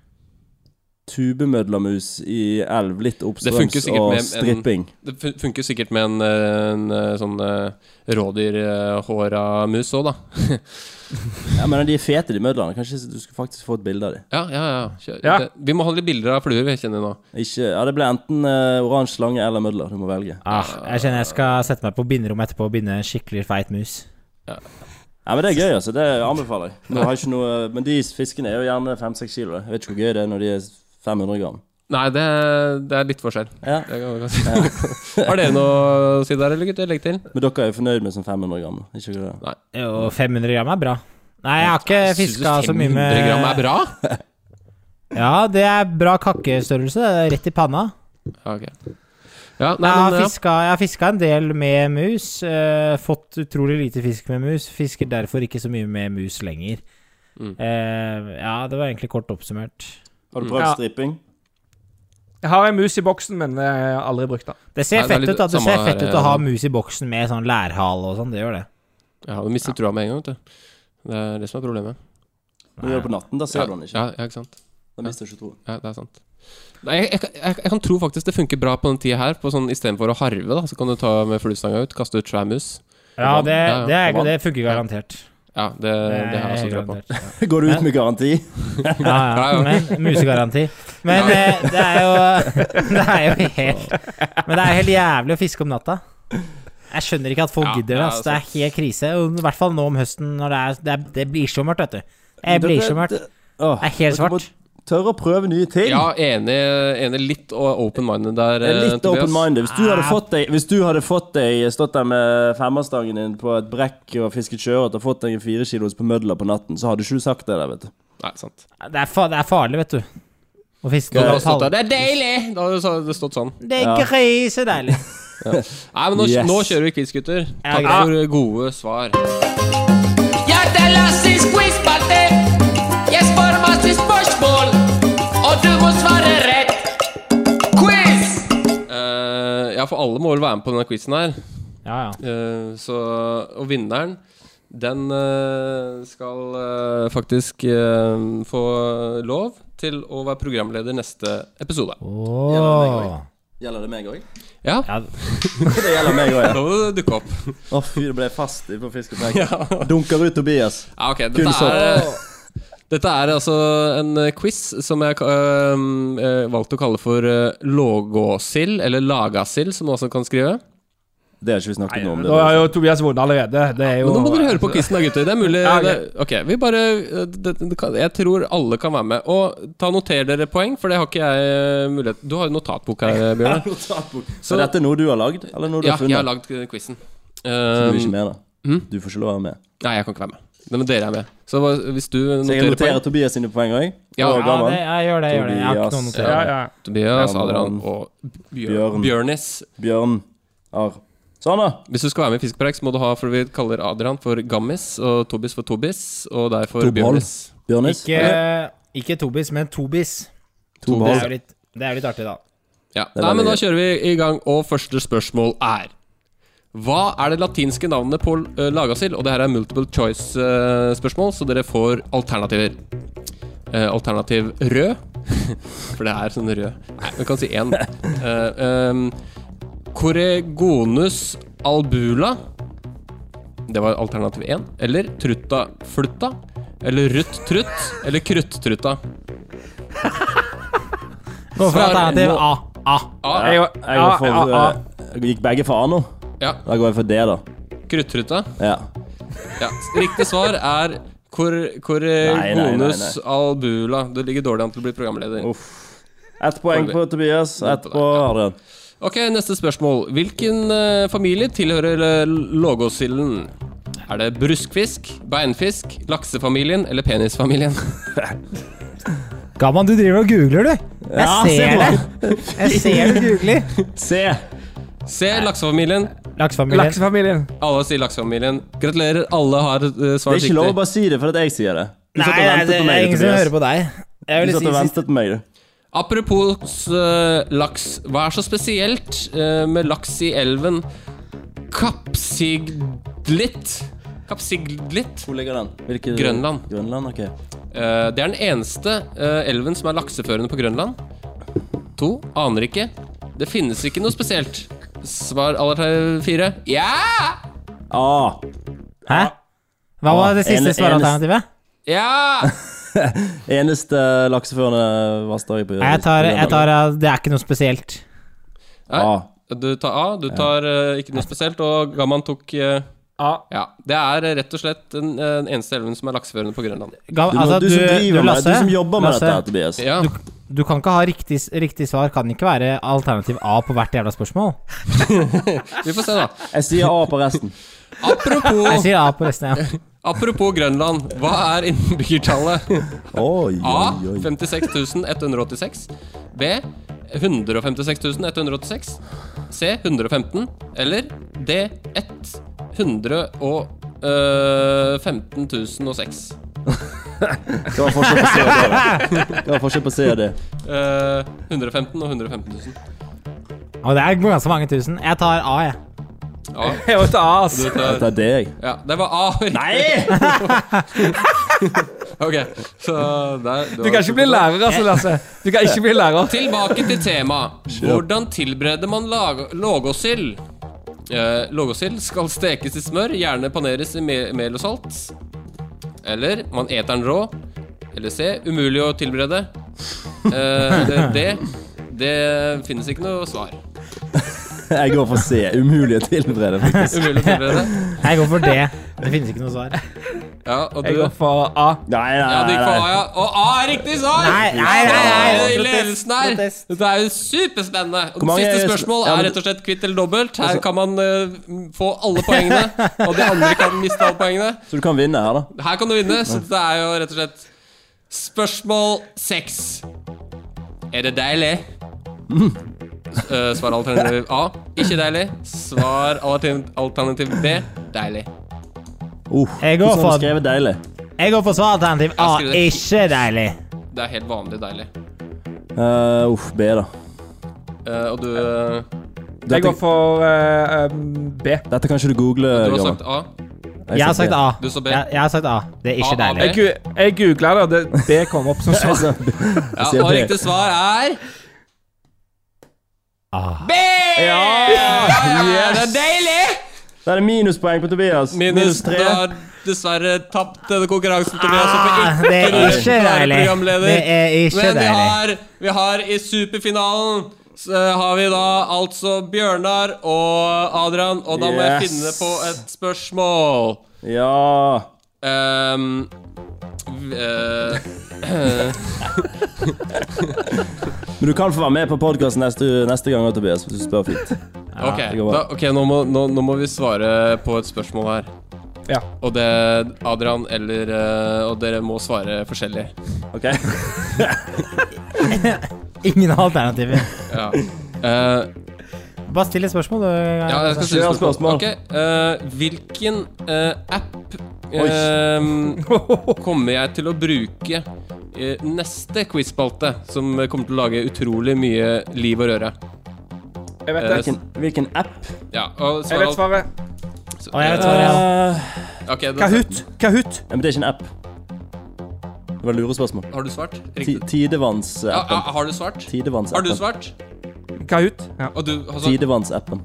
[SPEAKER 8] tubemødlermus i elv, litt
[SPEAKER 1] funker
[SPEAKER 8] oppstrøms
[SPEAKER 1] sikkert
[SPEAKER 8] og
[SPEAKER 1] med en-
[SPEAKER 8] stripping.
[SPEAKER 1] Det fun- funker sikkert med en, eh, en eh, sånn eh, rådyrhåra mus òg, da.
[SPEAKER 8] Ja, men de er fete, de mødlene. Kanskje du skulle faktisk få et bilde av dem.
[SPEAKER 1] Ja, ja, ja. Kjør.
[SPEAKER 7] Ja.
[SPEAKER 1] Det, vi må ha litt bilder av fluer, vi kjenner nå.
[SPEAKER 8] Ikke, ja, det ble enten eh, oransje slange eller mødler. Du må velge.
[SPEAKER 6] Ah, jeg kjenner jeg skal sette meg på binderommet etterpå og binde en skikkelig feit mus.
[SPEAKER 8] Ja, men Det er gøy, altså. Det anbefaler jeg. Nå har jeg ikke noe, men de fiskene er jo gjerne 5-6 kilo. da. Jeg vet ikke hvor gøy det er når de er 500 gram.
[SPEAKER 1] Nei, det, det er litt forskjell.
[SPEAKER 8] Ja.
[SPEAKER 1] Det kan man si. [LAUGHS] Har dere noe å si der, eller gutter? Legg til.
[SPEAKER 8] Men dere er jo fornøyd med sånn 500 gram? da. Ikke det?
[SPEAKER 6] Jo, 500 gram er bra. Nei, jeg har ikke fiska så mye med
[SPEAKER 1] 500 gram er bra?
[SPEAKER 6] Ja, det er bra kakkestørrelse. Det er rett i panna.
[SPEAKER 1] Ja, ok. ja, nei,
[SPEAKER 6] jeg, har
[SPEAKER 1] men, eh, ja.
[SPEAKER 6] fiska, jeg har fiska en del med mus. eh, fått utrolig lite fisk med mus. Fisker derfor ikke så mye med mus lenger.
[SPEAKER 1] Mm.
[SPEAKER 6] Eh, ja, det var egentlig kort oppsummert.
[SPEAKER 8] Har du prøvd
[SPEAKER 7] Ja.
[SPEAKER 8] stripping?
[SPEAKER 7] Jeg har en mus i boksen, men jeg har aldri brukt den.
[SPEAKER 6] Det ser
[SPEAKER 1] Nei, det er
[SPEAKER 6] fett
[SPEAKER 1] litt
[SPEAKER 6] ut da, det
[SPEAKER 1] samme
[SPEAKER 6] ser fett
[SPEAKER 1] her,
[SPEAKER 6] ut å ha
[SPEAKER 1] ja.
[SPEAKER 6] mus i boksen med sånn lærhale og sånn. Det gjør det.
[SPEAKER 1] ja, du mister trua med en gang, vet du. Det er det som er problemet.
[SPEAKER 8] Når du gjør det på natten, da ser
[SPEAKER 1] Ja,
[SPEAKER 8] du den ikke.
[SPEAKER 1] ja, ja, ikke sant.
[SPEAKER 8] Da mister du ikke troen.
[SPEAKER 1] Ja, det er sant. Nei, jeg, jeg, kan- jeg, jeg kan tro faktisk det funker bra på den tida her. På sånn, Istedenfor å harve, da, så kan du ta med fluestanga ut, kaste ut svær mus.
[SPEAKER 6] Ja, det,
[SPEAKER 1] Ja, ja,
[SPEAKER 6] det, er,
[SPEAKER 8] på vann.
[SPEAKER 6] det funker garantert.
[SPEAKER 1] Ja, det, det har jeg også
[SPEAKER 6] helt
[SPEAKER 1] tro på.
[SPEAKER 6] garantert.
[SPEAKER 8] [LAUGHS] Går du ut med garanti?
[SPEAKER 1] Ja,
[SPEAKER 6] Ja,
[SPEAKER 1] ja.
[SPEAKER 6] ja. Men, musegaranti. Men
[SPEAKER 1] Ja.
[SPEAKER 6] eh, det er jo [LAUGHS] Det er jo helt Men det er jo helt jævlig å fiske om natta. Jeg skjønner ikke at folk
[SPEAKER 1] Ja,
[SPEAKER 6] gidder det.
[SPEAKER 1] ja,
[SPEAKER 6] ass. Det er helt krise. og I hvert fall nå om høsten, når det, er, det, er, det blir så mørkt, vet du. Det blir så mørkt.
[SPEAKER 8] Det- åh,
[SPEAKER 6] Det er helt
[SPEAKER 8] dere må
[SPEAKER 6] svart.
[SPEAKER 8] Tørre å prøve nye ting.
[SPEAKER 1] Ja, enig, enig litt open-minded der,
[SPEAKER 8] Det er litt
[SPEAKER 1] eh, Tobias.
[SPEAKER 8] open-minded. Hvis, du hadde fått deg- hvis du hadde fått deg stått der med femmerstangen din på et brekk og fisket sjøørret og fått deg en firekilos på mødler på natten, så hadde ikke du sagt det der, vet du.
[SPEAKER 1] Nei, sant.
[SPEAKER 6] Det er, fa det er farlig, vet du. Å fiske
[SPEAKER 1] Da hadde
[SPEAKER 6] med
[SPEAKER 1] det stått der.
[SPEAKER 6] palmer.
[SPEAKER 1] Det er deilig! Da hadde det så- det stått sånn.
[SPEAKER 6] Det er grisedeilig.
[SPEAKER 1] Nei, men nå,
[SPEAKER 8] Yes.
[SPEAKER 1] nå kjører vi quiz, gutter.
[SPEAKER 6] Ja,
[SPEAKER 1] Takk
[SPEAKER 6] greit.
[SPEAKER 1] for gode svar.
[SPEAKER 9] Ja, det la seg quiz på det. Jeg spør masse spørsmål, og du må svare rett. Quiz!
[SPEAKER 1] Eh, ja, for alle må vel være med på denne quizen her.
[SPEAKER 6] Ja, ja.
[SPEAKER 1] Eh, så, og vinneren, den eh, skal eh, faktisk eh, få lov til å være programleder neste episode.
[SPEAKER 6] Åh.
[SPEAKER 8] Gjelder det meg òg?
[SPEAKER 1] Ja,
[SPEAKER 6] Ja,
[SPEAKER 8] [LAUGHS] Det gjelder meg òg, ja.
[SPEAKER 1] da må du dukke opp.
[SPEAKER 8] Å, fy, det ble fast på fisk og brekk. Dunker ut Tobias.
[SPEAKER 1] Ja, ok,
[SPEAKER 8] Kun
[SPEAKER 1] dette er, eh, dette er altså en eh, quiz som jeg eh, eh, valgte å kalle for eh, lågåsild, eller lagasild, som man også kan skrive.
[SPEAKER 8] Det har ikke vi snakket noe om. Det.
[SPEAKER 7] Da har jo Tobias vunnet allerede. Det er jo
[SPEAKER 1] Men nå må dere høre på quizen, da, gutter. Det er mulig
[SPEAKER 7] Ja, ok.
[SPEAKER 1] det, Ok, vi bare eh, det, det, kan- Jeg tror alle kan være med. Og ta noter dere poeng, for det har ikke jeg eh, mulighet Du har jo notatbok her,
[SPEAKER 8] [LAUGHS]
[SPEAKER 1] Bjørn.
[SPEAKER 8] Så dette er noe du har lagd, eller noe du
[SPEAKER 1] Ja,
[SPEAKER 8] har
[SPEAKER 1] jeg har
[SPEAKER 8] funnet?
[SPEAKER 1] lagd eh, quizen.
[SPEAKER 8] Du er ikke
[SPEAKER 1] Um,
[SPEAKER 8] med, da. Du får ikke lov å være med.
[SPEAKER 1] nei, jeg kan ikke være med. Nei, Men dere er med. Så hva- hvis du
[SPEAKER 8] Så jeg
[SPEAKER 1] noterer
[SPEAKER 8] noterer
[SPEAKER 1] poeng
[SPEAKER 8] Tobias sine poeng òg.
[SPEAKER 1] Ja,
[SPEAKER 8] og
[SPEAKER 6] ja,
[SPEAKER 8] Gavan.
[SPEAKER 6] det, ja, gjør det. Gjør det. Jeg har ikke noe å
[SPEAKER 8] Tobias.
[SPEAKER 6] notere.
[SPEAKER 7] ja, ja.
[SPEAKER 1] Tobias,
[SPEAKER 8] Ja, men-
[SPEAKER 1] Adrian og Bjørn,
[SPEAKER 8] Bjørn.
[SPEAKER 1] Bjørnis.
[SPEAKER 8] Bjørn Arr. Sånn, da.
[SPEAKER 1] Hvis du skal være med i Fiskepreik, så må du ha for vi kaller Adrian for Gammis, og Tobis for Tobis, og deg for
[SPEAKER 8] Tobol.
[SPEAKER 1] Bjørnis.
[SPEAKER 8] Bjørnis.
[SPEAKER 6] Ikke, ikke Tobis, men Tobis.
[SPEAKER 8] to
[SPEAKER 6] Det
[SPEAKER 8] mål.
[SPEAKER 6] er jo litt, det er jo litt artig, da.
[SPEAKER 1] Ja.
[SPEAKER 8] er
[SPEAKER 1] Nei, men da
[SPEAKER 8] veldig
[SPEAKER 1] kjører vi i gang, og første spørsmål er Hva er det latinske navnet på eh, lagasild? Og det her er multiple choice-spørsmål, så dere får alternativer. Eh, alternativ rød. [LAUGHS] For det er sånn rød Nei, vi kan si én. Eh, em, Corregonus albula. Det var alternativ én. Eller trutta flutta. Eller rutt trutt. Eller krutt-trutta.
[SPEAKER 6] Gå for
[SPEAKER 1] Svar
[SPEAKER 6] alternativ
[SPEAKER 1] nå.
[SPEAKER 6] A. A.
[SPEAKER 1] A.
[SPEAKER 7] Jeg,
[SPEAKER 8] Jeg går for,
[SPEAKER 7] ja, ja, ja.
[SPEAKER 8] eh, jeg gikk begge for A nå.
[SPEAKER 1] Ja,
[SPEAKER 8] Da går jeg for D, da.
[SPEAKER 1] krutt-trutta.
[SPEAKER 8] Ja.
[SPEAKER 1] Ja, riktig svar er Cor-
[SPEAKER 8] Nei, nei, nei,
[SPEAKER 1] Corregonus
[SPEAKER 8] nei.
[SPEAKER 1] albula. Det ligger dårlig an til å bli programleder.
[SPEAKER 8] Uff. Ett poeng på Tobias, ett på Adrian.
[SPEAKER 1] Ok, Neste spørsmål. Hvilken eh, familie tilhører eh, lågåsilden? Er det bruskfisk, beinfisk, laksefamilien eller penisfamilien? [LAUGHS]
[SPEAKER 6] Gaman, du driver og googler, du. Jeg
[SPEAKER 8] Ja,
[SPEAKER 6] ser
[SPEAKER 8] se
[SPEAKER 6] det. Jeg ser du googler.
[SPEAKER 8] C.
[SPEAKER 1] C. Laksefamilien.
[SPEAKER 6] Laksefamilien.
[SPEAKER 7] Laksefamilien.
[SPEAKER 1] Alle sier laksefamilien. Gratulerer, alle har eh,
[SPEAKER 8] Det
[SPEAKER 1] svart
[SPEAKER 8] er ikke lov å
[SPEAKER 1] riktig.
[SPEAKER 8] bare si det for at jeg sier det. Du
[SPEAKER 6] Nei,
[SPEAKER 8] satt og
[SPEAKER 6] nei,
[SPEAKER 8] ventet
[SPEAKER 6] det
[SPEAKER 8] på
[SPEAKER 6] er
[SPEAKER 8] meg,
[SPEAKER 6] ingen som hører
[SPEAKER 8] Tobias.
[SPEAKER 6] på deg. Jeg
[SPEAKER 8] Du
[SPEAKER 6] vil
[SPEAKER 8] satt
[SPEAKER 6] si
[SPEAKER 8] og
[SPEAKER 6] sist
[SPEAKER 8] ventet på meg, du.
[SPEAKER 1] Apropos eh, laks, hva er så spesielt eh, med laks i elven? Kapsiglit. Kapsiglit.
[SPEAKER 8] Hvor ligger den? Hvilke-
[SPEAKER 1] Grønland.
[SPEAKER 8] Grønland, ok.
[SPEAKER 1] Eh, det er den eneste eh, elven som er lakseførende på Grønland. To. Aner ikke. Det finnes ikke noe spesielt. Svar aller fire. Ja!
[SPEAKER 8] Ah,
[SPEAKER 6] Hæ? Hva var det
[SPEAKER 8] Ene-
[SPEAKER 6] siste svaralternativet?
[SPEAKER 1] Ja!
[SPEAKER 8] eneste lakseførende vassdrag på
[SPEAKER 6] Jeg tar, jeg tar eh, Det er ikke noe spesielt.
[SPEAKER 8] Ah.
[SPEAKER 1] Du tar A, du tar eh, ikke noe spesielt, og Gamman tok eh,
[SPEAKER 7] Ja.
[SPEAKER 1] Ja. Det er eh, rett og slett den, eh, den eneste elven som er lakseførende på Grønland.
[SPEAKER 6] Ga,
[SPEAKER 8] Du, må,
[SPEAKER 6] altså,
[SPEAKER 8] du, som driver med det, du som jobber med
[SPEAKER 6] Lasse,
[SPEAKER 8] dette, her, Tobias.
[SPEAKER 1] Ja.
[SPEAKER 6] Du, du kan ikke ha riktig, riktig svar. Kan ikke være alternativ A på hvert jævla spørsmål.
[SPEAKER 1] Vi får se, da.
[SPEAKER 8] Jeg sier A på
[SPEAKER 6] [LAUGHS]
[SPEAKER 8] resten.
[SPEAKER 6] Jeg
[SPEAKER 1] Apropos,
[SPEAKER 6] sier A på resten, ja.
[SPEAKER 1] apropos Grønland. Hva er innbyggertallet?
[SPEAKER 8] Oi,
[SPEAKER 1] A.
[SPEAKER 8] oi, oi.
[SPEAKER 1] 56 186. B. 156 186. C. 115. Eller D. øh, 115 006.
[SPEAKER 8] Det var forskjell på C og D. da. Det var forskjell på C og D.
[SPEAKER 1] Eh, 115 og 115 000.
[SPEAKER 6] Og det er ganske mange tusen. Jeg tar A, jeg.
[SPEAKER 1] Ja,
[SPEAKER 7] Jeg må ta A, ass.
[SPEAKER 1] du tar-
[SPEAKER 8] Dette er det, jeg.
[SPEAKER 1] ja, det var A.
[SPEAKER 8] Nei!
[SPEAKER 1] [LAUGHS] Ok, så der
[SPEAKER 7] Du kan ikke bli lærer, altså, Lasse. Du kan ikke bli lærer.
[SPEAKER 1] Tilbake til temaet. Hvordan tilbereder man lag- lågåsild? Eh, lågåsild skal stekes i smør, gjerne paneres i me mel og salt. Eller man eter den rå. Eller C. Umulig å tilberede. Eh, eller D. Det finnes ikke noe svar.
[SPEAKER 8] Jeg går for C. Umulig å tilberede, faktisk.
[SPEAKER 1] Umulig å tilberede.
[SPEAKER 6] Jeg går for D. Det finnes ikke noe svar.
[SPEAKER 1] Ja, og
[SPEAKER 7] Jeg
[SPEAKER 1] du
[SPEAKER 7] går for A.
[SPEAKER 8] Nei,
[SPEAKER 1] ja, du
[SPEAKER 8] nei,
[SPEAKER 1] gikk for A,
[SPEAKER 8] nei.
[SPEAKER 1] ja. Og A er riktig svar!
[SPEAKER 6] Nei, nei, nei, nei.
[SPEAKER 1] I
[SPEAKER 6] Protest,
[SPEAKER 1] ledelsen her.
[SPEAKER 6] protest.
[SPEAKER 1] Dette er jo superspennende. Og
[SPEAKER 8] Hvor mange-
[SPEAKER 1] det siste spørsmål
[SPEAKER 8] Ja,
[SPEAKER 1] er
[SPEAKER 8] men- Altså-
[SPEAKER 1] rett og slett kvitt eller dobbelt. Her kan man eh, få alle
[SPEAKER 6] [LAUGHS]
[SPEAKER 1] poengene, og de andre kan miste alle poengene.
[SPEAKER 8] Så du kan vinne her, da.
[SPEAKER 1] Her kan du vinne, så dette er jo rett og slett spørsmål seks. Er det deilig?
[SPEAKER 8] Mm.
[SPEAKER 1] Eh, Svar alternativ A. Ikke deilig. Svar alternativ- alternativ B. Deilig.
[SPEAKER 8] Uh,
[SPEAKER 6] Jeg går
[SPEAKER 8] hvordan har
[SPEAKER 6] for-
[SPEAKER 8] du skrevet deilig?
[SPEAKER 6] Jeg går for svaralternativ A.
[SPEAKER 1] Jeg skriver det.
[SPEAKER 6] Ikke deilig.
[SPEAKER 1] Det er helt vanlig deilig.
[SPEAKER 8] Eh, uff, B, da.
[SPEAKER 1] Eh, og du, eh,
[SPEAKER 8] Dette,
[SPEAKER 7] Jeg går for eh, um, B.
[SPEAKER 8] dette kan ikke du google,
[SPEAKER 1] du har
[SPEAKER 8] Eh, Johan.
[SPEAKER 1] sagt A.
[SPEAKER 6] Jeg har sagt A.
[SPEAKER 1] Du sa B.
[SPEAKER 6] Jeg, jeg har sagt A. Det
[SPEAKER 1] A,
[SPEAKER 6] er ikke
[SPEAKER 1] A,
[SPEAKER 6] deilig.
[SPEAKER 1] B.
[SPEAKER 7] Jeg, gu- jeg googla det, og det, B kom
[SPEAKER 1] [LAUGHS]
[SPEAKER 7] opp som svar.
[SPEAKER 1] Ja,
[SPEAKER 8] sier
[SPEAKER 1] og
[SPEAKER 8] B.
[SPEAKER 1] riktig svar er B! Det er deilig!
[SPEAKER 8] Da er det minuspoeng på Tobias.
[SPEAKER 1] Minus
[SPEAKER 8] tre.
[SPEAKER 1] Du har dessverre tapt denne konkurransen, Tobias. og får
[SPEAKER 6] Ah,
[SPEAKER 1] ikke
[SPEAKER 6] det er
[SPEAKER 1] være
[SPEAKER 6] ikke deilig.
[SPEAKER 1] programleder.
[SPEAKER 6] Det er ikke
[SPEAKER 1] Men vi
[SPEAKER 6] deilig.
[SPEAKER 1] har, vi har i superfinalen så har vi da altså Bjørnar og Adrian, og da må jeg
[SPEAKER 8] Yes.
[SPEAKER 1] finne på et spørsmål.
[SPEAKER 8] Ja
[SPEAKER 1] Ehm, v- eh,
[SPEAKER 8] Men du kan få være med på podkasten neste, neste gang, Tobias, hvis du spør fint.
[SPEAKER 1] ok,
[SPEAKER 8] det går bra.
[SPEAKER 1] da, ok, nå, må, nå, nå må vi svare på et spørsmål her.
[SPEAKER 7] Ja.
[SPEAKER 1] Og det Adrian eller eh, Og dere må svare forskjellig. [LAUGHS]
[SPEAKER 8] Ok?
[SPEAKER 6] Ingen alternativer.
[SPEAKER 1] Ja. [LAUGHS] Eh,
[SPEAKER 6] Bare still et spørsmål, du.
[SPEAKER 1] ja, jeg skal
[SPEAKER 8] Kjør
[SPEAKER 1] stille spørsmål.
[SPEAKER 8] spørsmål.
[SPEAKER 1] Ok, eh, hvilken eh, app eh, kommer jeg til å bruke i neste quizspalte, som kommer til å lage utrolig mye liv og røre? Eh,
[SPEAKER 7] Jeg vet det.
[SPEAKER 8] Hvilken, hvilken app?
[SPEAKER 1] Ja, og
[SPEAKER 7] Jeg vet
[SPEAKER 1] svar
[SPEAKER 7] svaret.
[SPEAKER 1] alt-
[SPEAKER 6] jeg
[SPEAKER 1] eh,
[SPEAKER 6] vet svaret, ja.
[SPEAKER 8] Eh,
[SPEAKER 1] ok, da-
[SPEAKER 7] Kahoot. Kahoot.
[SPEAKER 8] ja, men det er ikke en app. Det var et lurespørsmål.
[SPEAKER 1] Har du svart?
[SPEAKER 8] Ti-
[SPEAKER 1] Riktig. Ja, ja,
[SPEAKER 8] Tidevannsappen.
[SPEAKER 1] har du svart? Har du
[SPEAKER 8] Tidevannsappen.
[SPEAKER 1] svart?
[SPEAKER 7] Kahoot. Ja.
[SPEAKER 1] Og du har svart?
[SPEAKER 8] Tidevannsappen.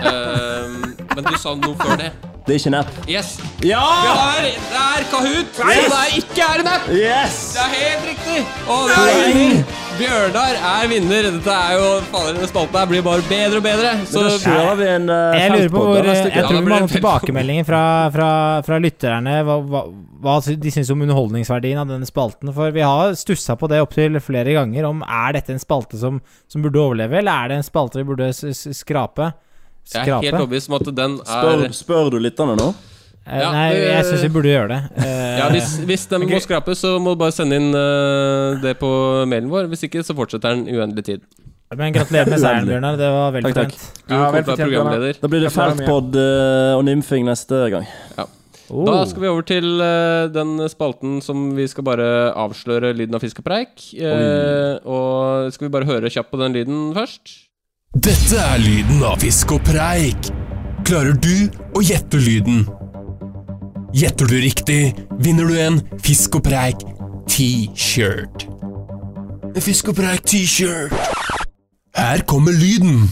[SPEAKER 1] Eh, men du sa noe før det.
[SPEAKER 8] Det er ikke en app.
[SPEAKER 1] Yes. Vi
[SPEAKER 8] Ja!
[SPEAKER 1] har, det er Kahoot! Nei, det er ikke er en app!
[SPEAKER 8] Yes!
[SPEAKER 1] Det er helt riktig! Og det er vinner. Bjørnar er vinner. Dette er jo Fader, denne spalten her blir bare bedre og bedre. Så
[SPEAKER 8] Så da kjører vi en uh,
[SPEAKER 6] Jeg lurer på hvor Jeg tror
[SPEAKER 1] Ja, da
[SPEAKER 6] vi
[SPEAKER 1] blir
[SPEAKER 6] må ha
[SPEAKER 1] det
[SPEAKER 6] noen
[SPEAKER 1] felt.
[SPEAKER 6] tilbakemeldinger fra, fra, fra lytterne. Hva, hva, hva sy- de syns om underholdningsverdien av denne spalten. For vi har stussa på det opptil flere ganger. Om er dette en spalte som, som burde overleve, eller er det en spalte vi burde s s skrape?
[SPEAKER 1] jeg er helt
[SPEAKER 6] Skrape?
[SPEAKER 1] overbevist om at den er
[SPEAKER 8] Spør, spør du lytterne nå?
[SPEAKER 6] Eh,
[SPEAKER 1] Ja,
[SPEAKER 6] Nei, jeg syns vi burde gjøre det. Eh,
[SPEAKER 1] ja, hvis, hvis den må skrapes, så må du bare sende inn eh, det på mailen vår. Hvis ikke, så fortsetter den uendelig tid.
[SPEAKER 6] Men gratulerer med seieren, Bjørnar. Det var vel
[SPEAKER 8] Takk, takk.
[SPEAKER 6] fortjent.
[SPEAKER 1] Du
[SPEAKER 7] Ja,
[SPEAKER 1] kommer til å
[SPEAKER 7] vel
[SPEAKER 1] være
[SPEAKER 7] fortjent, Bjørnar.
[SPEAKER 1] programleder.
[SPEAKER 8] Da blir det
[SPEAKER 7] Jeg tar dem
[SPEAKER 8] feltpod eh, og nymfing neste gang.
[SPEAKER 6] Oh.
[SPEAKER 1] Da skal vi over til eh, den spalten som vi skal bare avsløre lyden av fiskepreik. Eh, og skal vi bare høre kjapt på den lyden først?
[SPEAKER 10] Dette er lyden av fisk og preik. Klarer du å gjette lyden? Gjetter du riktig, vinner du en Fisk og preik T-shirt. En Fisk og preik T-shirt. Her kommer lyden.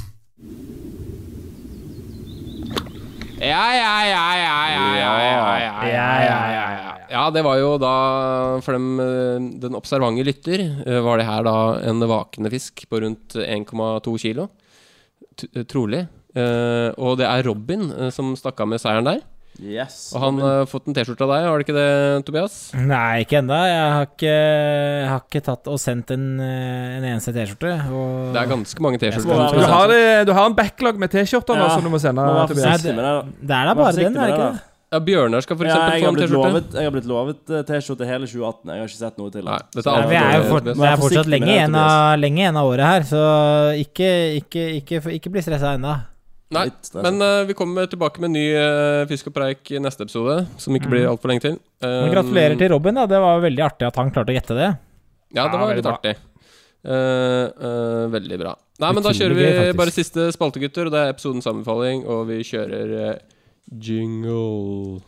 [SPEAKER 1] Ja, ja, ja, ja, ja, ja, ja, ja, ja, ja, ja, ja. Ja, det var jo da, for dem, eh, den observante lytter, eh, var det her da en vakende fisk på rundt 1,2 kilo. T eh, trolig. Eh, og det er Robin eh, som stakk av med seieren der.
[SPEAKER 8] Yes.
[SPEAKER 1] Og han har fått en T-skjorte av deg, har det ikke det, Tobias?
[SPEAKER 6] Nei, ikke ennå. Jeg har ikke, jeg har ikke tatt og sendt en, eh, en eneste T-skjorte. og-
[SPEAKER 1] Det er ganske mange T-skjorter.
[SPEAKER 8] Jeg
[SPEAKER 1] som
[SPEAKER 8] skal
[SPEAKER 1] er
[SPEAKER 7] Du
[SPEAKER 8] være-
[SPEAKER 1] sendt.
[SPEAKER 7] har, det, du har en backlog med T-skjorter nå
[SPEAKER 8] Ja.
[SPEAKER 7] som du må sende.
[SPEAKER 8] Må være
[SPEAKER 6] Nei,
[SPEAKER 7] Tobias.
[SPEAKER 8] forsiktig med det, da.
[SPEAKER 6] Det er da
[SPEAKER 8] Vær
[SPEAKER 6] bare
[SPEAKER 8] forsiktig
[SPEAKER 6] den, er
[SPEAKER 8] med
[SPEAKER 6] det ikke
[SPEAKER 8] det, da.
[SPEAKER 6] det?
[SPEAKER 1] Ja, Bjørnar skal for
[SPEAKER 8] Ja,
[SPEAKER 1] eksempel få
[SPEAKER 8] jeg, har
[SPEAKER 1] en
[SPEAKER 8] blitt
[SPEAKER 1] T-skjorte.
[SPEAKER 8] lovet, jeg har blitt lovet eh, T-skjorte hele 2018. Jeg har ikke sett noe til.
[SPEAKER 1] Nei, dette er
[SPEAKER 8] Så-
[SPEAKER 6] Nei,
[SPEAKER 1] alt
[SPEAKER 6] vi er jo for,
[SPEAKER 1] Tobias.
[SPEAKER 6] det er fortsatt
[SPEAKER 8] Vær forsiktig med
[SPEAKER 6] lenge
[SPEAKER 8] det,
[SPEAKER 6] igjen av, lenge igjen av året her, så ikke, ikke, ikke, ikke bli stressa ennå.
[SPEAKER 1] Nei,
[SPEAKER 8] Litt stress.
[SPEAKER 1] men eh, vi kommer tilbake med en ny eh, Fisk og preik i neste episode, som ikke blir altfor lenge til.
[SPEAKER 6] Mm. Men
[SPEAKER 1] Um,
[SPEAKER 6] gratulerer til Robin, da. Det var veldig artig at han klarte å gjette det.
[SPEAKER 1] Ja, det
[SPEAKER 7] Ja,
[SPEAKER 1] var litt
[SPEAKER 7] veldig bra.
[SPEAKER 1] artig. Eh, eh, veldig bra. Nei, men da
[SPEAKER 6] Utrolig
[SPEAKER 1] kjører vi
[SPEAKER 6] gøy, faktisk.
[SPEAKER 1] bare siste spalte, gutter, og det er episodens sammenfaling, og vi kjører eh, jingle.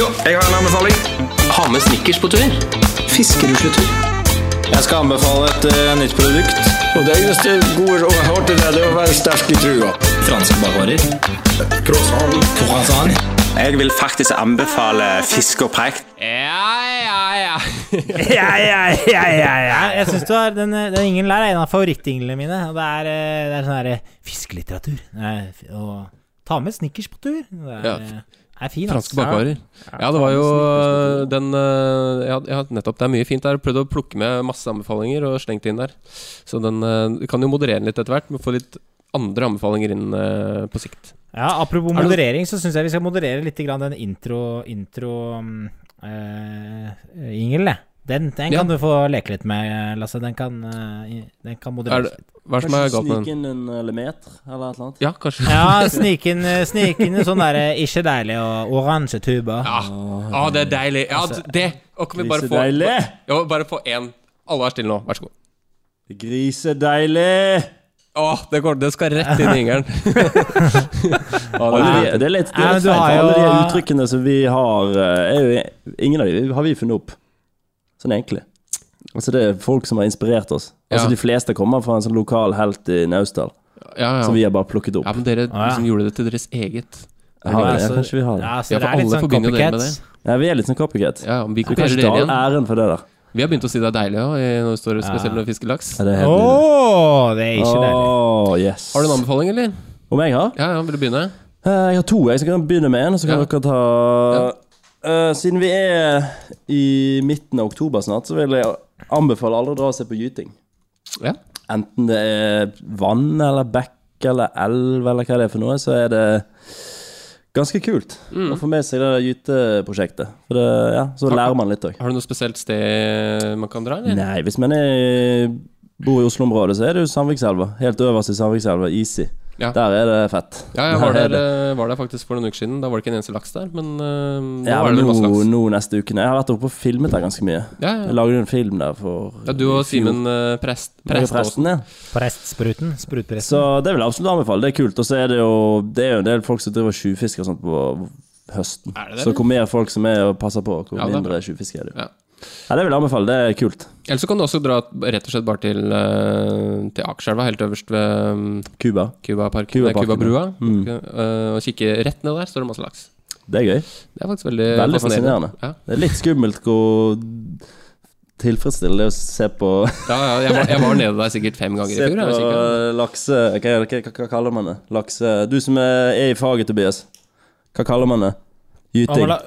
[SPEAKER 4] Jo, jeg har en anbefaling.
[SPEAKER 9] Ha med snickers på tur. Fiskerusletur.
[SPEAKER 8] Jeg skal anbefale et eh, nytt produkt.
[SPEAKER 9] Og det eneste gode rådet jeg har til deg, det er å være sterk i trua. Franske bakvarer. Croissant.
[SPEAKER 11] Jeg vil faktisk anbefale fisk og preik.
[SPEAKER 1] Ja, ja, [LAUGHS] ja.
[SPEAKER 6] Ja, jeg synes du er, den, den ingen lær er en av favorittinglene mine. Og det er, eh, det er sånn her eh, fiskelitteratur. Nei, f- Og ta med snickers på tur. Det er,
[SPEAKER 1] Ja,
[SPEAKER 6] eh, er fin, ass.
[SPEAKER 1] Franske bakvarer. Ja, det var jo øh, den øh, ja, ja, nettopp. Det er mye fint der. Prøvd å plukke med masse anbefalinger og slengt inn der. Så den øh, kan jo moderere den litt etter hvert, men få litt andre anbefalinger inn øh, på sikt.
[SPEAKER 6] Ja, apropos
[SPEAKER 1] Er det-
[SPEAKER 6] moderering, så syns jeg vi skal moderere litt grann den intro, intro mm, eh, jingle, jeg. Den, den
[SPEAKER 1] Ja.
[SPEAKER 6] kan du få leke litt med, Lasse. Den kan, eh, i- den kan
[SPEAKER 1] Er
[SPEAKER 6] modereres
[SPEAKER 1] det,
[SPEAKER 6] litt.
[SPEAKER 1] hva er det som er
[SPEAKER 8] Kanskje
[SPEAKER 1] galt med
[SPEAKER 8] snike
[SPEAKER 1] den?
[SPEAKER 8] inn en elemeter eller et eller annet.
[SPEAKER 1] Ja, kanskje.
[SPEAKER 6] Ja, snike inn eh, snike inn sånn derre ikke deilig og oransje tuber.
[SPEAKER 1] Ja, Å, det er deilig. Ja, det! Og kan vi bare få
[SPEAKER 8] Grisedeilig!
[SPEAKER 1] Ja, bare få én. Alle er stille nå, vær så god.
[SPEAKER 8] Grisedeilig!
[SPEAKER 1] Å, det, går, det skal rett inn i ingeren.
[SPEAKER 8] Alle de, det er litt, det
[SPEAKER 6] Ja,
[SPEAKER 8] er
[SPEAKER 6] men
[SPEAKER 8] litt
[SPEAKER 6] du
[SPEAKER 8] feil. for
[SPEAKER 6] har jo-
[SPEAKER 8] Alle de uttrykkene som vi har, eh, er jo, ingen av de har vi funnet opp. Sånn egentlig. Altså Det er folk som har inspirert oss. Altså
[SPEAKER 1] Ja.
[SPEAKER 8] De fleste kommer fra en sånn lokal helt i Naustdal,
[SPEAKER 1] [LAUGHS] Ja,
[SPEAKER 8] som
[SPEAKER 1] ja.
[SPEAKER 8] vi har bare plukket
[SPEAKER 1] ja,
[SPEAKER 8] opp.
[SPEAKER 1] men dere
[SPEAKER 6] ja.
[SPEAKER 1] liksom gjorde det til deres eget.
[SPEAKER 8] Jeg har det, ja,
[SPEAKER 6] altså-
[SPEAKER 8] kanskje vi har det.
[SPEAKER 6] Ja, så
[SPEAKER 1] Ja, for
[SPEAKER 6] det er litt
[SPEAKER 1] alle
[SPEAKER 6] sånn
[SPEAKER 1] forbinder jo det med
[SPEAKER 6] copycats.
[SPEAKER 8] Ja, vi er litt sånn copycat.
[SPEAKER 1] Ja, vi
[SPEAKER 8] Vi kan
[SPEAKER 1] kopierer
[SPEAKER 8] ikke
[SPEAKER 1] dere
[SPEAKER 8] ta
[SPEAKER 1] igjen.
[SPEAKER 8] all æren for det der.
[SPEAKER 1] Vi har begynt å si det er deilig òg, når vi står og skal
[SPEAKER 6] Ja.
[SPEAKER 1] selge fiskelaks.
[SPEAKER 8] Ja, det er
[SPEAKER 6] Å,
[SPEAKER 8] helt nydelig.
[SPEAKER 6] det er ikke deilig.
[SPEAKER 8] Åh, yes.
[SPEAKER 1] Har du en anbefaling, eller?
[SPEAKER 8] Om jeg har?
[SPEAKER 1] Ja, ja, vil du begynne?
[SPEAKER 8] Eh, Jeg har to. Jeg kan begynne med en, og så kan
[SPEAKER 1] Ja.
[SPEAKER 8] dere ta Eh, Siden vi er i midten av oktober snart, så vil jeg anbefale alle å dra og se på gyting.
[SPEAKER 1] Ja.
[SPEAKER 8] Enten det er vann eller bekk eller elv eller hva det er for noe, så er det ganske kult
[SPEAKER 1] Mm.
[SPEAKER 8] å få med seg det der gyteprosjektet. For det, ja, så lærer man litt òg.
[SPEAKER 1] Har du noe spesielt sted man kan dra, eller?
[SPEAKER 8] Nei, hvis man er, bor i Oslo-området, så er det jo Sandvikselva. Helt øverst i Sandvikselva, easy.
[SPEAKER 1] Ja.
[SPEAKER 8] Der er det fett.
[SPEAKER 1] Ja, [LAUGHS] jeg
[SPEAKER 8] Der
[SPEAKER 1] var der,
[SPEAKER 8] er det-
[SPEAKER 1] eh, var der faktisk for noen uker siden. Da var det ikke en eneste laks der, men eh, nå
[SPEAKER 8] Ja,
[SPEAKER 1] er det vel
[SPEAKER 8] nå,
[SPEAKER 1] masse laks.
[SPEAKER 8] nå neste ukene. Jeg har vært oppe og filmet der ganske mye.
[SPEAKER 1] Ja,
[SPEAKER 8] Jeg
[SPEAKER 1] ja.
[SPEAKER 8] lagde jo en film der for
[SPEAKER 1] ja, du og Simen eh, Prest,
[SPEAKER 8] Jeg er
[SPEAKER 1] Preståsen.
[SPEAKER 8] presten, ja.
[SPEAKER 6] Prestspruten. Sprutpresten.
[SPEAKER 8] Så det vil jeg absolutt anbefale. Det er kult. Og så er det jo Det er jo en del folk som driver og tjuvfisker og sånt på høsten.
[SPEAKER 1] Er det det,
[SPEAKER 8] så hvor mer folk som er og passer på, hvor
[SPEAKER 1] Ja, det er bra.
[SPEAKER 8] mindre tjuvfiske er det.
[SPEAKER 1] Ja.
[SPEAKER 8] Ja. det vil jeg anbefale. Det er kult.
[SPEAKER 1] Eller så kan du også dra rett og slett bare til, eh, til Akerselva, helt øverst ved um,
[SPEAKER 8] Cuba.
[SPEAKER 1] Cubaparken,
[SPEAKER 8] Cubaparken,
[SPEAKER 1] nei, Cubabrua,
[SPEAKER 8] Mm.
[SPEAKER 1] eh, og kikke rett ned der, står det masse laks.
[SPEAKER 8] Det er gøy.
[SPEAKER 1] Det er faktisk veldig,
[SPEAKER 8] Veldig fascinerende.
[SPEAKER 1] Ja.
[SPEAKER 8] Det er litt skummelt hvor tilfredsstillende det er å se på,
[SPEAKER 1] Ja, ja, jeg, var, jeg var nede der sikkert fem ganger i
[SPEAKER 8] se
[SPEAKER 1] fjor.
[SPEAKER 8] på
[SPEAKER 1] jeg, sikkert.
[SPEAKER 8] lakse... Hva, er det- hva, hva kaller man det? Lakse... Du som er, er i faget, Tobias. Hva kaller man det?
[SPEAKER 6] Hva var
[SPEAKER 8] Gyting.
[SPEAKER 6] la-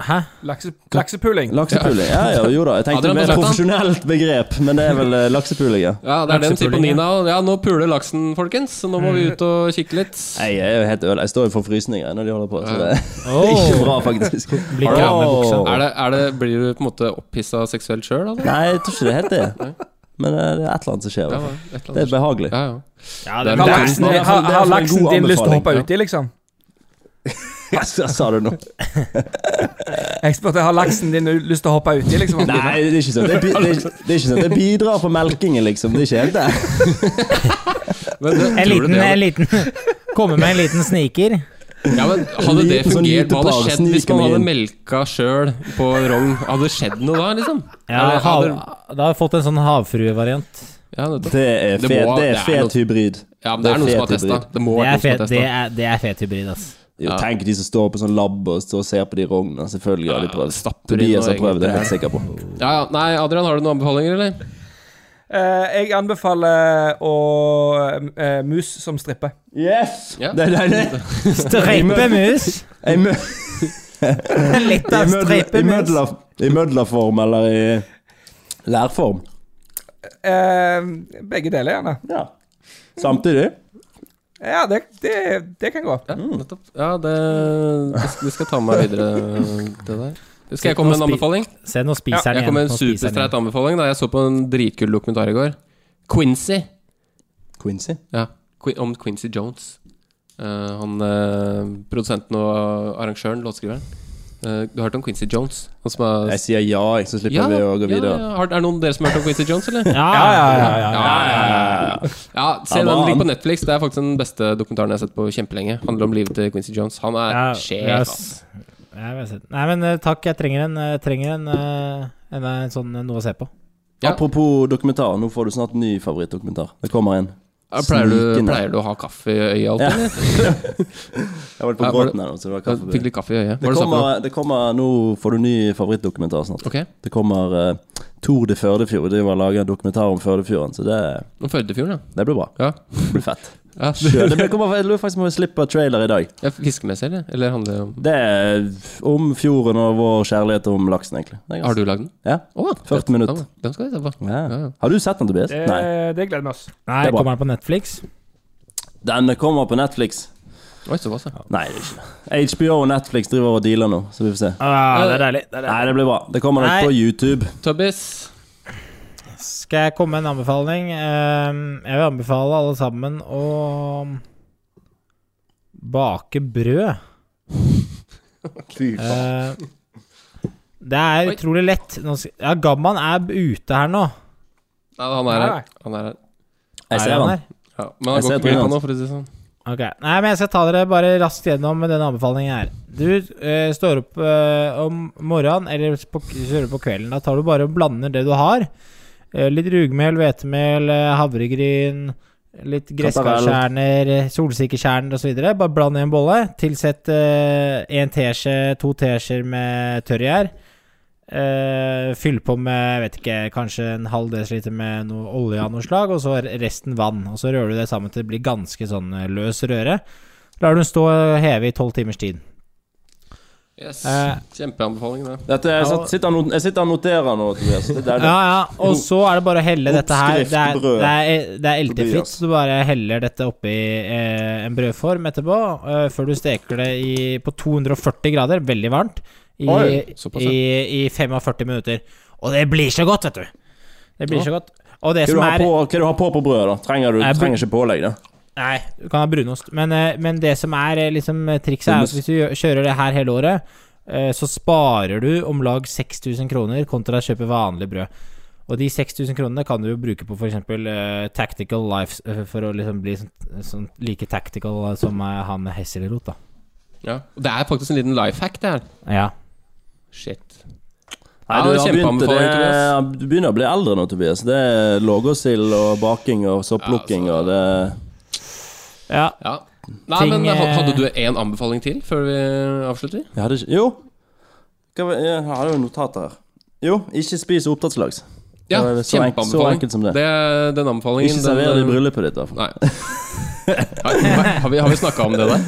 [SPEAKER 6] Hæ?
[SPEAKER 7] Lakse, laksepuling.
[SPEAKER 8] Laksepuling. Ja, ja, jo da. Jeg tenkte
[SPEAKER 1] Adrian
[SPEAKER 8] mer
[SPEAKER 1] Bratland.
[SPEAKER 8] profesjonelt begrep, men det er vel eh, laksepuling, ja.
[SPEAKER 1] Ja, det er den sier på
[SPEAKER 6] Laksepuling,
[SPEAKER 1] Nina. Ja, nå puler laksen, folkens. Så nå må
[SPEAKER 6] Mm.
[SPEAKER 1] vi ut og kikke litt.
[SPEAKER 8] Nei, jeg er jo helt øl. Jeg står jo for frysninger når de holder på, så det
[SPEAKER 6] Åh.
[SPEAKER 8] er ikke bra, faktisk.
[SPEAKER 6] Blir ikke av med buksa.
[SPEAKER 1] Er det, er det, blir du på en måte opphissa seksuelt sjøl, altså?
[SPEAKER 8] Nei, jeg tror ikke det er helt det. Men eh, det er et eller annet som skjer. i hvert fall.
[SPEAKER 1] et eller
[SPEAKER 8] Det
[SPEAKER 1] annet.
[SPEAKER 8] er behagelig.
[SPEAKER 1] Ja,
[SPEAKER 8] [LAUGHS]
[SPEAKER 1] ja.
[SPEAKER 6] Ja,
[SPEAKER 1] det er
[SPEAKER 7] Har
[SPEAKER 1] det.
[SPEAKER 7] laksen,
[SPEAKER 8] Det er-
[SPEAKER 7] har,
[SPEAKER 8] det er
[SPEAKER 7] har
[SPEAKER 8] en
[SPEAKER 7] laksen
[SPEAKER 8] god
[SPEAKER 7] din lyst til å
[SPEAKER 8] anbefaling.
[SPEAKER 7] hoppe uti, liksom?
[SPEAKER 8] Hva sa du nå?
[SPEAKER 7] Jeg spurte har laksen din lyst til å hoppe uti, liksom.
[SPEAKER 8] Nei, det er ikke sånn. Det, er bi- det, er- det er ikke sånn. det bidrar på melkingen, liksom. Det er ikke helt det.
[SPEAKER 1] Men det,
[SPEAKER 6] En
[SPEAKER 1] tror du
[SPEAKER 6] liten,
[SPEAKER 1] det,
[SPEAKER 6] en liten [LAUGHS] Komme med en liten sniker.
[SPEAKER 1] [LAUGHS] ja, men hadde det fungert?
[SPEAKER 8] Liten sånn
[SPEAKER 1] Hva hadde
[SPEAKER 8] gytepar
[SPEAKER 1] skjedd hvis man
[SPEAKER 8] sniker meg
[SPEAKER 1] hadde
[SPEAKER 8] inn.
[SPEAKER 1] melka sjøl på rogn? Hadde det skjedd noe da, liksom?
[SPEAKER 6] Ja,
[SPEAKER 1] Eller
[SPEAKER 6] hav,
[SPEAKER 1] hadde-
[SPEAKER 6] da har jeg fått en sånn havfruevariant.
[SPEAKER 1] ja, nettopp.
[SPEAKER 8] Det er
[SPEAKER 1] Det
[SPEAKER 8] fet,
[SPEAKER 1] må-
[SPEAKER 8] det
[SPEAKER 1] det
[SPEAKER 8] er
[SPEAKER 1] er noe-
[SPEAKER 8] fet hybrid.
[SPEAKER 1] ja, men det er noen som har
[SPEAKER 8] fet hybrid.
[SPEAKER 1] testa. Det må
[SPEAKER 6] Det
[SPEAKER 1] være noen som
[SPEAKER 6] er
[SPEAKER 1] har
[SPEAKER 6] fet, det
[SPEAKER 1] testa.
[SPEAKER 6] er, det er fet hybrid, ass.
[SPEAKER 8] Jo, tenk de som står på sånn lab og står og ser på de rognene. Selvfølgelig har de prøvd.
[SPEAKER 1] stapper inn
[SPEAKER 8] Tobias
[SPEAKER 1] noe
[SPEAKER 8] har prøvd, det er jeg helt sikker på.
[SPEAKER 1] Ja, ja. Nei, Adrian, har du noen anbefalinger, eller?
[SPEAKER 7] Eh, jeg anbefaler å eh, mus som stripper.
[SPEAKER 8] Yes!
[SPEAKER 1] Ja.
[SPEAKER 8] Det er deilig.
[SPEAKER 1] [LAUGHS]
[SPEAKER 6] Streipe mus.
[SPEAKER 8] Jeg mø-
[SPEAKER 6] Litt
[SPEAKER 8] I
[SPEAKER 6] av
[SPEAKER 8] mødla-
[SPEAKER 6] streipe
[SPEAKER 8] i
[SPEAKER 6] mus.
[SPEAKER 8] mødla- I mødlaform eller i lærform.
[SPEAKER 7] Eh, begge deler, gjerne.
[SPEAKER 8] Ja. Samtidig.
[SPEAKER 7] Ja, det, det, det kan gå.
[SPEAKER 1] Ja, nettopp. Ja, det, det sk- det skal jeg ta med meg videre, det der. Skal jeg komme med en
[SPEAKER 6] Nå spi-
[SPEAKER 1] anbefaling?
[SPEAKER 6] Se, nå
[SPEAKER 1] Ja,
[SPEAKER 6] spiser
[SPEAKER 1] jeg
[SPEAKER 6] den
[SPEAKER 1] kom
[SPEAKER 6] igjen.
[SPEAKER 1] med en
[SPEAKER 6] Nå spiser den
[SPEAKER 1] superstreit
[SPEAKER 6] igjen.
[SPEAKER 1] anbefaling. da Jeg så på en dritkul dokumentar i går. Quincy.
[SPEAKER 8] Quincy.
[SPEAKER 1] Ja, Qui- om Quincy Jones. Eh, han eh, produsenten og arrangøren, låtskriveren. Eh, du har hørt om Quincy Jones? Han som er
[SPEAKER 8] Jeg sier ja, jeg, så slipper vi å gå videre.
[SPEAKER 1] ja. Har, er det noen av dere som har hørt om Quincy Jones,
[SPEAKER 8] [LAUGHS]
[SPEAKER 1] eller?
[SPEAKER 6] Ja, ja, ja.
[SPEAKER 1] Ja, se
[SPEAKER 8] Ja,
[SPEAKER 1] den
[SPEAKER 8] da,
[SPEAKER 1] ligger på
[SPEAKER 8] han-
[SPEAKER 1] Netflix. Det er faktisk den beste dokumentaren jeg har sett på kjempelenge. Handler om livet til Quincy Jones. Han er
[SPEAKER 6] Ja,
[SPEAKER 1] sjef,
[SPEAKER 6] jeg
[SPEAKER 1] ass.
[SPEAKER 6] s- jeg vet ikke. Nei, men eh, takk, jeg trenger en, eh, trenger en, eh, en, eh, sånn eh, noe å se på.
[SPEAKER 1] Ja.
[SPEAKER 8] Apropos dokumentar, nå får du snart ny favorittdokumentar. Det kommer en.
[SPEAKER 1] Ja, Pleier du,
[SPEAKER 8] Snikende.
[SPEAKER 1] pleier du å ha kaffe i øyet alltid?
[SPEAKER 8] Ja.
[SPEAKER 1] eller?
[SPEAKER 8] Jeg var litt
[SPEAKER 1] Ja,
[SPEAKER 8] på
[SPEAKER 1] var
[SPEAKER 8] gråten her nå, så det var
[SPEAKER 1] Ja,
[SPEAKER 8] kaffe.
[SPEAKER 1] Fikk litt kaffe i øyet. Hva er det
[SPEAKER 8] Det
[SPEAKER 1] du sa for noe?
[SPEAKER 8] kommer, det kommer, nå får du ny favorittdokumentar snart.
[SPEAKER 1] Ok,
[SPEAKER 8] Det kommer eh, Tour de Førdefjord. De var laga en dokumentar om Førdefjorden, så det,
[SPEAKER 1] om Førdefjorden,
[SPEAKER 8] det blir bra.
[SPEAKER 1] ja.
[SPEAKER 8] Det blir fett.
[SPEAKER 1] ja.
[SPEAKER 8] Sjø. Det blir- kommer jeg lurer faktisk på om vi slipper trailer i dag.
[SPEAKER 1] ja Fiskemessig, eller? Eller handler det om
[SPEAKER 8] Det er om fjorden og vår kjærlighet og om laksen, egentlig. Det er ganske-
[SPEAKER 1] Har du lagd den?
[SPEAKER 8] Ja.
[SPEAKER 1] Å,
[SPEAKER 8] 40 minutter.
[SPEAKER 1] Den, den skal vi se på.
[SPEAKER 8] Ja.
[SPEAKER 1] Ja, ja.
[SPEAKER 8] Har du sett den, Tobias?
[SPEAKER 7] Det,
[SPEAKER 8] Nei.
[SPEAKER 7] Eh, det gleder vi oss.
[SPEAKER 6] Nei,
[SPEAKER 8] Det er bra.
[SPEAKER 6] kommer den på Netflix?
[SPEAKER 8] Den kommer på Netflix.
[SPEAKER 1] Oi, såpass, ja.
[SPEAKER 8] Nei, det er ikke det. HBO og Netflix driver og dealer nå, så vi får se.
[SPEAKER 6] Ah,
[SPEAKER 1] det er
[SPEAKER 6] deilig.
[SPEAKER 8] Nei, det blir bra. Det kommer nok
[SPEAKER 6] Nei.
[SPEAKER 8] på YouTube.
[SPEAKER 1] Tobbis.
[SPEAKER 6] Skal jeg komme med en anbefaling? Ehm, Jeg vil anbefale alle sammen å bake brød. Eh, Det er
[SPEAKER 1] Oi.
[SPEAKER 6] utrolig lett. Nå skal, ja, Gamman er ute her nå.
[SPEAKER 1] Nei, han er
[SPEAKER 7] Nei.
[SPEAKER 1] her. Han er her.
[SPEAKER 8] Jeg
[SPEAKER 6] Er
[SPEAKER 8] ser
[SPEAKER 6] han
[SPEAKER 8] den.
[SPEAKER 6] her?
[SPEAKER 1] Ja, men han
[SPEAKER 8] Jeg
[SPEAKER 1] går
[SPEAKER 8] ser
[SPEAKER 1] ikke glipp av
[SPEAKER 8] trynet
[SPEAKER 1] noe, for å si det sånn.
[SPEAKER 6] Ok, Nei, men jeg skal ta dere bare raskt gjennom denne anbefalingen her. Du eh, står opp eh, om morgenen eller på, kjører på kvelden. Da tar du bare og blander det du har. Eh, litt rugmel, hvetemel, eh, havregryn, litt gresskarkjerner, solsikkekjerner osv. Bare bland i en bolle. Tilsett eh, en teskje, to teskjeer med tørrgjær. Eh, fyll på med jeg vet ikke, kanskje en halv desiliter med noe olje av noe slag, og så resten vann. Og så rører du det sammen til det blir ganske sånn eh, løs røre. Lar du den stå og heve i tolv timers tid.
[SPEAKER 1] Yes.
[SPEAKER 6] Eh.
[SPEAKER 1] Kjempeanbefaling, det.
[SPEAKER 8] Dette, jeg, satt, sitter og not- jeg sitter og noterer nå, Tobias. Det er
[SPEAKER 6] Ja,
[SPEAKER 8] det.
[SPEAKER 6] ja, og så er det bare å helle dette her. Det er,
[SPEAKER 8] Oppskriftbrød.
[SPEAKER 6] det er, det er eltefritt,
[SPEAKER 8] Tobias.
[SPEAKER 6] så du bare heller dette oppi eh, en brødform etterpå, eh, før du steker det i, på 240 grader, veldig varmt, i,
[SPEAKER 1] Oi, såpass, ja.
[SPEAKER 6] i, i 45 minutter. Og det blir så godt, vet du! Det blir så godt. Og det
[SPEAKER 8] Hva du
[SPEAKER 6] som
[SPEAKER 8] har
[SPEAKER 6] er
[SPEAKER 8] på, hva du har på på brødet, da? Trenger du
[SPEAKER 6] Jeg
[SPEAKER 8] trenger ikke pålegg, da?
[SPEAKER 6] Nei, du kan ha brunost. Men, eh, men det som er eh, liksom eh, trikset, er at hvis du gjør- kjører det her hele året, eh, så sparer du om lag 6000 kroner kontra å kjøpe vanlig brød. Og de 6000 kronene kan du jo bruke på f.eks. Uh, Tactical Lives, eh, for å liksom bli sånn, sånn like tactical som eh, han Hesselrot, da.
[SPEAKER 1] Ja. Og Det er faktisk en liten life hack, det her.
[SPEAKER 6] Ja.
[SPEAKER 1] Shit.
[SPEAKER 8] Nei,
[SPEAKER 1] Ja,
[SPEAKER 8] du,
[SPEAKER 1] det er
[SPEAKER 8] har begynt, det,
[SPEAKER 1] kjempeanbefaling, Tobias.
[SPEAKER 8] du begynner å bli eldre nå, Tobias. Det er lågåsild og baking og sopplukking og det
[SPEAKER 6] ja.
[SPEAKER 1] Ja. Nei,
[SPEAKER 6] Ting,
[SPEAKER 1] men ha-
[SPEAKER 6] eh,
[SPEAKER 1] hadde du én anbefaling til før vi avslutter?
[SPEAKER 8] Jeg hadde ikke Jo! Hva var- Jeg hadde jo notater her. Jo, ikke spis oppdrettslaks.
[SPEAKER 1] Ja,
[SPEAKER 8] Det er så enk- så
[SPEAKER 1] kjempeanbefaling.
[SPEAKER 8] enkelt som det.
[SPEAKER 1] er den eh, anbefalingen [LAUGHS]
[SPEAKER 8] Ikke server det i bryllupet ditt, i hvert fall.
[SPEAKER 1] Nei. Har, har vi, har vi snakka om det der?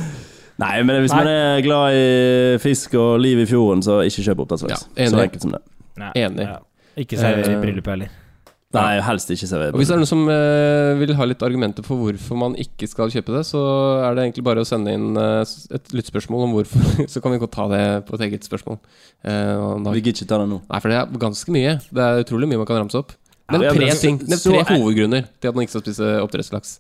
[SPEAKER 8] Nei, men hvis
[SPEAKER 7] Nei.
[SPEAKER 8] man er glad i fisk og liv i fjorden, så ikke kjøp oppdrettslaks.
[SPEAKER 1] Ja, enig.
[SPEAKER 8] så enkelt som det.
[SPEAKER 6] Nei.
[SPEAKER 1] Enig.
[SPEAKER 6] Ja. Ikke server i
[SPEAKER 1] Eh,
[SPEAKER 6] bryllupet heller.
[SPEAKER 8] Nei, helst ikke servere.
[SPEAKER 1] Og hvis det er noen som eh, vil ha litt argumenter for hvorfor man ikke skal kjøpe det, så er det egentlig bare å sende inn eh, s- et lyttspørsmål om hvorfor. [LAUGHS] Så kan vi godt ta det på et eget spørsmål. Eh, og da-
[SPEAKER 8] Vi gidder ikke ta det nå.
[SPEAKER 1] Nei, for det er ganske mye. Det er utrolig mye man kan ramse opp. Nevn
[SPEAKER 8] Ja, men
[SPEAKER 1] tre
[SPEAKER 8] altså,
[SPEAKER 1] ting. Nevn
[SPEAKER 8] så
[SPEAKER 1] tre
[SPEAKER 8] er-
[SPEAKER 1] hovedgrunner til at man ikke skal spise oppdrettslaks.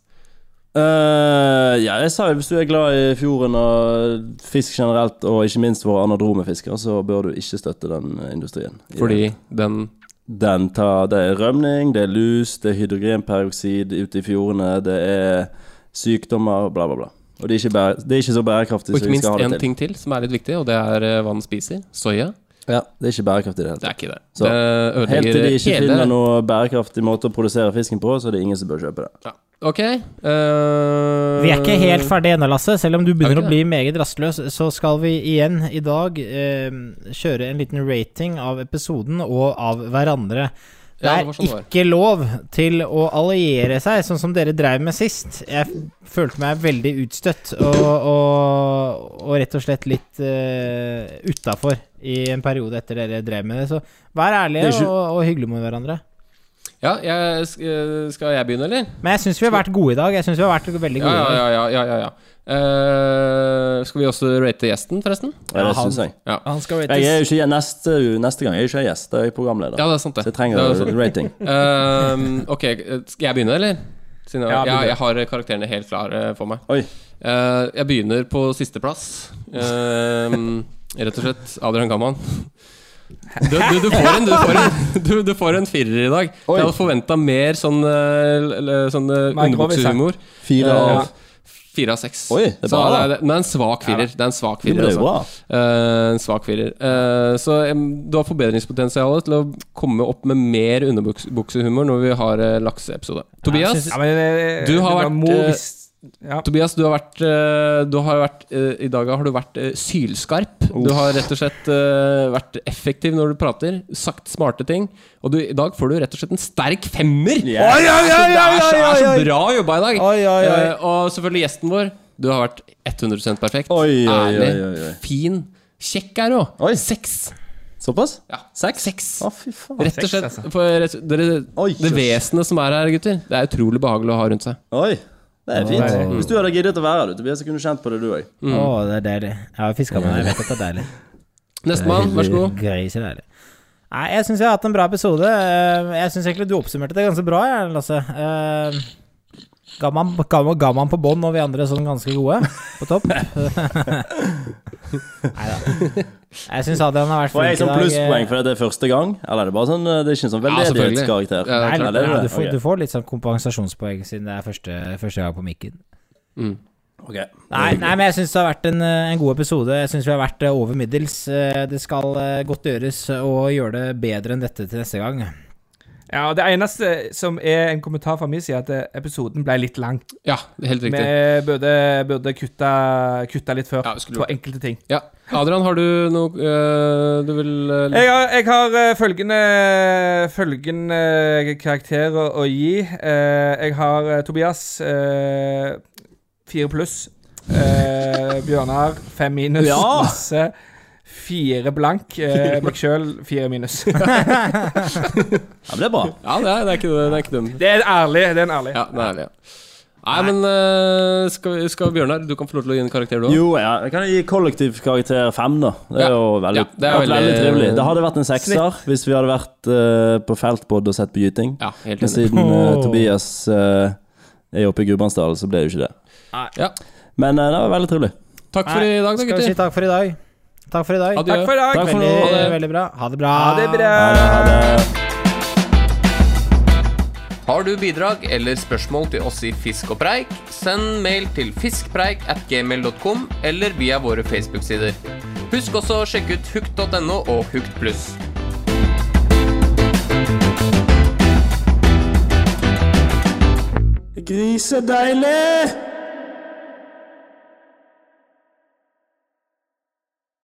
[SPEAKER 8] Eh, ja, jeg sa jo hvis du er glad i fjorden og fisk generelt, og ikke minst våre anadrome fiskere, så bør du ikke støtte den industrien.
[SPEAKER 1] Fordi den
[SPEAKER 8] Den tar, det er rømning, det er lus, det er hydrogenperoksid ute i fjordene, det er sykdommer, bla, bla, bla. Og det er ikke, bære, det er ikke så bærekraftig
[SPEAKER 1] Og
[SPEAKER 8] som
[SPEAKER 1] ikke
[SPEAKER 8] vi
[SPEAKER 1] minst
[SPEAKER 8] skal ha
[SPEAKER 1] én
[SPEAKER 8] det til.
[SPEAKER 1] ting til som er litt viktig, og det er eh, hva den spiser. Soya.
[SPEAKER 8] Ja, det er ikke bærekraftig i det hele
[SPEAKER 1] Det
[SPEAKER 8] tatt.
[SPEAKER 1] er ikke det.
[SPEAKER 8] Så,
[SPEAKER 1] det
[SPEAKER 8] Helt til
[SPEAKER 1] ødelegger
[SPEAKER 8] de ikke finner
[SPEAKER 1] hele
[SPEAKER 8] noe bærekraftig måte å produsere fisken på, så er det ingen som bør kjøpe det.
[SPEAKER 1] ja. Ok. eh,
[SPEAKER 6] Vi er ikke helt ferdig ennå, Lasse. Selv om du
[SPEAKER 1] Er
[SPEAKER 6] begynner
[SPEAKER 1] vi ikke
[SPEAKER 6] å bli meget rastløs, så skal vi igjen i dag eh, kjøre en liten rating av episoden og av hverandre. Det
[SPEAKER 1] Ja,
[SPEAKER 6] er
[SPEAKER 1] det var sånn det var.
[SPEAKER 6] ikke lov til å alliere seg, sånn som dere dreiv med sist. Jeg f- følte meg veldig utstøtt og, og, og rett og slett litt uh, utafor i en periode etter dere drev med det. Så vær ærlige
[SPEAKER 8] Det er ikke-
[SPEAKER 6] og, og hyggelige mot hverandre.
[SPEAKER 1] Ja, jeg, sk- eh, skal jeg begynne, eller?
[SPEAKER 6] Men jeg syns vi har vært gode i dag. Jeg syns vi har vært veldig
[SPEAKER 1] Ja, ja,
[SPEAKER 6] gode. i dag.
[SPEAKER 1] ja. ja, ja, ja, ja. Eh, skal vi også rate gjesten, forresten?
[SPEAKER 8] Ja, det
[SPEAKER 6] han-
[SPEAKER 8] synes jeg.
[SPEAKER 1] Ja.
[SPEAKER 6] Han skal
[SPEAKER 8] Jeg er
[SPEAKER 6] rates.
[SPEAKER 8] jo ikke neste, neste gang. Jeg er jo ikke gjest, da er jeg programleder.
[SPEAKER 1] ja, det er sant, det.
[SPEAKER 8] så jeg
[SPEAKER 1] Det
[SPEAKER 8] trenger
[SPEAKER 1] er jo sant.
[SPEAKER 8] rating.
[SPEAKER 1] Ehm, ok, skal jeg begynne, eller? Siden jeg,
[SPEAKER 7] Ja, begynn
[SPEAKER 1] ja,
[SPEAKER 7] du.
[SPEAKER 1] jeg har karakterene helt klare for meg.
[SPEAKER 8] Oi.
[SPEAKER 1] Eh, jeg begynner på sisteplass. Ehm, rett og slett Adrian Gamman. Du, du, du får en, du får en, [LAUGHS] du, du får en firer i dag.
[SPEAKER 8] Oi.
[SPEAKER 1] Jeg hadde forventa mer sånn, eh, l- l- sånn eh,
[SPEAKER 7] Mer grovis, ja.
[SPEAKER 1] underbuksehumor.
[SPEAKER 8] Fire
[SPEAKER 1] Eh,
[SPEAKER 8] av
[SPEAKER 1] Fire av seks.
[SPEAKER 8] Oi, det er
[SPEAKER 1] Så
[SPEAKER 8] bra, da.
[SPEAKER 1] det, er, det er en svak firer. Det er en svak
[SPEAKER 8] Det
[SPEAKER 1] firer,
[SPEAKER 8] er jo
[SPEAKER 1] altså.
[SPEAKER 8] bra.
[SPEAKER 1] Eh, en svak firer. Eh, så em, du har forbedringspotensial til å komme opp med mer underbuksehumor når vi har eh, lakseepisode. Tobias,
[SPEAKER 7] Ja, men det-
[SPEAKER 1] Du har
[SPEAKER 7] det var
[SPEAKER 1] vært,
[SPEAKER 7] mor-
[SPEAKER 1] eh,
[SPEAKER 7] ja.
[SPEAKER 1] Tobias, du har vært, eh, du har vært eh, I dag har du vært eh, sylskarp. Du har rett og slett eh, vært effektiv når du prater, sagt smarte ting. Og du, i dag får du rett og slett en sterk femmer!
[SPEAKER 8] Ja.
[SPEAKER 1] Det er så, det er så, det er så bra jobba i dag!
[SPEAKER 7] Oi, oi, oi.
[SPEAKER 1] Eh, og selvfølgelig gjesten vår. Du har vært 100 perfekt.
[SPEAKER 8] Oi, oi, oi,
[SPEAKER 1] Ærlig,
[SPEAKER 8] oi, oi.
[SPEAKER 1] fin. Kjekk er du òg.
[SPEAKER 8] Oi.
[SPEAKER 1] Seks.
[SPEAKER 8] Såpass?
[SPEAKER 1] Ja.
[SPEAKER 8] Seks?
[SPEAKER 1] Seks.
[SPEAKER 8] Å, fy faen. altså.
[SPEAKER 1] Rett og slett. For rett, dere,
[SPEAKER 8] Oi,
[SPEAKER 1] det
[SPEAKER 8] jøss.
[SPEAKER 1] vesenet som er her, gutter, det er utrolig behagelig å ha rundt seg.
[SPEAKER 8] Oi. Det er fint. Hvis du hadde giddet å være der, Tobias, så kunne du kjent på det, du òg.
[SPEAKER 6] Å, det er deilig. Jeg har fiska med deg. Jeg vet at det er
[SPEAKER 8] [LAUGHS]
[SPEAKER 6] deilig.
[SPEAKER 1] Nestemann, vær så god.
[SPEAKER 6] Greiser deilig. Nei, jeg syns jeg har hatt en bra episode. Eh, Jeg syns egentlig du oppsummerte det ganske bra, jeg, Lasse. Eh, Ga man, ga, man- ga man på bånn og vi andre sånn ganske gode? På topp? [LAUGHS] Nei da. Jeg syns Adrian har vært
[SPEAKER 8] Får jeg
[SPEAKER 6] flink i
[SPEAKER 8] sånn
[SPEAKER 6] dag. eh,
[SPEAKER 8] plusspoeng fordi det er første gang? Eller er det bare sånn eh, Det er ikke en sånn veldedighetskarakter?
[SPEAKER 1] Ja,
[SPEAKER 6] Nei,
[SPEAKER 1] selvfølgelig. Ja,
[SPEAKER 8] Eller er
[SPEAKER 6] nei, du,
[SPEAKER 8] det
[SPEAKER 6] får, du
[SPEAKER 8] det?
[SPEAKER 6] får litt sånn kompensasjonspoeng siden det er første, første gang på mikken.
[SPEAKER 8] Ok. Ok.
[SPEAKER 6] Nei, nei, men jeg syns det har vært en, eh, en god episode. Jeg syns vi har vært eh, over middels. Eh, Det skal eh, godt gjøres å gjøre det bedre enn dette til neste gang.
[SPEAKER 7] ja, og det eneste som er en kommentar fra min side, er at eh, episoden ble litt lang.
[SPEAKER 1] Ja, helt
[SPEAKER 7] Vi
[SPEAKER 1] riktig.
[SPEAKER 7] burde, burde kutta, kutta litt før
[SPEAKER 1] Ja, vi skulle
[SPEAKER 7] på enkelte ting.
[SPEAKER 1] Ja. Adrian, har du noe øh, du vil øh,
[SPEAKER 7] Jeg har, jeg har eh, følgende, følgende karakterer å gi. Eh, jeg har eh, Tobias eh, fire pluss. [LAUGHS] Eh, Bjørnar fem minus.
[SPEAKER 8] Ja!
[SPEAKER 7] Lasse fire blank. Eh, meg sjøl fire minus.
[SPEAKER 8] Ja, men det er bra.
[SPEAKER 1] Ja, det er, det er ikke det. er ikke dum.
[SPEAKER 7] Det er ærlig. Det er en ærlig.
[SPEAKER 1] Ja, det er ærlig. Ja. Nei, men øh, skal, vi- skal Bjørnar, du kan få lov til å gi en karakter, du òg.
[SPEAKER 8] Jo, ja. Jeg kan gi kollektiv karakter fem, da. Det
[SPEAKER 1] Ja.
[SPEAKER 8] er jo veldig,
[SPEAKER 1] Ja, det er
[SPEAKER 8] vært veldig,
[SPEAKER 1] veldig-
[SPEAKER 8] trivelig. Det hadde vært en sekser hvis vi hadde vært eh, på feltbod og sett på gyting.
[SPEAKER 1] Ja, helt
[SPEAKER 8] Men
[SPEAKER 1] enig.
[SPEAKER 8] siden eh,
[SPEAKER 6] Åh.
[SPEAKER 8] Tobias eh, er oppe i Gudbrandsdalen, så ble det jo ikke det.
[SPEAKER 1] Ja.
[SPEAKER 8] Men eh, det var veldig trivelig.
[SPEAKER 1] Takk for i dag, da,
[SPEAKER 6] Skal vi si
[SPEAKER 1] gutter.
[SPEAKER 6] takk for i dag? Takk for i dag.
[SPEAKER 1] Adjø.
[SPEAKER 7] Takk for i dag.
[SPEAKER 8] Takk for
[SPEAKER 6] Veldig,
[SPEAKER 8] nå. Ha det.
[SPEAKER 6] veldig bra. Ha det bra.
[SPEAKER 7] Ha det bra.
[SPEAKER 8] Ha det.
[SPEAKER 1] Har du bidrag eller spørsmål til oss i Fisk og preik, send mail til fiskpreik at gmail.com eller via våre Facebook-sider. Husk også å sjekke ut hukt.no og Hukt pluss.
[SPEAKER 8] Grisedeilig!